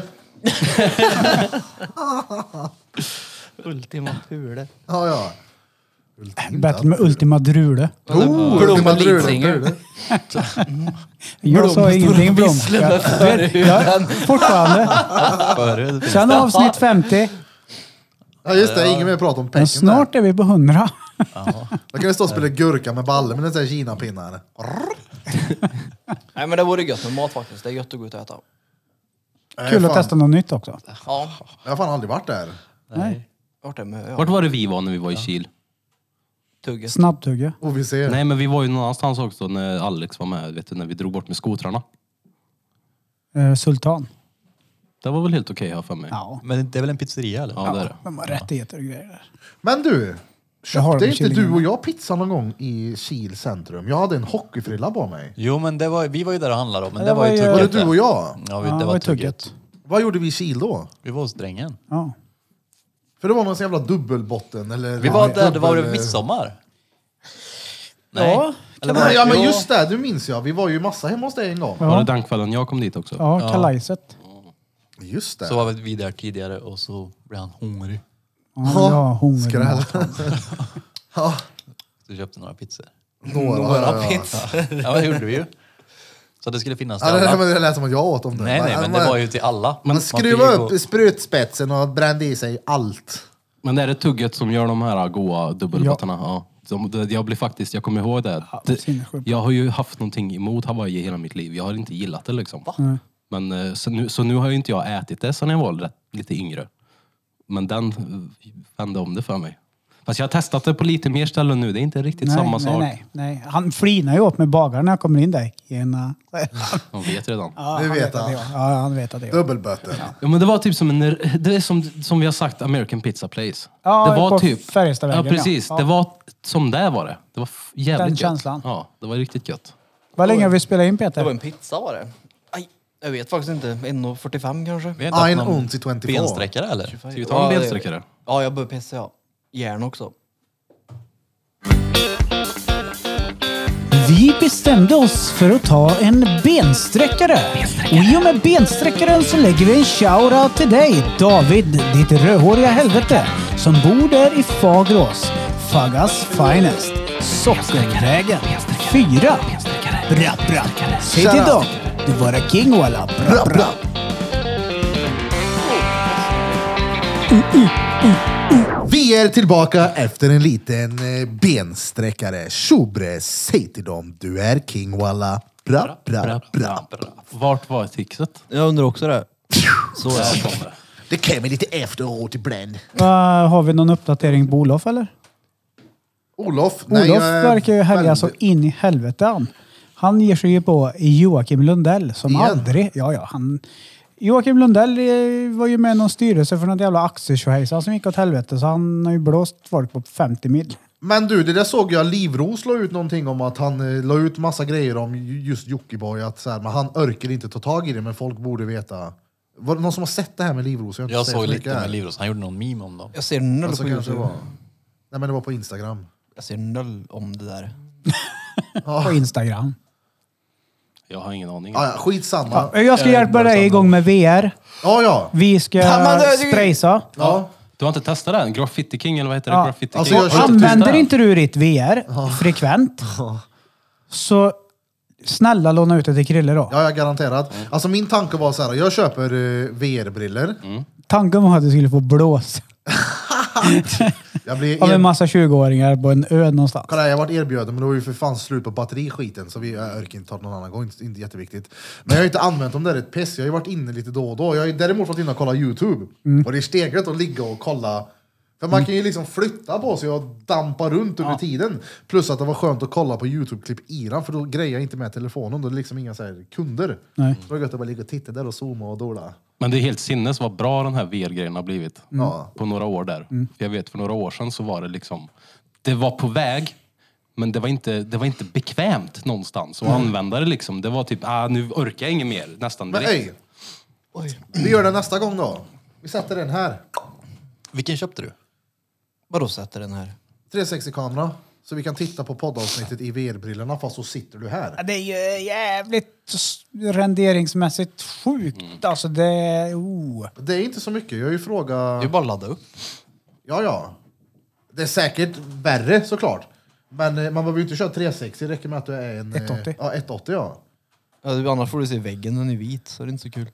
Ultima Thule. Ja, ja. Bättre med Ultima Drule. Oh, Ultima Blommen Drule. Litzinger. Drule. Jag sa ingenting Blom. Jag, jag, fortfarande. Förut. Sen avsnitt 50. Ja, just det. Ingen mer prat om Men pengar. snart är vi på 100. Då kan vi stå och spela gurka med balle men det är såhär kinapinnar. Nej men det vore gött med mat faktiskt. Det är gött att gå ut och äta. Kul Nej, att fan. testa något nytt också. Ja. Jag har fan aldrig varit där. Nej. Vart är Mö? Ja. Vart var det vi var när vi var i Kil? Tugget. Snabbtugga. Och vi ser. Nej men vi var ju någon annanstans också när Alex var med, vet du, när vi drog bort med skotrarna. Eh, Sultan. Det var väl helt okej här för mig? Ja. Men det är väl en pizzeria eller? Ja, det är det. De har rättigheter och grejer där. Men du. har Köpte de inte du kyllingen. och jag pizza någon gång i Kil centrum? Jag hade en hockeyfrilla på mig. Jo men det var, vi var ju där och handlade då, Ja, men det, det var ju var ju- Var det tugget. du och jag? Ja, vi, Ja, det var var tugget. tugget. Vad gjorde vi i Kil då? Vi var hos drängen. Ja. För det var någon sån jävla dubbelbotten eller... Vi var där, det var dubbel- väl midsommar? Nej. Eller var det- Nej, ja men Jo. just det, du minns jag. Vi var ju massa hemma hos dig en gång. Var det den kvällen jag kom dit också? Ja, kalajset. Just det. Så var vi där tidigare och så blev han hungrig. Ja, ja, hungrig. Skräll. ja, Så köpte några pizzor. några. ja, ja. Ja, det gjorde vi ju. Så det skulle finnas till Ja, det, alla. men det lät som att jag åt om det. Nej, nej, men det var ju till alla. Man fick skruva ju gå- upp sprutspetsen och brände i sig allt. Men är det tugget som gör de här goa dubbelbottarna? Ja. De, de, jag blir faktiskt, jag kommer ihåg det. det är det sinnessjukt. jag har ju haft någonting emot Hawaii hela mitt liv. Jag har inte gillat det liksom. Men, eh, så, nu, så nu har ju inte jag ätit det sen jag var rätt, lite yngre. Men den eh, vände om det för mig. Fast jag har testat det på lite mer ställen nu. Det är inte riktigt Nej, samma nej, sak. Nej, nej. Han flinar ju åt mig bagaren när jag kommer in där. Gena. De vet redan. Ja, Ja. Det han vet att han. det är jag. Ja, han vet att det är jag. Dubbelböter. men det var typ som en, det är som, som vi har sagt, American Pizza Place. Ja, det var typ- på Färjestadvägen, Ja, precis. ja. Det var som det var det. Det var f- jävligt Den gött. känslan. Ja, det var riktigt gött. Vad länge har vi spelat in Det var Peter? en pizza var det. Aj, jag vet faktiskt inte. 1.45 kanske? Vi har inte haft Ein någon ont i 24. bensträckare eller? Typ. Ska vi ta en Ja, det- bensträckare? Ja, jag börjar pissa ja. Järn också. Vi bestämde oss för att ta en bensträckare. Och i och med bensträckaren så lägger vi en shoutout till dig, David, ditt rödhåriga helvete, som bor där i Fagrås. Faggas finest. Sockervägen 4. Bra, bra. Säg till dem, du var en king walla. Bra, bra. Vi är tillbaka efter en liten eh, bensträckare. Tjobre, säg till dem du är king walla. Bra, bra, bra. Vart var tixet? Jag undrar också det. Så är det. Det kommer lite efteråt ibland. Ah, Vad, har vi någon uppdatering på Olof eller? Olof, nej, Olof jag är verkar ju härja väldigt- så in i helvete han. Han ger sig ju på Joakim Lundell som Igen? aldrig... Ja, ja. Han, Joakim Lundell eh, var ju med i någon styrelse för något jävla aktietjohejsan som gick åt helvete så han har ju blåst folk på 50 mil. Men du, det där såg jag Livros la ut någonting om att han eh, la ut massa grejer om ju- just Jockiboi, att så här, men han orkar inte ta tag i det, men folk borde veta. Var det någon som har sett det här med Livros? har inte Jag sett såg så mycket lite här. med Livros, han gjorde någon meme om dem. Jag ser noll Alltså, på kanske det Youtube. var... Nej, men det var på Instagram. Jag ser noll om det där. På Instagram. Jag har ingen aning. Ah, ja, skitsamma. Ja, Jag ska hjälpa dig igång med VR. ja. ja. Vi ska Ja, men det- spraysa. ja. Du har inte testat den? Graffiti King eller vad heter det? Ja. Graffiti King? Alltså, jag Har du köpte- testat Använder den? inte du ditt VR frekvent så snälla låna ut det till Krille då. Ja, jag garanterat. Alltså min tanke var så här, jag köper eh, VR-briller. Tanken var att du skulle få blås Jag blir av en er... massa 20-åringar på en ö någonstans. Kolla, jag vart erbjuden, men det var ju för fan slut på batteriskiten så vi jag orkar inte ta det någon annan gång, inte, inte jätteviktigt. Men jag har ju inte använt dem där ett piss, jag har ju varit inne lite då och då. Jag har ju däremot varit inne och kollat YouTube. Och det är stengött att ligga och kolla. För man kan ju liksom flytta på sig och dampa runt under tiden. Plus att det var skönt att kolla på YouTube-klipp i den, för då grejer jag inte med telefonen. Då är det liksom inga så här kunder. Nej. Så det var gött att bara ligga och titta där och zooma och dola. Men det är helt sinnes vad bra den här VR-grejen har blivit. Mm. Ja. På några år där. För jag vet för några år sedan så var det liksom, det var på väg. Men det var inte, det var inte bekvämt någonstans Mm. att använda det liksom. Det var typ, ah, nu orkar jag inget mer nästan Men direkt. ey, vi gör det nästa gång då. Vi sätter den här. Vilken köpte du? Vadå sätter den här? 360-kamera. Så vi kan titta på poddavsnittet i VR-brillorna fast så sitter du här. Det är ju jävligt s- renderingsmässigt sjukt. Alltså det... Oh. Det är inte så mycket. Jag har ju Det är frågat... bara att ladda upp. Ja, ja. Det är säkert värre såklart. Men eh, man behöver ju inte köra 360. Det räcker med att du är en... eh, 180. Ja, 180 ja. Ja, du- Annars får du se väggen, den är vit, så det är inte så kul.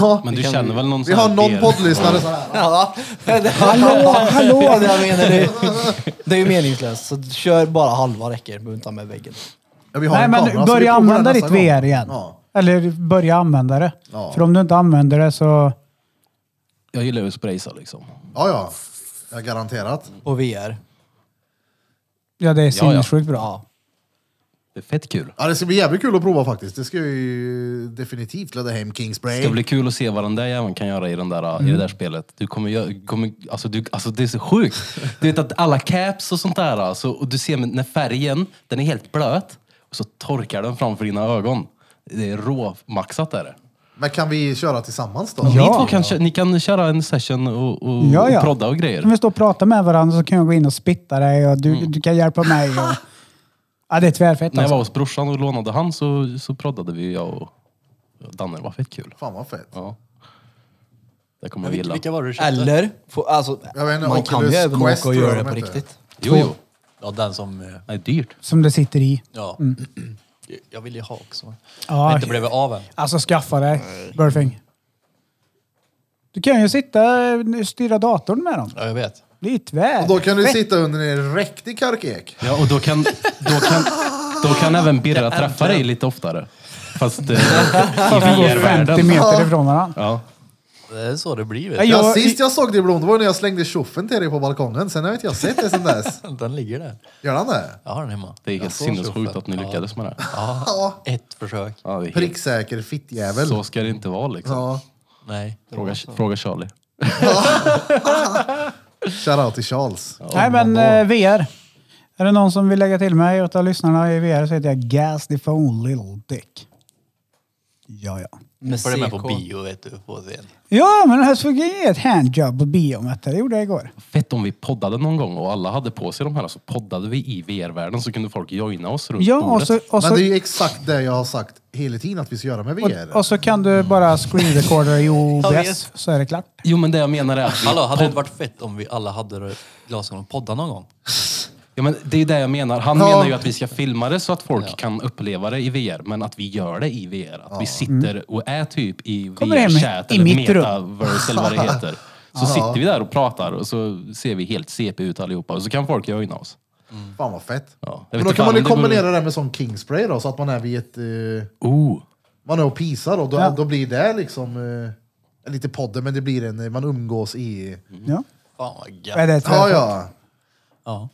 ja. Men du känner väl någon Vi sån här har någon VR? poddlyssnare så här. Ja, hallå, hallå! Det, är det jag menar, det, det är ju meningslöst, så kör bara halva räcker. Du behöver inte ha med väggen. Ja, vi har Nej en kamera, så men vi börja provar den använda ditt nästa gång. VR igen. Ja. Eller börja använda det. Ja. För om du inte använder det så... Jag gillar ju att spraysa liksom. ja, ja. Ja, garanterat. På VR. Ja det är ja. sinnessjukt bra. Ja. Det är fett kul. Ja, det ska bli jävligt kul att prova faktiskt. Det ska jag ju definitivt ladda hem Kingspray. Det ska bli kul att se vad den där jäveln kan göra i, den där, Mm. i det där spelet. Du kommer, gö- kommer, alltså, du, alltså det är så sjukt. Du vet att alla caps och sånt där, alltså, och du ser när färgen, den är helt blöt och så torkar den framför dina ögon. Det är råmaxat är det. Men kan vi köra tillsammans då? Ni två kan, kö- ni kan köra en session och, och, Ja, ja. och prodda och grejer. Kan vi stå och prata med varandra så kan jag gå in och spitta dig och du, du kan hjälpa mig. Och... Ja det är tvärfett När jag var alltså. hos brorsan och lånade han så, så proddade vi, jag och och Danne. Det var fett kul. Fan vad fett. Ja. Det kommer jag Vilka, gilla. vilka var det du köpte? Eller, få, alltså, Jag vet inte, man kan ju Oculus även Quest åka tror och jag göra det de på heter. riktigt. Jo, jo. Ja, den som... eh, Det är dyrt. Som det sitter i. Ja. Jag vill ju ha Ah, också. Ja, Men inte blev av än. Alltså skaffa dig, Burfing. Du kan ju sitta och styra datorn med dem. Ja, jag vet. Det är ju tvär. Och då kan du sitta under en riktig karkek. Ja, och då kan, då kan, då kan även Birra träffa dig lite oftare. Fast eh, i Går 50 VR-världen. meter ifrån varandra. Ja. Det är så det blir. Nej, Vet Ja, jag- sist jag såg dig blom, det var när jag slängde tjoffen till dig på balkongen. Sen har inte jag sett dig sen dess. du. Den ligger där. Gör han det? Jag har den hemma. Det är Jag helt såg sinnessjukt tjoffen. att ni lyckades med det. Ja. Ja, ett försök. Ja, det är helt, Pricksäker fittjävel. så ska det inte vara liksom. Ja, Nej. Fråga, fråga Charlie. shoutout till Charles. Nej men eh, VR. Är det någon som vill lägga till mig åt alla lyssnarna i VR så heter jag Gas the phone little dick. Ja, ja. Med Följer med på CK. bio vet du. På scen. Ja, men här såg jag ett handjob på bion. vet du. Det gjorde jag igår. Fett om vi poddade någon gång och alla hade på sig de här så poddade vi i VR-världen så kunde folk joina oss runt Ja, alltså- och bordet. så, och, Men det är så, ju exakt det jag har sagt hela tiden att vi ska göra med VR. och, och så kan du bara screen recorder i OBS så är det klart. Jo men det jag menar är att vi Hallå, hade det inte varit fett om vi alla hade glasögon och podda någon gång? Ja, men det är det jag menar. Han Ja. menar ju att vi ska filma det så att folk kan uppleva det i VR, men att vi gör det i VR. Att vi sitter och är typ i Kommer hem VR-chat i eller mitt rum. metaverse eller vad det heter. Så sitter vi där och pratar och så ser vi helt CP ut allihopa och så kan folk joina oss. Fan vad fett. Ja, jag vet Men då inte kan fan man ju om det vore- kombinera det med sån Kingspray då, så att man är vid ett... eh, Oh. man är och pisar då, då, då blir det liksom... eh, lite podden, men det blir en... eh, Man umgås i... Ja. Fan vad gött. Är det ett Mm. Ja, ja. Ja.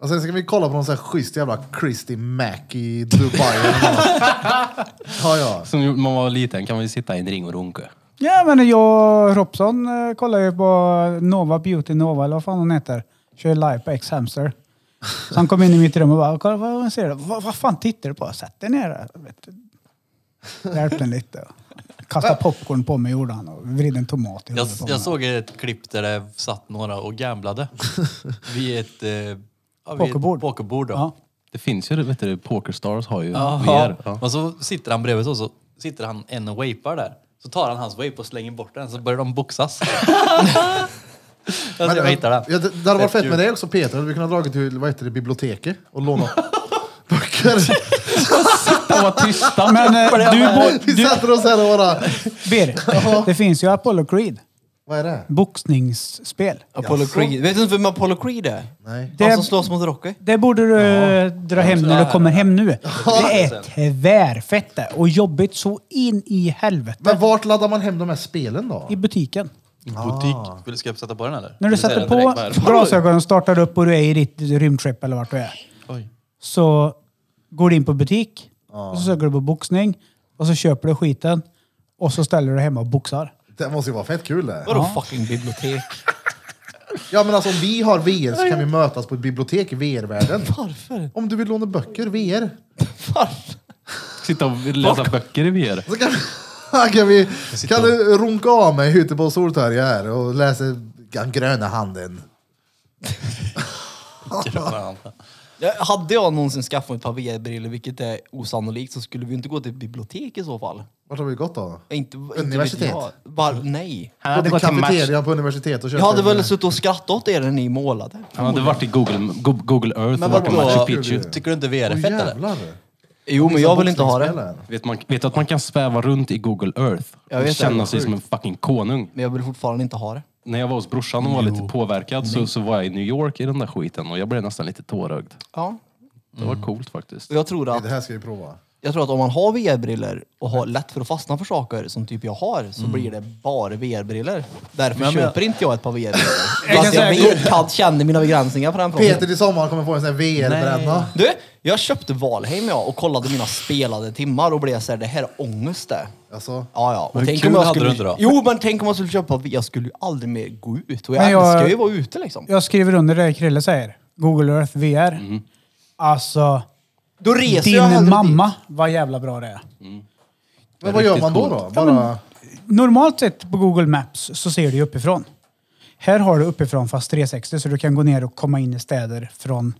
Och sen ska vi kolla på någon sån här schysst jävla Christy Mac i Dubai eller något. Ja, ja. Som när man var liten kan man ju sitta i en ring och runka. Ja, men jag och Robson eh, kollar ju på Nova Beauty Nova, eller vad fan hon heter. Kör live på X-Hamster. Så han kom in i mitt rum och bara, kolla vad hon ser. Vad, vad fan tittar du på? Sätt dig ner. där." Vet du. Jag Hjälpte den lite. Kasta popcorn på mig gjorde han och vrid en tomat i Jag, huvudet på mig. jag såg ett klipp där det satt några och gamblade vid ett... Eh, ja, vid ett Pokerbord. Pokerbord då. Ja. Det finns ju, vet du, Pokerstars har ju Ja. VR. Ja. Och så sitter han bredvid så, så sitter han en och vapar där. Så tar han hans vape och slänger bort den, så börjar de boxas. jag ska hitta den. Ja, det, det hade varit fett Fett med dig också Peter, hade vi kunnat dra till vad heter det, biblioteket och låna böcker. Men eh, du, bo- Vi sätter oss här och bara... Berit, det finns ju Apollo Creed. Vad är det? Boxningsspel. Apollo Creed. Vet du inte vem Apollo Creed är? Nej. Det- Han som slåss mot Rocky. Det borde du eh, dra hem när du kommer hem nu. Det är tvärfett det. Och jobbigt så in i helvete. Men vart laddar man hem de här spelen då? I butiken. Ah. Butik. Vill du ska jag sätta på den eller? När du Vill säga sätter det direkt på här? glasögonen, startar upp och du är i ditt rymdtrip eller vart du är. Oj. Så går du in på butik och så söker du på boxning och så köper du skiten och så ställer du dig hemma och boxar. Det måste ju vara fett kul det. Vadå fucking bibliotek? Ja men alltså om vi har VR så kan vi mötas på ett bibliotek i VR-världen. Varför? Om du vill låna böcker VR. Sitta och läsa böcker i VR. Så kan, vi- kan, vi, kan du runka av mig ute på Soltorget här och läsa den gröna handen? Ja, Hade jag någonsin skaffat mig ett par VR-brillor, vilket är osannolikt, så skulle vi ju inte gå till bibliotek i så fall. Vart har vi gått då? Inte, inte vet Universitet. jag. Var, nej. Han hade Gå gått till till match. kafeterian på universitetet och köpt Jag hade en- väl suttit och skrattat åt er när ni målade. Han hade varit i Google, Go- Google Earth Men och varit på Machu vadå? Picchu. Tycker du inte VR eh, är Åh, fett eller? jävlar. Jo, men jag vill inte ha det. Boxningsspel här. Vet, man, vet du att man kan sväva runt i Google Earth Jag vet och känna det. sig som en fucking konung? Men jag vill fortfarande inte ha det. När jag var hos brorsan och var lite påverkad så, så var jag i New York i den där skiten och jag blev nästan lite tårögd. Ja. Det var coolt faktiskt. Och jag tror att Det här ska vi prova. Jag tror att om man har VR-briller och har lätt för att fastna för saker som typ jag har så blir det bara VR-briller. Därför köper inte jag ett par VR-briller. Fast jag vet, kan, känner mina begränsningar på den Peter fronten. till sommaren kommer få en sån här VR-bränna. Du, jag köpte Valheim jag och kollade mina spelade timmar och blev såhär, det här är ångest det. Alltså, Ja, ja. Och hur kul hade du inte då? Jo, men tänk om man skulle köpa, jag skulle ju aldrig mer gå ut. Och jag, Men jag- älskar ju att vara ute liksom. Jag skriver under det Krille säger. Google Earth VR. Alltså, Då Mhm. reser jag din hellre mamma, dit. vad jävla bra det är. men vad gör riktigt man då? då? coolt. Bara, Normalt sett på Google Maps så ser du ju uppifrån. Här har du uppifrån fast 360 så du kan gå ner och komma in i städer från...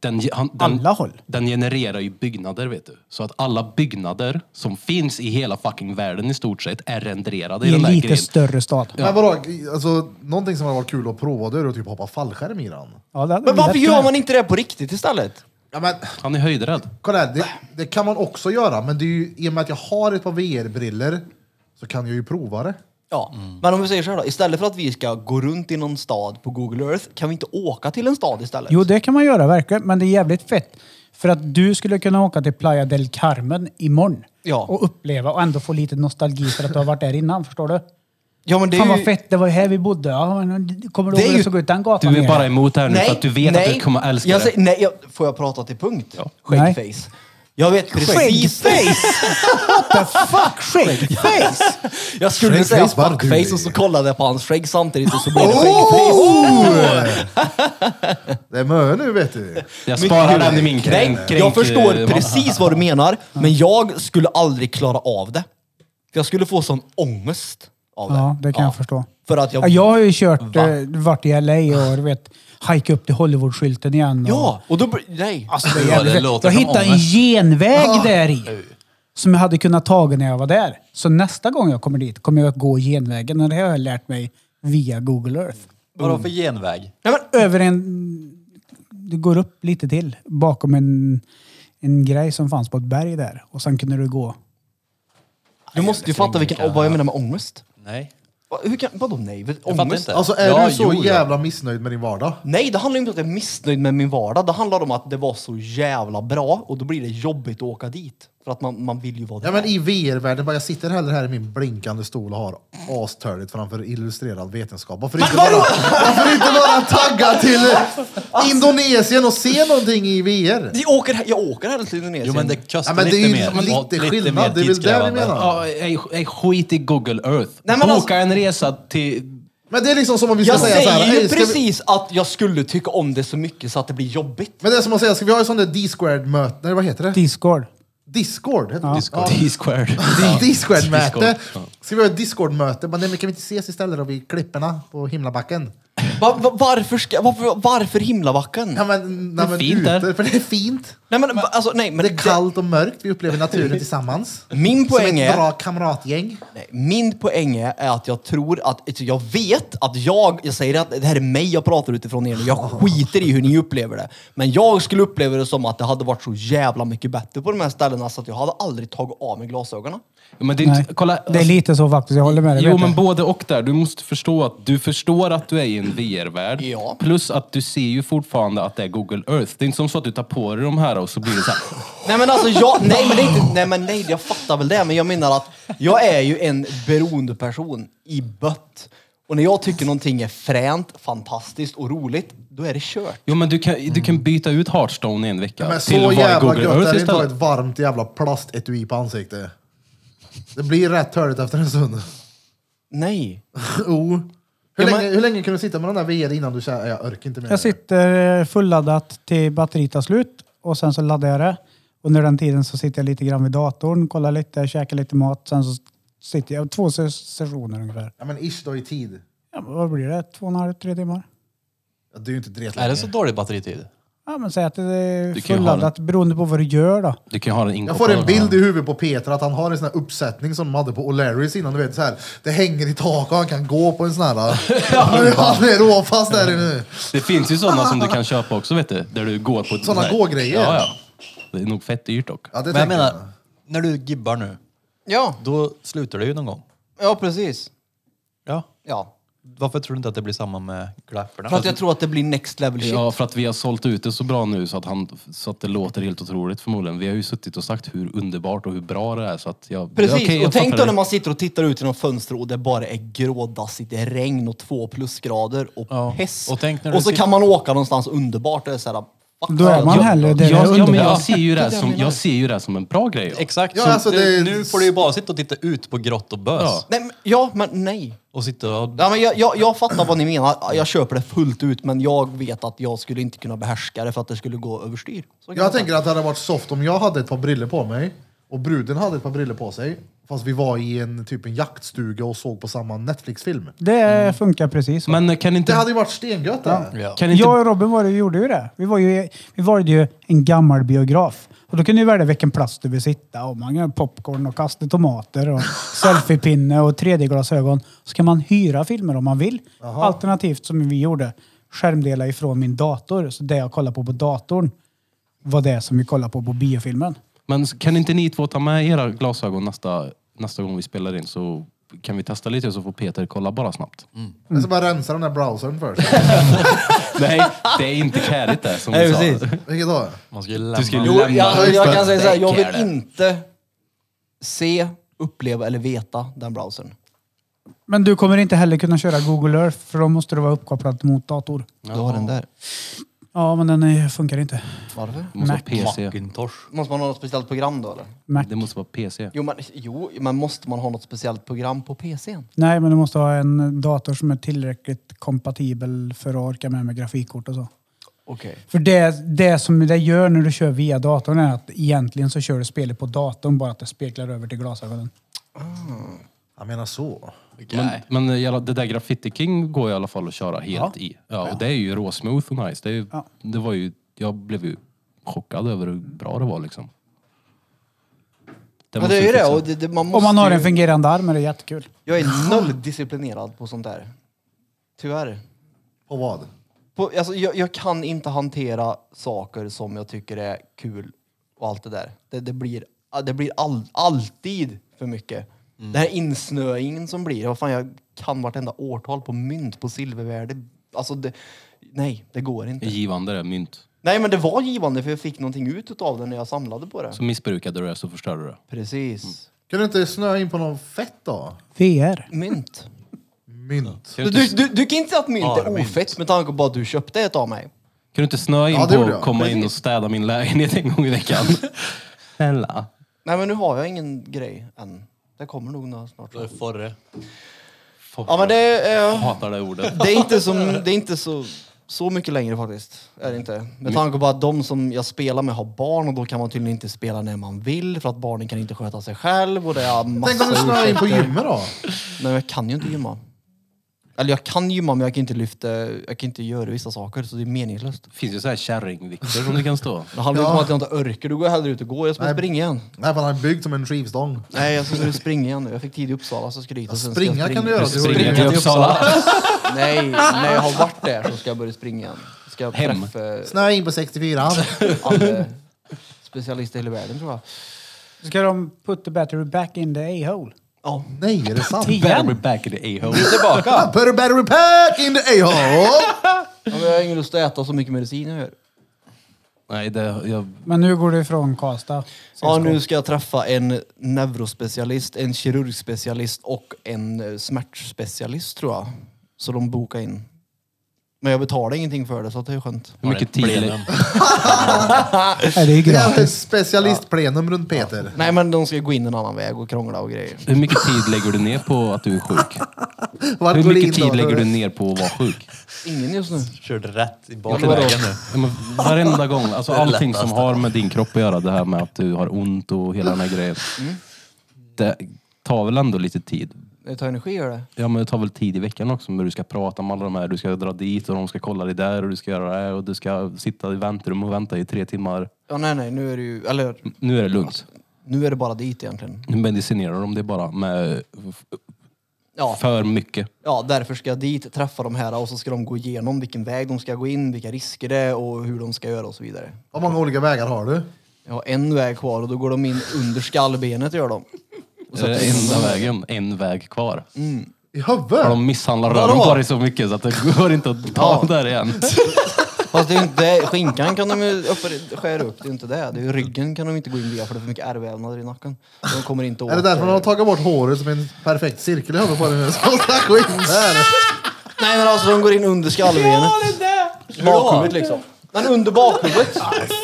Den, ge- han, den, Alla håll. Den genererar ju byggnader vet du. Så att alla byggnader som finns i hela fucking världen i stort sett är renderade i, I en den där lite grejen. större stad. men vadå, alltså, någonting som har varit kul att prova det är att typ hoppa fallskärm i den. Ja, det hade Men vi varför lätt gör kunnat. man inte det på riktigt istället? Ja, men, Han är höjdrädd. kolla här, det, det kan man också göra, men det är ju, i och med att jag har ett par VR-briller så kan jag ju prova det. Ja, men om vi säger så här då. Istället för att vi ska gå runt i någon stad på Google Earth, kan vi inte åka till en stad istället? Jo, det kan man göra verkligen, men det är jävligt fett. För att du skulle kunna åka till Playa del Carmen imorgon Ja. och uppleva och ändå få lite nostalgi för att du har varit där innan, förstår du? ja, men det Fan är vad ju... fett, det var ju här vi bodde. Ja, men kommer du Det ihåg är hur det ju- såg ut den gatan? Du är nere? bara emot det här nu för att du vet att du kommer älska jag det. Säger, nej, jag, får jag prata till punkt? Ja. Skäggface. Jag vet precis. Skäggface! What the fuck? Skäggface! Jag skulle Skäggface säga var du. fuckface och så kollade jag på hans skägg samtidigt och så blev det skäggface. Oh! Det är mö nu vet du. Jag sparar den i min kränk. kränk Jag förstår eh, precis vad du menar, men jag skulle aldrig klara av det. För jag skulle få sån ångest av det. Ja, det kan jag förstå. För att Ja, jag... jag har ju kört, Va? eh, varit i LA och du vet, hajkat upp till Hollywood-skylten igen. Och, Ja, och då... blir- Nej. Alltså, det är Ja, jävligt det fett. låter jag som hittade en ångest. genväg där i. Som jag hade kunnat ta när jag var där. Så nästa gång jag kommer dit kommer jag att gå genvägen. Och det har jag lärt mig via Google Earth. Vadå för genväg? Över en... Du går upp lite till bakom en, en grej som fanns på ett berg där. Och sen kunde du gå. Du måste ju fatta vilken, vad jag menar med ångest. Nej. Va- Hur kan, vadå nej? Vad- fattar Ångest? inte. Alltså är Ja, du så jo, ja. jävla missnöjd med din vardag? Nej, det handlar ju inte om att jag är missnöjd med min vardag. Det handlar om att det var så jävla bra och då blir det jobbigt att åka dit. För att man, man vill ju vara där. Ja men i VR-världen, bara jag sitter hellre här i min blinkande stol och har astörligt framför illustrerad vetenskap. Varför inte, bara, varför inte bara tagga till Indonesien och se någonting i VR? jag åker, he- jag åker hellre till Indonesien. Jo men det Ja, kostar men det är lite ju mer. lite och skillnad, det är väl det vi tidskrävande. menar. Ja, ej, ej, skit i Google Earth. Nej, men Boka alltså- en resa till... Men det är liksom som om vi ska jag säga så här. säger ju "Hej, ska vi-" precis att jag skulle tycka om det så mycket så att det blir jobbigt. Men det är som att säga, ska vi ha ett sånt där D-squared-möte? Nej vad heter det? Discord. Discord? heter det. Discord. T-squared. Ja. Discord-möte. Discord. Ska vi ha ett Discord-möte? Men nej, men kan vi inte ses istället då vid klipporna på Himlabacken? Va, va, varför, ska, varför, varför Himlabacken? Ja, men, nej, men fint där. ute, för det är fint. nej men, va- alltså, nej, men Det är kallt och mörkt, vi upplever naturen tillsammans. Min Som poäng ett är... bra kamratgäng. Nej, min poäng är, är att jag tror att, alltså, jag vet att jag, jag säger att det här är mig jag pratar utifrån er nu, Ah. jag skiter i hur ni upplever det. Men jag skulle uppleva det som att det hade varit så jävla mycket bättre på de här ställena så att jag hade aldrig tagit av mig glasögonen. Men det är, Nej. inte- kolla, alltså, det är lite så faktiskt, jag håller med dig. Jo, vet men jag. både och där. Du måste förstå att du förstår att du är i en VR-värld. Ja. Plus att du ser ju fortfarande att det är Google Earth. Det är inte som så att du tar på dig de här och så blir det så här. Nej men alltså jag, nej men det är inte, nej men nej jag fattar väl det men jag menar att jag är ju en beroende person i bött. Och när jag tycker någonting är fränt, fantastiskt och roligt, då är det kört. Jo, men du kan, du kan byta ut Hearthstone i en vecka Men till så att vara i jävla gött Google är Earth det inte att ha ett istället. varmt jävla plastetui på ansiktet. Det blir rätt törligt efter en stund. Nej. Oh. Hur, Ja, men- länge, hur länge kunde du sitta med den där VR innan du kände jag orkar inte mer? Jag sitter eh, fulladdat till batteriet tar slut och sen så laddar jag det. Under den tiden så sitter jag lite grann vid datorn, kollar lite, käkar lite mat. Sen så sitter jag två se- sessioner ungefär. Ja men ish då i tid. Ja, men vad blir det? Två och en halv, tre timmar? Ja, det är ju inte dret Är det så dålig batteritid? Ja, men säg att det är Du kan ju ha den. fulladdat beroende på vad du gör då. Du kan ju ha den Jag inkopplad. får en bild i huvudet på Peter att han har en sån här uppsättning som de hade på O'Larrys innan. Du vet så här, det hänger i taket och han kan gå på en sån här. Nu är han är råfast där nu. Det finns ju sådana som du kan köpa också, vet du. Där du går på... ett- Såna Nej. gå-grejer. Ja, ja. Det är nog fett dyrt dock. Ja, det Men jag tänker jag. menar, när du gibbar nu, Ja, då slutar du ju någon gång. ja precis. Ja. Ja. Varför tror du inte att det blir samma med klapporna? För att jag tror att det blir next level shit. Ja, för att vi har sålt ut det så bra nu så att, han, så att det låter helt otroligt förmodligen. Vi har ju suttit och sagt hur underbart och hur bra det är så att jag... Precis, Okej, jag och tänk fattar då det. när man sitter och tittar ut genom fönstret och det bara är grådassigt, det är regn och två plusgrader och Ja, pess. och tänk när du så sitter- kan man åka någonstans underbart där det är såhär, fuck Då är man jag- hellre där det är Jag, ja, men jag, underbart. ser ju det här som, jag ser ju det här som en bra grej. ja. Exakt. Ja, så alltså, du, det är- Nu får du ju bara sitta och titta ut på grått och bös. Ja. Nej, men, ja, men nej. Och sitta och... Ja, men jag, jag, jag fattar vad ni menar, jag köper det fullt ut men jag vet att jag skulle inte kunna behärska det för att det skulle gå överstyr. Så kan Jag jag tänker att det hade varit soft om jag hade ett par briller på mig och bruden hade ett par briller på sig. Fast vi var i en typ en jaktstuga och såg på samma Netflix-film. Det Mm. funkar precis. så. Men eh, kan Det hade inte... ju varit stengött det. Kan inte Jag och Robin var, ju- gjorde ju det. Vi, var ju, vi valde ju en gammal biograf. Och då kunde du välja vilken plats du vill sitta och man kan popcorn och kasta tomater och selfiepinne och 3D-glasögon. Så kan man hyra filmer om man vill. Alternativt som vi gjorde, skärmdela ifrån min dator. Så det jag kollar på på datorn var det som vi kollade på på biofilmen. Men s- kan inte ni två ta med era glasögon nästa, nästa gång vi spelar in så kan vi testa lite så får Peter kolla bara snabbt. Mm. Jag ska bara rensa den där browsern först. Nej, det är inte kärigt det som Nej, vi sa. precis. Vilket då? Man ska ju lämna. Du ska ju Jo, lämna. jag, jag kan säga såhär, jag Däck vill är det. inte se, uppleva eller veta den browsern. Men du kommer inte heller kunna köra Google Earth för då måste du vara uppkopplad mot dator. Du har den där. Ja, men den är, funkar inte. Varför? Det måste Mac. vara PC. Macintosh. Måste man ha något speciellt program då eller? Mac. Det måste vara PC. Jo men, jo, men måste man ha något speciellt program på PCn? Nej, men du måste ha en dator som är tillräckligt kompatibel för att orka med med grafikkort och så. Okej. För det, det som det gör när du kör via datorn är att egentligen så kör du spelet på datorn, bara att det speglar över till glasögonen. Jag menar så. Men, men i alla- det där Graffiti King går i alla fall att köra helt i. Ja, och det är ju råsmooth och nice. Det, är ju, det var ju, jag blev ju chockad över hur bra det var liksom. Ja, måste det är vi ju det. fixa. Och det, det man måste Om man har ju, en fungerande arm är det jättekul. Jag är noll disciplinerad på sånt där. Tyvärr. På vad? På, alltså, jag, jag kan inte hantera saker som jag tycker är kul och allt det där. Det, det blir, ah, det blir all, alltid för mycket. Mm. Den här insnöingen som blir. Vad fan, jag kan vartenda årtal på mynt, på silvervärde. Alltså, det, nej, det går inte. Givande det, mynt. Nej, men det var givande för jag fick någonting ut av det när jag samlade på det. Så missbrukade du det så förstörde du det. Precis. Mm. Kan du inte snöa in på någon fett då? VR. Mynt. Mynt. Du, du, du, du kan inte säga att mynt Ja, är mynt. ofett med tanke på att du köpte ett av mig. Kan du inte snöa in Ja, det på gjorde jag. att komma in och städa min lägenhet en gång i veckan? Snälla. Nej, men nu har jag ingen grej än. Det kommer nog nå- snart. Det är Forre. Ja, men det är... eh, Hatar det ordet. Det är inte, som, det är inte så, så mycket längre faktiskt. Är det inte. Med tanke på att de som jag spelar med har barn och då kan man tydligen inte spela när man vill för att barnen kan inte sköta sig själv och det är massa Tänk om du snöar in på ursäkter. gymmet då? Nej, jag kan ju inte gymma. Eller jag kan gymma men jag kan inte lyfta, jag kan inte göra vissa saker så det är meningslöst. Det finns ju så här kärringvikter som du kan stå. Det handlar inte om att jag inte orkar, då går jag hellre ut och går. Jag ska Nej. springa igen. Nej, för han är byggd som en skivstång. Nej, jag skulle springa igen nu. Jag fick tid i Uppsala så jag skulle dit. och sen ska jag Springa kan du göra. Du har Springa ju- till Uppsala. Nej, när jag har varit där så ska jag börja springa igen. Ska jag Hem. träffa Snöa in på 64. alla specialister i hela världen tror jag. Ska de put the battery back in the a-hole? Ja. Nej, är det sant? Better be back in the a-hole. Tillbaka! Put a battery pack in the a-hole! Ja, men jag har ingen lust att äta så mycket medicin jag gör. Nej, det, jag, Men nu går du ifrån Karlstad. Ja, nu ska jag träffa en neurospecialist, en kirurgspecialist och en eh, smärtspecialist tror jag. Så de bokar in. Men jag betalar ingenting för det så att det är skönt. hur mycket tid är det? Nej, det är Det är gratis. ett specialistplenum runt Peter. Nej men de ska gå in en annan väg och krångla och grejer. Hur mycket tid lägger du ner på att du är sjuk? Vart går Hur det mycket in då? tid lägger du ner på att vara sjuk? Ingen just nu. Körde rätt i Ja, bakvägen men nu. Ja, men Varenda gång. Alltså Det är det allting som lättaste. har med din kropp att göra, det här med att du har ont och hela den här grejen. Mm. Det tar väl ändå lite tid? Det tar energi gör det. Ja men det tar väl tid i veckan också när du ska prata med alla de här. Du ska dra dit och de ska kolla dig där och du ska göra det här och du ska sitta i väntrum och vänta i tre timmar. Ja nej nej, nu är det ju, eller Nu är det lugnt. nu är det bara dit egentligen. Nu medicinerar de det bara med Ja, för mycket. ja, därför ska jag dit, träffa de här och så ska de gå igenom vilken väg de ska gå in, vilka risker det är och hur de ska göra och så vidare. Hur många olika vägar har du? Jag har en väg kvar och då går de in under skallbenet gör de. Det är enda vägen, en Eh, väg kvar. I Har huvudet? de misshandlar Vadå? röven på dig så mycket så att det går inte att ta Ja. där igen. Fast det är ju inte, skinkan kan de ju oper- skära upp, det är ju inte det. det är ju ryggen kan de inte gå in via för det är för mycket ärrvävnader i nacken. De kommer inte åt Är det därför de har tagit bort håret som en perfekt cirkel i huvudet på dig nu? Så stack och in där. Nej men alltså de går in under skallbenet. Bakhuvudet liksom. Men under bakhuvudet.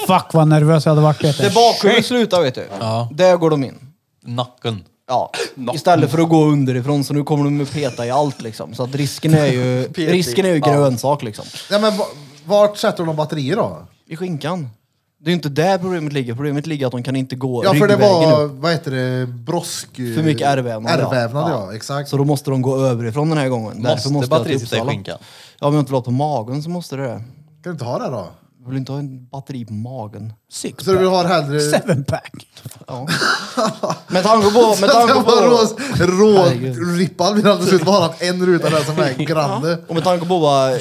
Fuck vad nervös jag hade varit Peter. Det bakhuvudet slutar vet du. Där går de in. Nacken. Ja, istället för att gå underifrån så nu kommer de att peta i allt liksom. Så att risken är ju, risken är ju grönsak liksom. Ja, men va- vart sätter de batterier då? I skinkan. Det är ju inte där problemet ligger. Problemet ligger att de kan inte gå Ja, för det ryggvägen var, upp. vad heter det, brosk... För mycket ärrvävnad, ja. Ärrvävnad, ja. Ja. Exakt. Så då måste de gå överifrån den här gången. Därför Måste måste jag batteriet till sitta i Uppsala. skinkan? Ja, om jag inte vill ha på magen så måste det det. Kan du inte ha det då? Jag vill inte ha en batteri på magen. Six Så du vill ha det hellre... Seven pack. Ja. med tanke på... Med tanke på Rå-rippad medan det ser ut bara en ruta där som är grande. och med tanke på vad...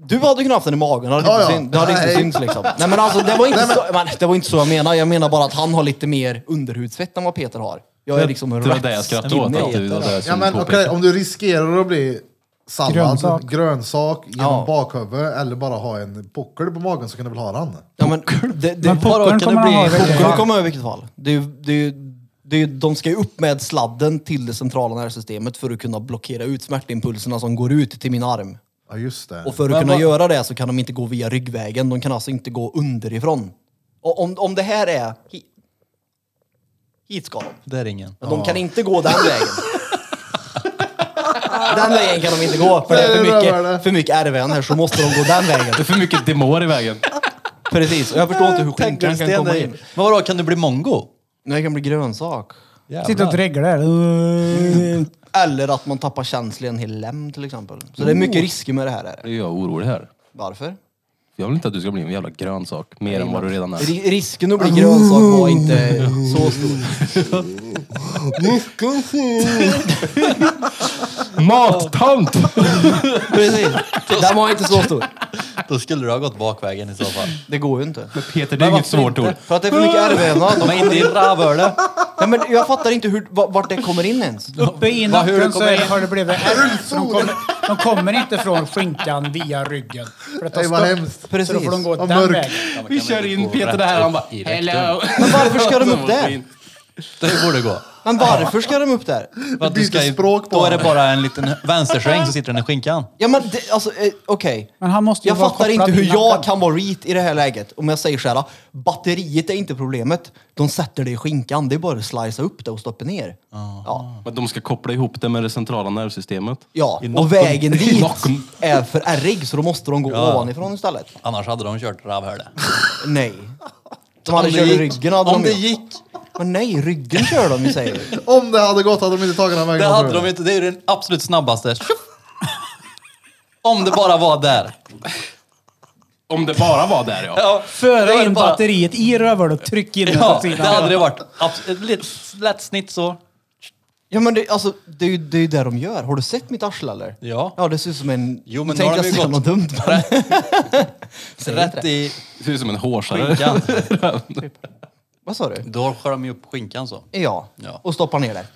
Du hade kunnat haft den i magen, det hade Ja, inte, ja. syn, det hade inte Nej. synts liksom. Nej men alltså det var, inte Så, men, det var inte så jag menade. Jag menar bara att han har lite mer underhudsfett än vad Peter har. Jag är liksom Det var det jag skrattade åt. skinny. Att du, det var det jag Ja, skulle men, påpeka. okej, om du riskerar att bli sallad, Grönsak. grönsak, genom Ja. bakhuvudet eller bara ha en puckel på magen så kan du väl ha den? Ja, men det, det, Men vadå, puckeln kan kommer det han ha i bli? vilket Puckeln fall. kommer han ha i vilket fall. Det är, ju- det är, ju- det är, ju- de ska ju upp med sladden till det centrala nervsystemet för att kunna blockera ut smärtimpulserna som går ut till min arm. Ja, just det. Och för att kunna göra det så kan de inte gå via ryggvägen. De kan alltså inte gå underifrån. Och om, om det här är... Hit, hit ska de. Det är ingen. Men de kan inte gå den vägen. den vägen kan de inte gå. För det är för Nej, det är bra, mycket, det. för mycket RVn här så måste de gå den vägen. Det är för mycket demor i vägen. Precis. Och jag förstår inte hur skinkan kan komma in. Men vadå, kan du bli mongo? Nej, det kan bli grönsak. Sitta och dregla där. Eh, Eller att man tappar känslan i en hel lem till exempel. Så det är mycket risker med det här. Är det. Nu är jag orolig här. Varför? Jag vill inte att du ska bli en jävla grönsak. Mer än vad du redan är. Ri- risken att bli grönsak var inte så stor. Mattant! Precis. Den var inte så stor. Då skulle du ha gått bakvägen i så fall. Det går ju inte. Peter, det är inget svårt ord. För att det är för mycket ärrvävnad. Men inte i ravöle. Nej, men jag fattar inte hur, va- vart det kommer in ens. Uppe i Vad, hur det nacken så kommer är, in? har det blivit ärr. Så De kommer, de kommer inte från skinkan via ryggen. För att ta Nej, vad stopp. hemskt. Så då får de gå Vad den mörkt. vägen. Vi kör in Peter där. Han bara, hello. Men varför ska de upp där? Det borde gå. Men varför ska de upp där? För att byter språk på då är det den. bara en liten vänstersväng så sitter den i skinkan. Ja men det, alltså eh, okej. Men han måste ju Jag vara fattar kopplad inte hur innan den. jag kan vara reet i det här läget. Om jag säger så här, "Ah, batteriet är inte problemet. De sätter det i skinkan. Det är bara att slicea upp det och stoppa ner. Ja. Men de ska koppla ihop det med det centrala nervsystemet. ja. I Och nocken. vägen I dit nocken. är för ärrig så då måste de gå ovanifrån istället. Annars hade de kört ravhöle. Nej. De hade Om det kört i gick. ryggen hade Om de det gjort. gick. Men nej, ryggen kör de ju säger du. Om det hade gått hade de inte tagit den Det vägen. hade de inte. Det är den absolut snabbaste. Tjoff! Om det bara var där. Om det bara var där ja. Ja, det Föra var in bara- batteriet i rövhålet och tryck in det Ja, åt det sidan. hade det varit. Abs- Ett litet lätt snitt så. Ja men det, alltså, det, är ju, det är ju det de gör. Har du sett mitt arsle eller? Ja. Ja det ser ut som en... Jo, Nu men tänkte då jag har de ju säga gått- något dumt men... Säg inte Rätt det. i Det ser ut som en hårsare. skinkan. Vad sa du? Då skär de ju upp skinkan så. Ja. Ja. Och stoppar ner det.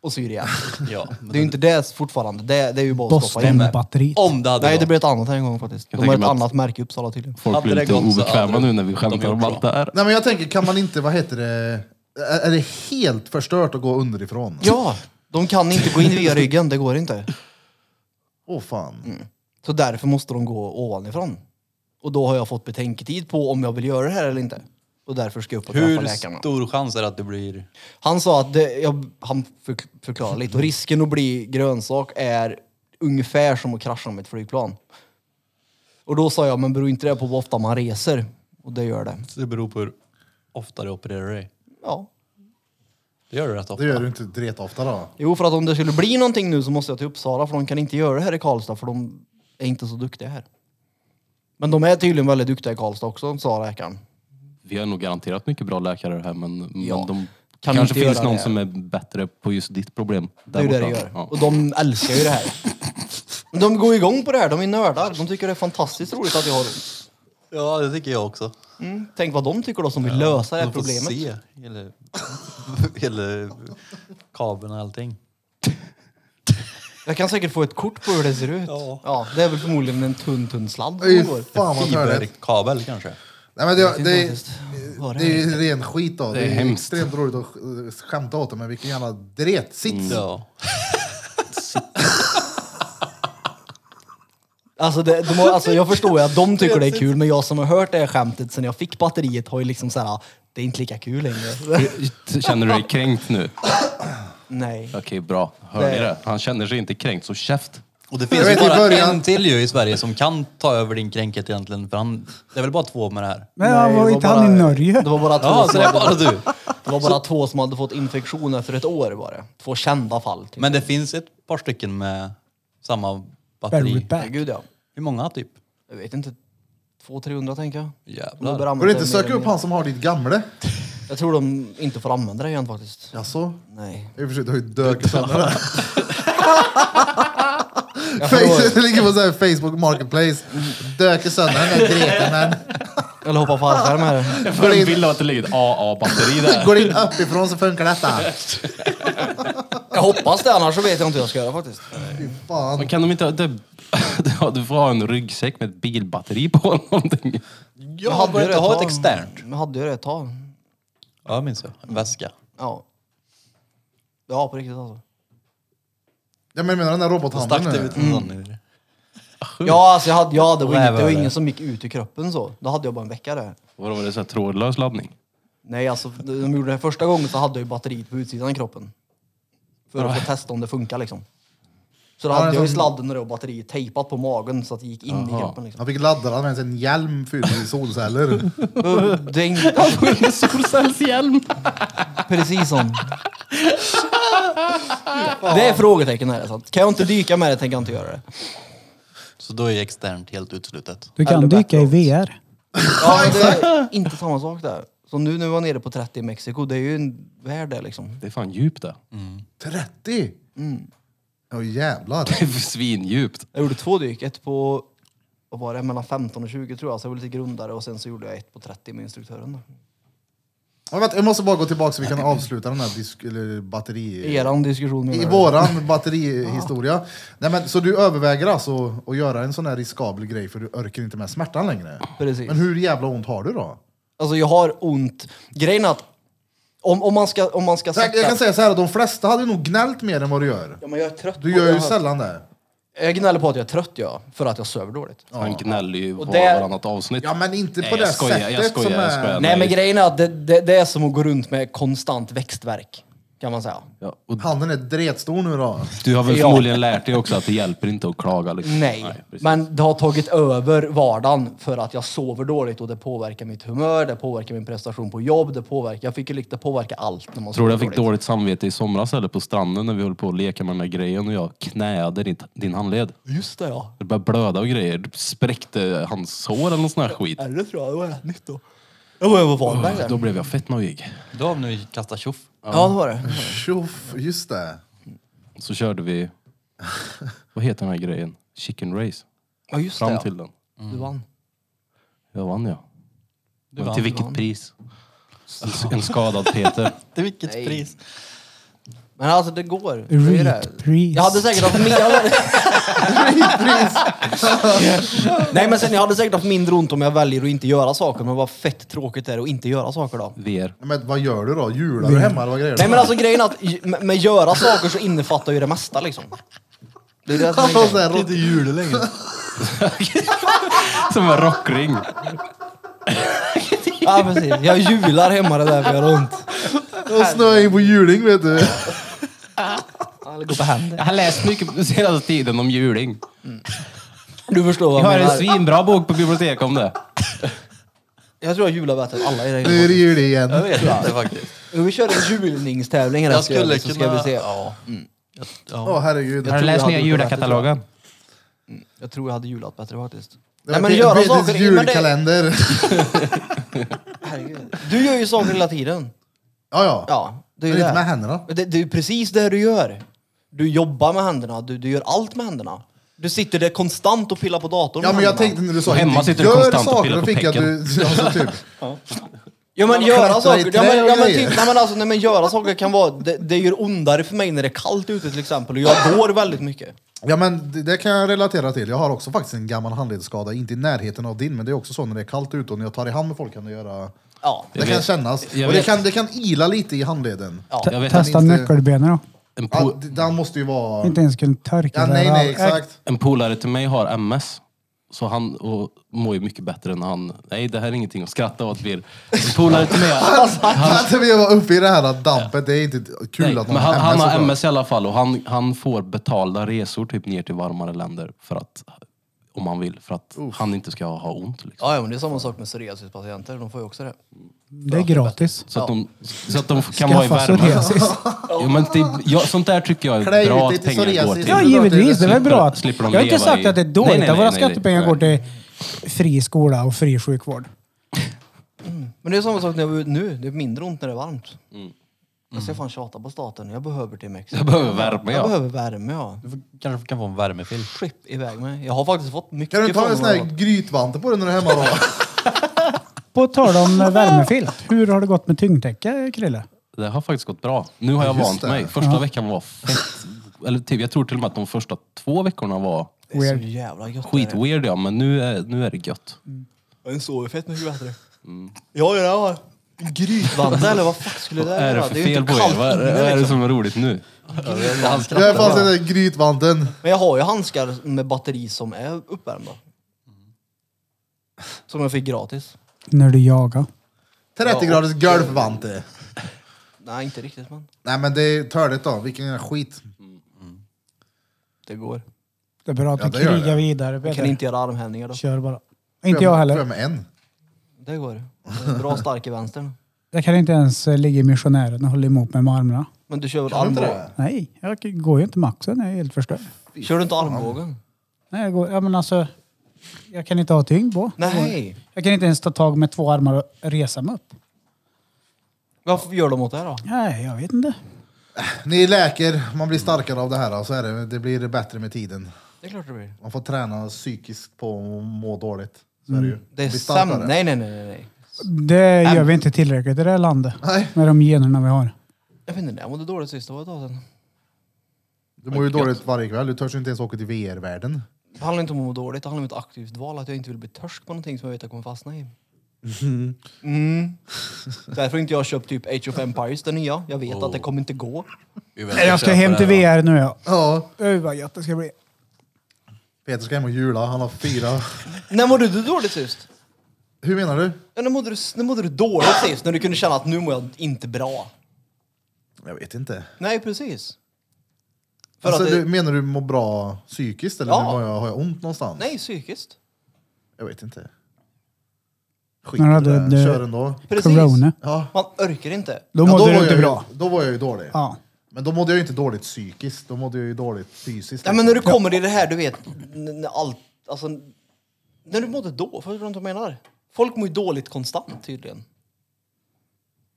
Och syr igen. Ja. Det är ju inte det fortfarande. Det, det är ju bara att stoppa in det. Boston-batteriet. Om det hade Nej, det gått. blev ett annat här en gång faktiskt. De tänka har ett mig att- annat märke i Uppsala tydligen. Folk Hade blir det lite gått så obekväma hade nu när vi de skämtar gjort om allt bra. det här. Nej, men jag tänker, kan man inte, vad heter det, är är det helt förstört att gå underifrån? Ja! De kan inte gå in via ryggen, det går inte. Åh fan. Så därför måste de gå ovanifrån. Och då har jag fått betänketid på om jag vill göra det här eller inte. Och därför ska jag upp och träffa Hur läkarna. stor chans är det att du blir... Han sa att det, jag, han förk- förklarar lite. Och risken att bli grönsak är ungefär som att krascha med ett flygplan. Och då sa jag, men beror inte det på hur ofta man reser? Och det gör det. Det beror på hur ofta du opererar dig. Ja. Det gör du rätt ofta. Det gör du inte rätt ofta då. Jo, för att om det skulle bli någonting nu så måste jag till Uppsala för de kan inte göra det här i Karlstad för de är inte så duktiga här. Men de är tydligen väldigt duktiga i Karlstad också, sa läkaren. Vi har nog garanterat mycket bra läkare här men, Ja. men de Kan kanske inte göra finns någon det. som är bättre på just ditt problem. Det är ju det det gör. Och de älskar ju det här. Men De går igång på det här, de är nördar. De tycker det är fantastiskt roligt att jag har ont. Ja, det tycker jag också. Mm. Tänk vad de tycker då som vill lösa det här Man får problemet. se hela, hela kabeln och allting. Jag kan säkert få ett kort på hur det ser ut. Ja. det är väl förmodligen en tunn, tunn sladd Fy som går. fan vad törligt. Fiberkabel kanske. Nej men det, det, faktiskt. Vad det är ju ren skit då. Det är, hemskt. extremt roligt att sk- skämta åt det, men vilken jävla dretsits. Ja. Alltså, det, de har, alltså jag förstår ju att de tycker det är kul, men jag som har hört det här skämtet sen jag fick batteriet har ju liksom såhär, det är inte lika kul längre. Känner du dig kränkt nu? Nej. Okej, bra. Hör ni det? Han känner sig inte kränkt, så käft. Och det Jag finns ju vet, i bara början- en till ju i Sverige som kan ta över din kränket egentligen. För han, det är väl bara två med det här? Men han var inte han i Norge? Det var bara två, Ja, så som det är hade, bara du. det var bara två som hade fått infektion efter ett år var det. Två kända fall. Typ. Men det finns ett par stycken med samma Barry batteri. Back. Herregud ja. Hur många typ? Jag vet inte. 200-300 tänker jag. Jävlar. Nu börjar Får du inte använda söka det upp mer. han som har ditt gamle? Jag tror de inte får använda det igen faktiskt. Jaså? Nej. I och för sig, du har ju dök sönder det. Jag Face- får, Det ligger på så här Facebook marketplace. Döker sönder den där greken men. eller hoppa fallskärm här. Jag får en bild av att det ligger ett AA-batteri där. Går in uppifrån så funkar detta. Jag hoppas det, annars så vet jag inte hur jag ska göra faktiskt. Fy fan. Men kan de inte... Det, ja, du får ha en ryggsäck med ett bilbatteri på någonting. Jag ju hade börjat ha ett tag. externt. Jag hade ju det ett tag. Ja, jag minns jag. En väska. Ja. Ja, på riktigt alltså. Ja, men Jag menar den där Då stack robothandeln det nu. ut en sån ur. Ja, alltså jag hade, jag hade, det, var inget, det var Rävöre. ingen som gick ut ur kroppen så. Då hade jag bara en vecka där. Vadå, var det så här trådlös laddning? Nej, alltså de gjorde det första gången så hade jag ju batteriet på utsidan av kroppen. För att få testa om det funkar liksom. Så då Ja, hade det är jag ju som- sladden och det och batteriet tejpat på magen så att det gick in i kroppen liksom. Han fick ladda den med en hjälm fylld med solceller. Det är inte Solcellshjälm! precis som... Det är frågetecken här. Så att, kan jag inte dyka med det tänker jag inte göra det. Så då är externt helt uteslutet. Du kan Eller dyka i VR. Ja, men det är inte samma sak där. Så nu när vi var nere på 30 i Mexiko, det är ju en värld där liksom. Det är fan djupt det. 30! Åh jävlar. Det är Svindjupt. Jag gjorde två dyk, ett på vad var det, mellan 15 och 20 tror jag, så jag var lite grundare och sen så gjorde jag ett på 30 med instruktören. Då. Ja, vänta, jag måste bara gå tillbaka så vi kan avsluta den här disk- eller batteri... Eran diskussion menar I du? våran batterihistoria. Nej, men, så du överväger alltså att göra en sån här riskabel grej för du orkar inte med smärtan längre? Precis. Men hur jävla ont har du då? Alltså jag har ont. Grejen är att om, om man ska, om man ska Så jag, sätta- jag kan säga så här, att de flesta hade nog gnällt mer än vad du gör. Ja, men jag är trött Du på gör det ju här. sällan det. Jag gnäller på att jag är trött ja, för att jag söver dåligt. Han gnäller ju var, det- varannat avsnitt. Ja, men inte Nej, på det jag skojar, sättet jag skojar, som är... jag skojar. Nej men grejen är att det, det, det är som att gå runt med konstant växtverk kan man säga. Ja, och Handen är dretstor nu då. du har väl Ja. förmodligen lärt dig också att det hjälper inte att klaga. Liksom. Nej, precis. men det har tagit över vardagen för att jag sover dåligt och det påverkar mitt humör, det påverkar min prestation på jobb, det påverkar, jag fick ju lite påverka allt när man Tror sover du jag fick dåligt samvete i somras eller på stranden när vi höll på att leka med den här grejen och jag knäade din, din handled? Just det ja. Det började blöda och grejer. Du spräckte hans sår eller någon sån här skit. Eller tror jag, det var rätt nytt då. Jag var över Varberg där. Då blev jag fett nojig. Då har vi nu kastat tjoff. Ja det var det. Tjoff, just det. Så körde vi... Vad heter den här grejen? Chicken race. Ja just det Fram ja. till den. Du vann. Jag vann ja. Men vann, till du vilket vann. pris? En, en skadad Peter. Till vilket Nej. pris? Men alltså det går. Det är ju det. Read, please. Jag hade säkert haft mindre... Nej men sen jag hade säkert haft mindre ont om jag väljer att inte göra saker. Men vad fett tråkigt det är att inte göra saker då. VR. Men vad gör du då? Jular du hemma eller vad grejer? Nej men alltså grejen är att i- med, med göra saker så innefattar ju det mesta liksom. Det är det som är Alltså, så grejen. här, Inte jul längre. Som en rockring. Ja precis. Jag jular hemma det där för jag har ont. och snöar in på juling vet du. Eller går på händer. Jag har läst mycket på senaste tiden om juling. Du förstår vad Jag jag har en menar. svinbra bok på biblioteket om det. Jag tror jag jular bättre än alla i det Nu är det här jul igen. Jag vet inte faktiskt. Vi kör en julningstävling här Jag ska jag- skulle så liksom, ska kunna- vi se. Ja. Åh herregud. Har du läst hade nya gjort julakatalogen? Jag tror jag hade julat bättre faktiskt. Det var Nej men Pe- göra Peters saker... men det- julkalender. Herregud. Du gör ju saker hela tiden. Ja, ja. Ja, det är Men ju inte det. med händerna. Men Det, det är ju precis det du gör. Du jobbar med händerna, du, du gör allt med händerna. Du sitter där konstant och pillar på datorn Ja med men jag händerna. tänkte när du sa Hemma inte sitter du gör konstant och saker, pillar då på fick jag att du, alltså, typ. Ja men Man göra klättrar i saker, ja, träd men, och ja, men, grejer. typ, nej, men alltså, nej, men göra saker kan vara, det, det gör ondare för mig när det är kallt ute till exempel och jag går väldigt mycket. Ja men det, det kan jag relatera till. Jag har också faktiskt en gammal handledsskada, inte i närheten av din men det är också så när det är kallt ute och när jag tar i hand med folk kan det göra... Ja. det kan vet- kännas. jag Och det vet. kan, det kan ila lite i handleden. Ja. Jag Te- vet Testa inte- nyckelbenen då. En, Ja, po- d- den måste ju vara... Inte ens kunna torka Ja, det nej där nej av- Äh, exakt. en polare till mig har MS. Så han och, mår ju mycket bättre än han. Nej, det här är ingenting att skratta åt. Vir. En polare till mig... Att vi var uppe i det här dampet, det är inte kul Nej, att någon men han, har han har såklart. MS i alla fall och han, han får betalda resor typ ner till varmare länder för att, om han vill, för att han inte ska ha ont. Liksom. Ja, ja men det är samma sak med psoriasispatienter, de får ju också det. Det är gratis. Så, att de, så att de kan vara i Skaffa värme. psoriasis. Ja, men det, ja, sånt där tycker jag Klä är ut bra dig att till pengar går psoriasis. till. Ja, Slipper- givetvis. Det är väl slipper- bra. att- slipper de Jag har inte leva sagt i- att det är Nej, dåligt nej, att våra nej, nej, skattepengar nej. går till fri skola och fri sjukvård. Men det är samma sak när jag var ute nu, det är mindre ont när det är varmt. Mm. Jag ska fan tjata på staten, jag behöver till Mexiko. Jag behöver värme, Jag ja. behöver värme ja. Du får- kanske kan få en värmefilm. Skip iväg mig. Jag har faktiskt fått mycket Kan du ta en sån från här grytvante på den när du är hemma då? På tal om eh, värmefilt. Hur har det gått med tyngdtäcke, Krille? Det har faktiskt gått bra. Nu har jag Just vant det. mig. Första veckan var fett. Eller typ, jag tror till och med att de första två veckorna var Det är så jävla gött. det skitweird ja, men nu är, nu är det gött. Mm. är. En sover fett mycket bättre. Ja, ja, ja. Grytvante eller vad fuck skulle det Vad är det vara? för ju fel inte på er? kallt Vad är, inne, vad är det liksom. som är roligt nu? Han Det är skrattar fast den bara. där grytvanten. Men jag har ju handskar med batteri som är uppvärmda. Som jag fick gratis. När du jagar. 30 graders golfvante. Nej, inte riktigt men Nej men det är törligt då, vilken jävla skit. det går. Det är bra att Ja, du det gör krigar det. vidare Jag Peter. kan inte göra armhävningar då. Kör bara. Inte jag Får heller. med en? Det går. Det är Bra stark i vänstern. Jag kan inte ens eh, ligga i missionären och hålla emot mig med armarna. Men du kör väl Kan du inte armbågen? det? Nej, jag går ju inte maxen. Jag är helt förstörd. Kör du inte armbågen? Nej, jag, går, ja, men alltså, jag kan inte ha tyngd på. Nej! Jag kan inte ens ta tag med två armar och resa mig upp. Varför gör de åt det här då? Nej, jag vet inte. Ni läker, man blir starkare av det här. och Så är det, det blir bättre med tiden. Det är klart det blir. Man får träna psykiskt på att må dåligt. Så är det ju. Mm. Det är Blir sämre. starkare. Nej, nej, nej, nej, nej. Det gör vi inte tillräckligt i det här landet. Nej. Med de generna vi har. Jag vet inte, jag mådde dåligt sist. Det var ett tag sedan. Du mår ju dåligt varje kväll, du törs ju inte ens åka till VR-världen. Det handlar inte om att må dåligt, det handlar om ett aktivt val. Att jag inte vill bli törsk på någonting som jag vet jag kommer fastna i. Mhm. Mm. Därför har inte jag köpt typ Age of Empires, den nya. Jag vet Oh. att det kommer inte gå. Jag ska hem till VR nu ja. Ja, Oj vad gött det ska bli. Peter ska hem och jula, han har fyra. När mådde du dåligt sist? Hur menar du? Ja, när, mådde du, när mådde du dåligt sist? När du kunde känna att nu mår jag inte bra? Jag vet inte. Nej, precis. För Alltså, att det, du, menar du må bra psykiskt eller Ja. har, jag, har jag ont någonstans? Nej, psykiskt. Jag vet inte. Skit i Men det, hade där. du- kör ändå. Precis. Corona. Ja. Man orkar inte. Då Ja, mådde var du inte jag ju- bra. Då var jag ju dålig. Ja. Men då mådde jag ju inte dåligt psykiskt, då mådde jag ju dåligt fysiskt. Nej, men när du kommer i det här, du vet, n- när allt, alltså, när du mådde då, förstår du inte vad jag menar? Folk mår ju dåligt konstant tydligen.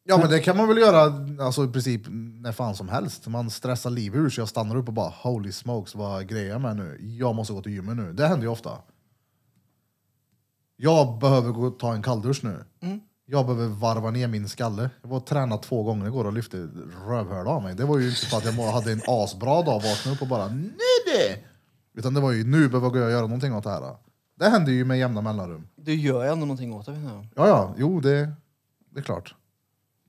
Ja men det kan man väl göra alltså, i princip när fan som helst. Man stressar livet ur sig och stannar upp och bara holy smokes vad grejer jag med nu? Jag måste gå till gymmet nu. Det händer ju ofta. Jag behöver gå och ta en kalldusch nu. Jag behöver varva ner min skalle. Jag var och tränade två gånger igår och lyfte rövhörda av mig. Det var ju inte för att jag må- hade en asbra dag och vaknade upp och bara nu det! Utan det var ju nu behöver jag gå och göra någonting åt det här. Det händer ju med jämna mellanrum. Du gör ju ändå någonting åt det. menar Ja, jag. ja, jo det, det är klart.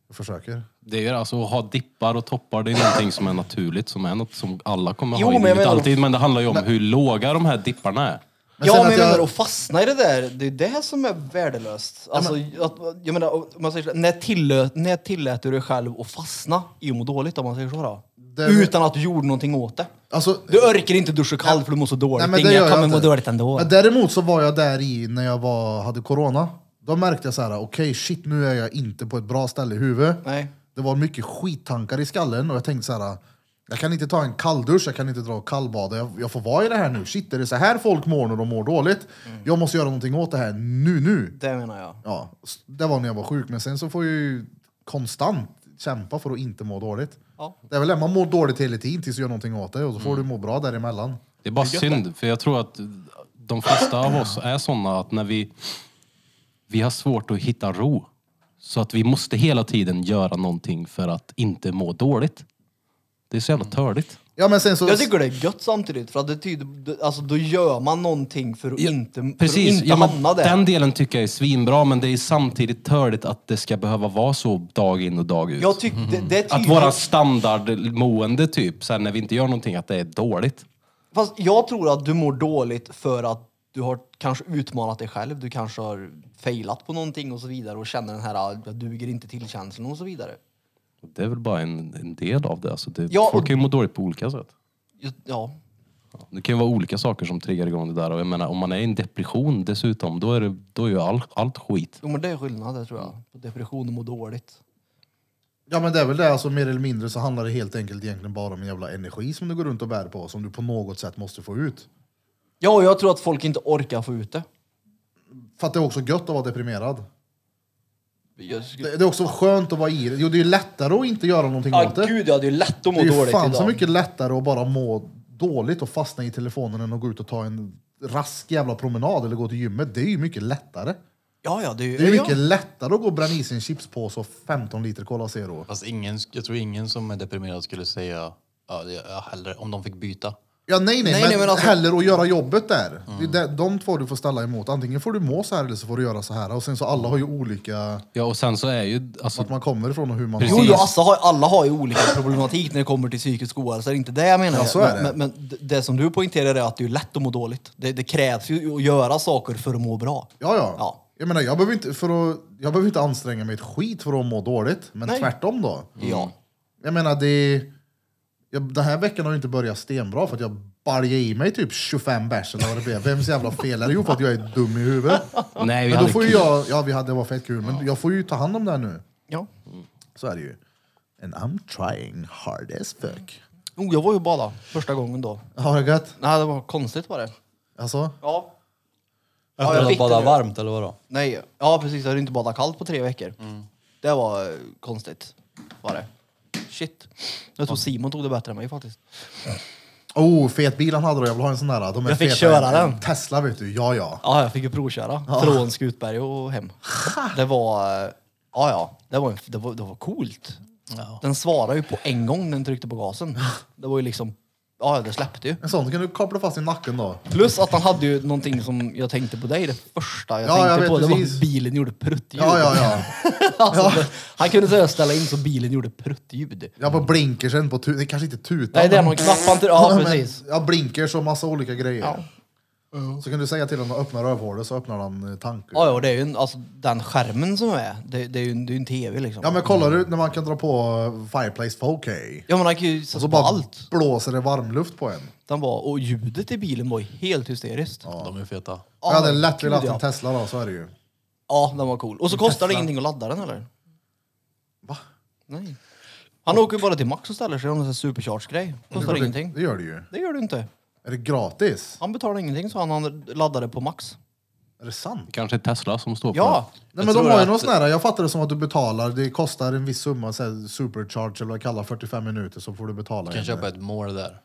Jag försöker. Det är alltså att ha dippar och toppar, det är någonting som är naturligt, som är något som alla kommer Jo, ha i men jag livet menar- alltid. Men det handlar ju om hur låga de här dipparna är. Men sen ja, men att jag jag- menar, att fastna i det där, det är det som är värdelöst. Alltså, att, jag menar, om man säger så, här, när, tillät, när tillät du dig själv att fastna i att må dåligt, om man säger så då? Det- Utan att du gjorde någonting åt det. Alltså, Du orkar inte duscha kallt för du mår så dåligt. Nej, men det Inga, gör jag jag kommer inte. må dåligt ändå. Men däremot så var jag där i när jag var, hade corona. Då märkte jag så här, okej shit nu är jag inte på ett bra ställe i huvudet. Nej. Det var mycket skittankar i skallen och jag tänkte så här, jag kan inte ta en kalldusch, jag kan inte dra kallbad. Jag, jag får vara i det här nu. Shit, är det så här folk mår när de mår dåligt? Mm. Jag måste göra någonting åt det här nu, nu. Det menar jag. Ja, s- det var när jag var sjuk, men sen så får jag ju konstant kämpa för att inte må dåligt. Ja. Mm. Det är väl det, man mår dåligt hela tiden tills du gör någonting åt det och så får du må bra däremellan. Det är bara synd, för jag tror att de flesta av oss är såna att när vi, vi har svårt att hitta ro. Så att vi måste hela tiden göra någonting för att inte må dåligt. Det är så jävla Mm. törligt. Ja, men sen så... Jag tycker det är gött samtidigt, för att det tyder, det- alltså, då gör man någonting för att inte, för att Precis, inte ja, hamna men där. den delen tycker jag är svinbra men det är samtidigt törligt att det ska behöva vara så dag in och dag ut. Jag tyck, det, det är Mm. tydligt, Att våra standardmående typ, sen när vi inte gör någonting, att det är dåligt. Fast jag tror att du mår dåligt för att du har kanske utmanat dig själv, du kanske har failat på någonting och så vidare och känner den här ah, jag duger inte till-känslan och så vidare. Det är väl bara en, en del av det. Alltså det Ja, folk och- kan ju må dåligt på olika sätt. Just- Ja, Det kan ju vara olika saker som triggar igång det där. Och jag menar, om man är i en depression dessutom, då är, det, då är ju all, allt skit. jo, men det är skillnad det tror jag. På depression och må dåligt. Ja men det är väl det, alltså, mer eller mindre så handlar det helt enkelt egentligen bara om en jävla energi som du går runt och bär på, som du på något sätt måste få ut. Ja, och jag tror att folk inte orkar få ut det. För att det är också gött att vara deprimerad. Jag skulle... Det, det är också skönt att vara i det. Jo, det är ju lättare att inte göra någonting Ja, åt det. Ah, gud, jag hade ju lätt att det må är ju dåligt fan idag. så mycket lättare att bara må dåligt och fastna i telefonen än att gå ut och ta en rask jävla promenad eller gå till gymmet. Det är ju mycket lättare. Ja, ja, det är ju... Det är ju ja. mycket lättare att gå och bränna i sig en chipspåse och 15 liter Cola Zero. Fast ingen, jag tror ingen som är deprimerad skulle säga ja, det- ja, hellre, om de fick byta. Ja, nej, nej, Nej, men, nej, men alltså- Mm. hellre att göra jobbet där. Det är de, de två du får ställa emot. Antingen får du må så här eller så får du göra så här. Och sen så alla har ju olika, Ja, och sen så är ju... Alltså, vart man kommer ifrån och hur man... Jo, jo alltså, har, alla har ju olika problematik när det kommer till psykisk ohälsa, det är inte det jag menar. Ja, så är men, det. Men, men d- det som du poängterar är att det är lätt att må dåligt. Det, det krävs ju att göra saker för att må bra. Ja, ja. Ja. Jag menar, jag behöver, inte, för att, jag behöver inte anstränga mig ett skit för att må dåligt. Men Nej. Mm. tvärtom då. Ja. Jag menar, det... Jag, den här veckan har ju inte börjat stenbra för att jag baljade i mig typ 25 bärs eller vad det blev. Vems jävla fel är det? Jo, för att jag är dum i huvudet. nej, Men vi då hade får ju kul. jag... Ja, vi hade, det var fett kul. Men jag får ju ta hand om det här nu. ja. Så är det ju. And I'm trying hard as fuck. Oh, jag var ju bada första gången då. Har jag gött? Nej, det var konstigt var det. Alltså? Ja. Ja, Efter jag att fick bada det nu. varmt eller vadå? Nej, ja precis. Jag hade inte badat kallt på tre veckor. Det var eh, konstigt. Var det. Shit. Jag tror Simon tog det bättre än mig faktiskt. Oh, fet bil han hade då. Jag vill ha en sån där. De är Jag fick feta. köra den. Tesla vet du. Ja, ja. Ja, jag fick ju provköra från Skutberg och hem. Det var... eh, Ja, ja. Det var, en- det var, det var coolt. Den svarade ju på en gång när den tryckte på gasen. Det var ju liksom... Ja, ja, det släppte ju. En sån kan du koppla fast i nacken då. Plus att han hade ju någonting som jag tänkte på dig, det första jag Ja, tänkte jag vet på. Det var precis. att bilen gjorde pruttljud. Ja, ja, ja. Alltså, det- Han kunde säga ställa in så bilen gjorde pruttljud. Jag bara blinkar sen på tutan. Det kanske inte tutan. Nej, det är men- någon knapp han trycker... Ja, men precis. Jag blinkar så massa olika grejer. Så kan du säga till honom att öppna rövhålet så öppnar han eh, tanken. Ja, ja, och det är ju en, alltså, den skärmen som är, det, det är ju en, det är ju en tv liksom. Ja men kollar du när man kan dra på eh, Fireplace 4K? Ja, men han kan ju Och sätta så på Alltså, bara allt. blåser det varmluft på en. Den var, och ljudet i bilen var ju helt hysteriskt. Ja, De är feta. jag hade lätt velat gud, haft en ja. Tesla då, så är det ju. Ja, den var cool. Och så kostar det ingenting att ladda den eller? Va? Nej. Han åker ju bara till Max och ställer sig och har en sån här supercharge-grej. Kostar Det- ingenting. Det gör det ju. Det gör det inte. Är det gratis? Han betalar ingenting så han, han laddade på Max. Är det sant? Kanske Tesla som står på Ja! Nej, Jag men de tror har ju att- någon sån här, jag fattar det som att du betalar, det kostar en viss summa, så här, supercharge eller vad det kallar 45 minuter så får du betala. Du kan en- köpa ett mål där.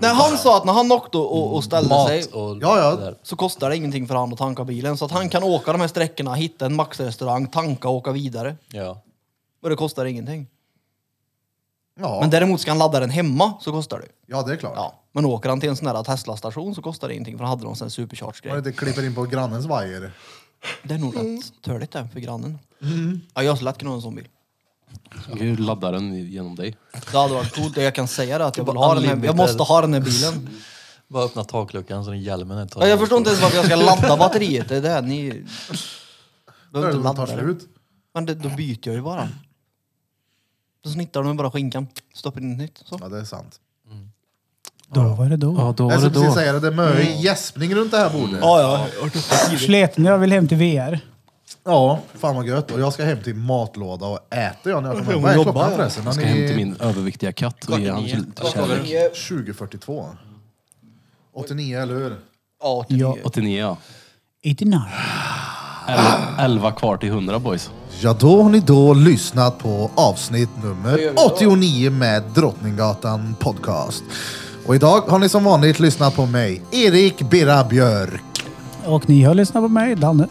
När han sa att när han åkte och, och ställde sig Mat och... Ja, ja. där. så kostar det ingenting för han att tanka bilen. Så att han kan åka de här sträckorna, hitta en Max-restaurang, tanka och åka vidare. ja. Och det kostar ingenting. Ja, Men däremot ska han ladda den hemma så kostar det. ja, det är klart. Ja. Men åker han till en sån här Tesla-station så kostar det ingenting för han hade någon sån här Man supercharge-grej. inte klipper in på grannens vajer. Det är nog rätt törligt det för grannen. Ja, jag skulle lätt kunna ha en sån bil. Gud, laddar den genom dig. Det hade varit coolt. Jag kan säga det att jag vill ha den här, Jag måste ha den här bilen. Bara öppna takluckan så den hjälmen är Ja, jag förstår inte ens varför jag ska ladda batteriet. Det är det ni... Där Behöver inte de tar ladda det. slut. Men det, då byter jag ju bara. Då snittar de bara skinkan. Stoppar in ett nytt. Så. Ja, det är sant. Då var det då. Ja, då Jag var det skulle precis då. säga det, det är mycket gäspning runt det här bordet. Ja, ja. Sleten, jag vill hem till VR. Ja, fan vad gött. Och jag ska hem till matlåda och äta jag när jag kommer hem. Vad är jobbar, klockan ja. förresten? Jag ska hem till min överviktiga katt och ge honom lite kärlek. 2042. 89, eller hur? Ja, Ja. 89 ja. 89. 11 kvar till 100 boys. Ja, då har ni då lyssnat på avsnitt nummer 89 med Drottninggatan Podcast. Och idag har ni som vanligt lyssnat på mig, Erik Birra Björk. Och ni har lyssnat på mig, Danne.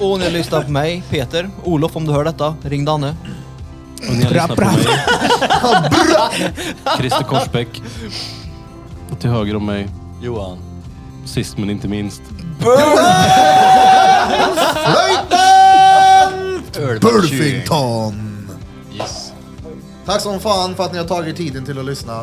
Och ni lyssnar på mig, Peter. Olof, om du hör detta, ring Danne. Och ni har lyssnat på mig. Christer Korsbäck. Och till höger om mig, Johan. sist men inte minst, Burfington! Yes. Tack som fan för att ni har tagit tiden till att lyssna.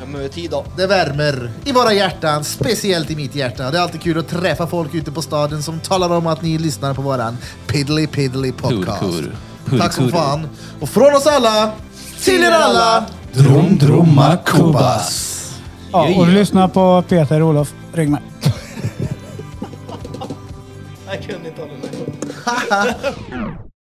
Ja, men tid då. Det värmer i våra hjärtan, speciellt i mitt hjärta. Det är alltid kul att träffa folk ute på staden som talar om att ni lyssnar på våran Piddly Piddly podcast. Purkur. Purkur. Tack som fan. Och från oss alla, till er alla, Drum Drumma Kubas. Ja, och lyssna på Peter och Olof. Ring mig. Jag kunde inte hålla mig.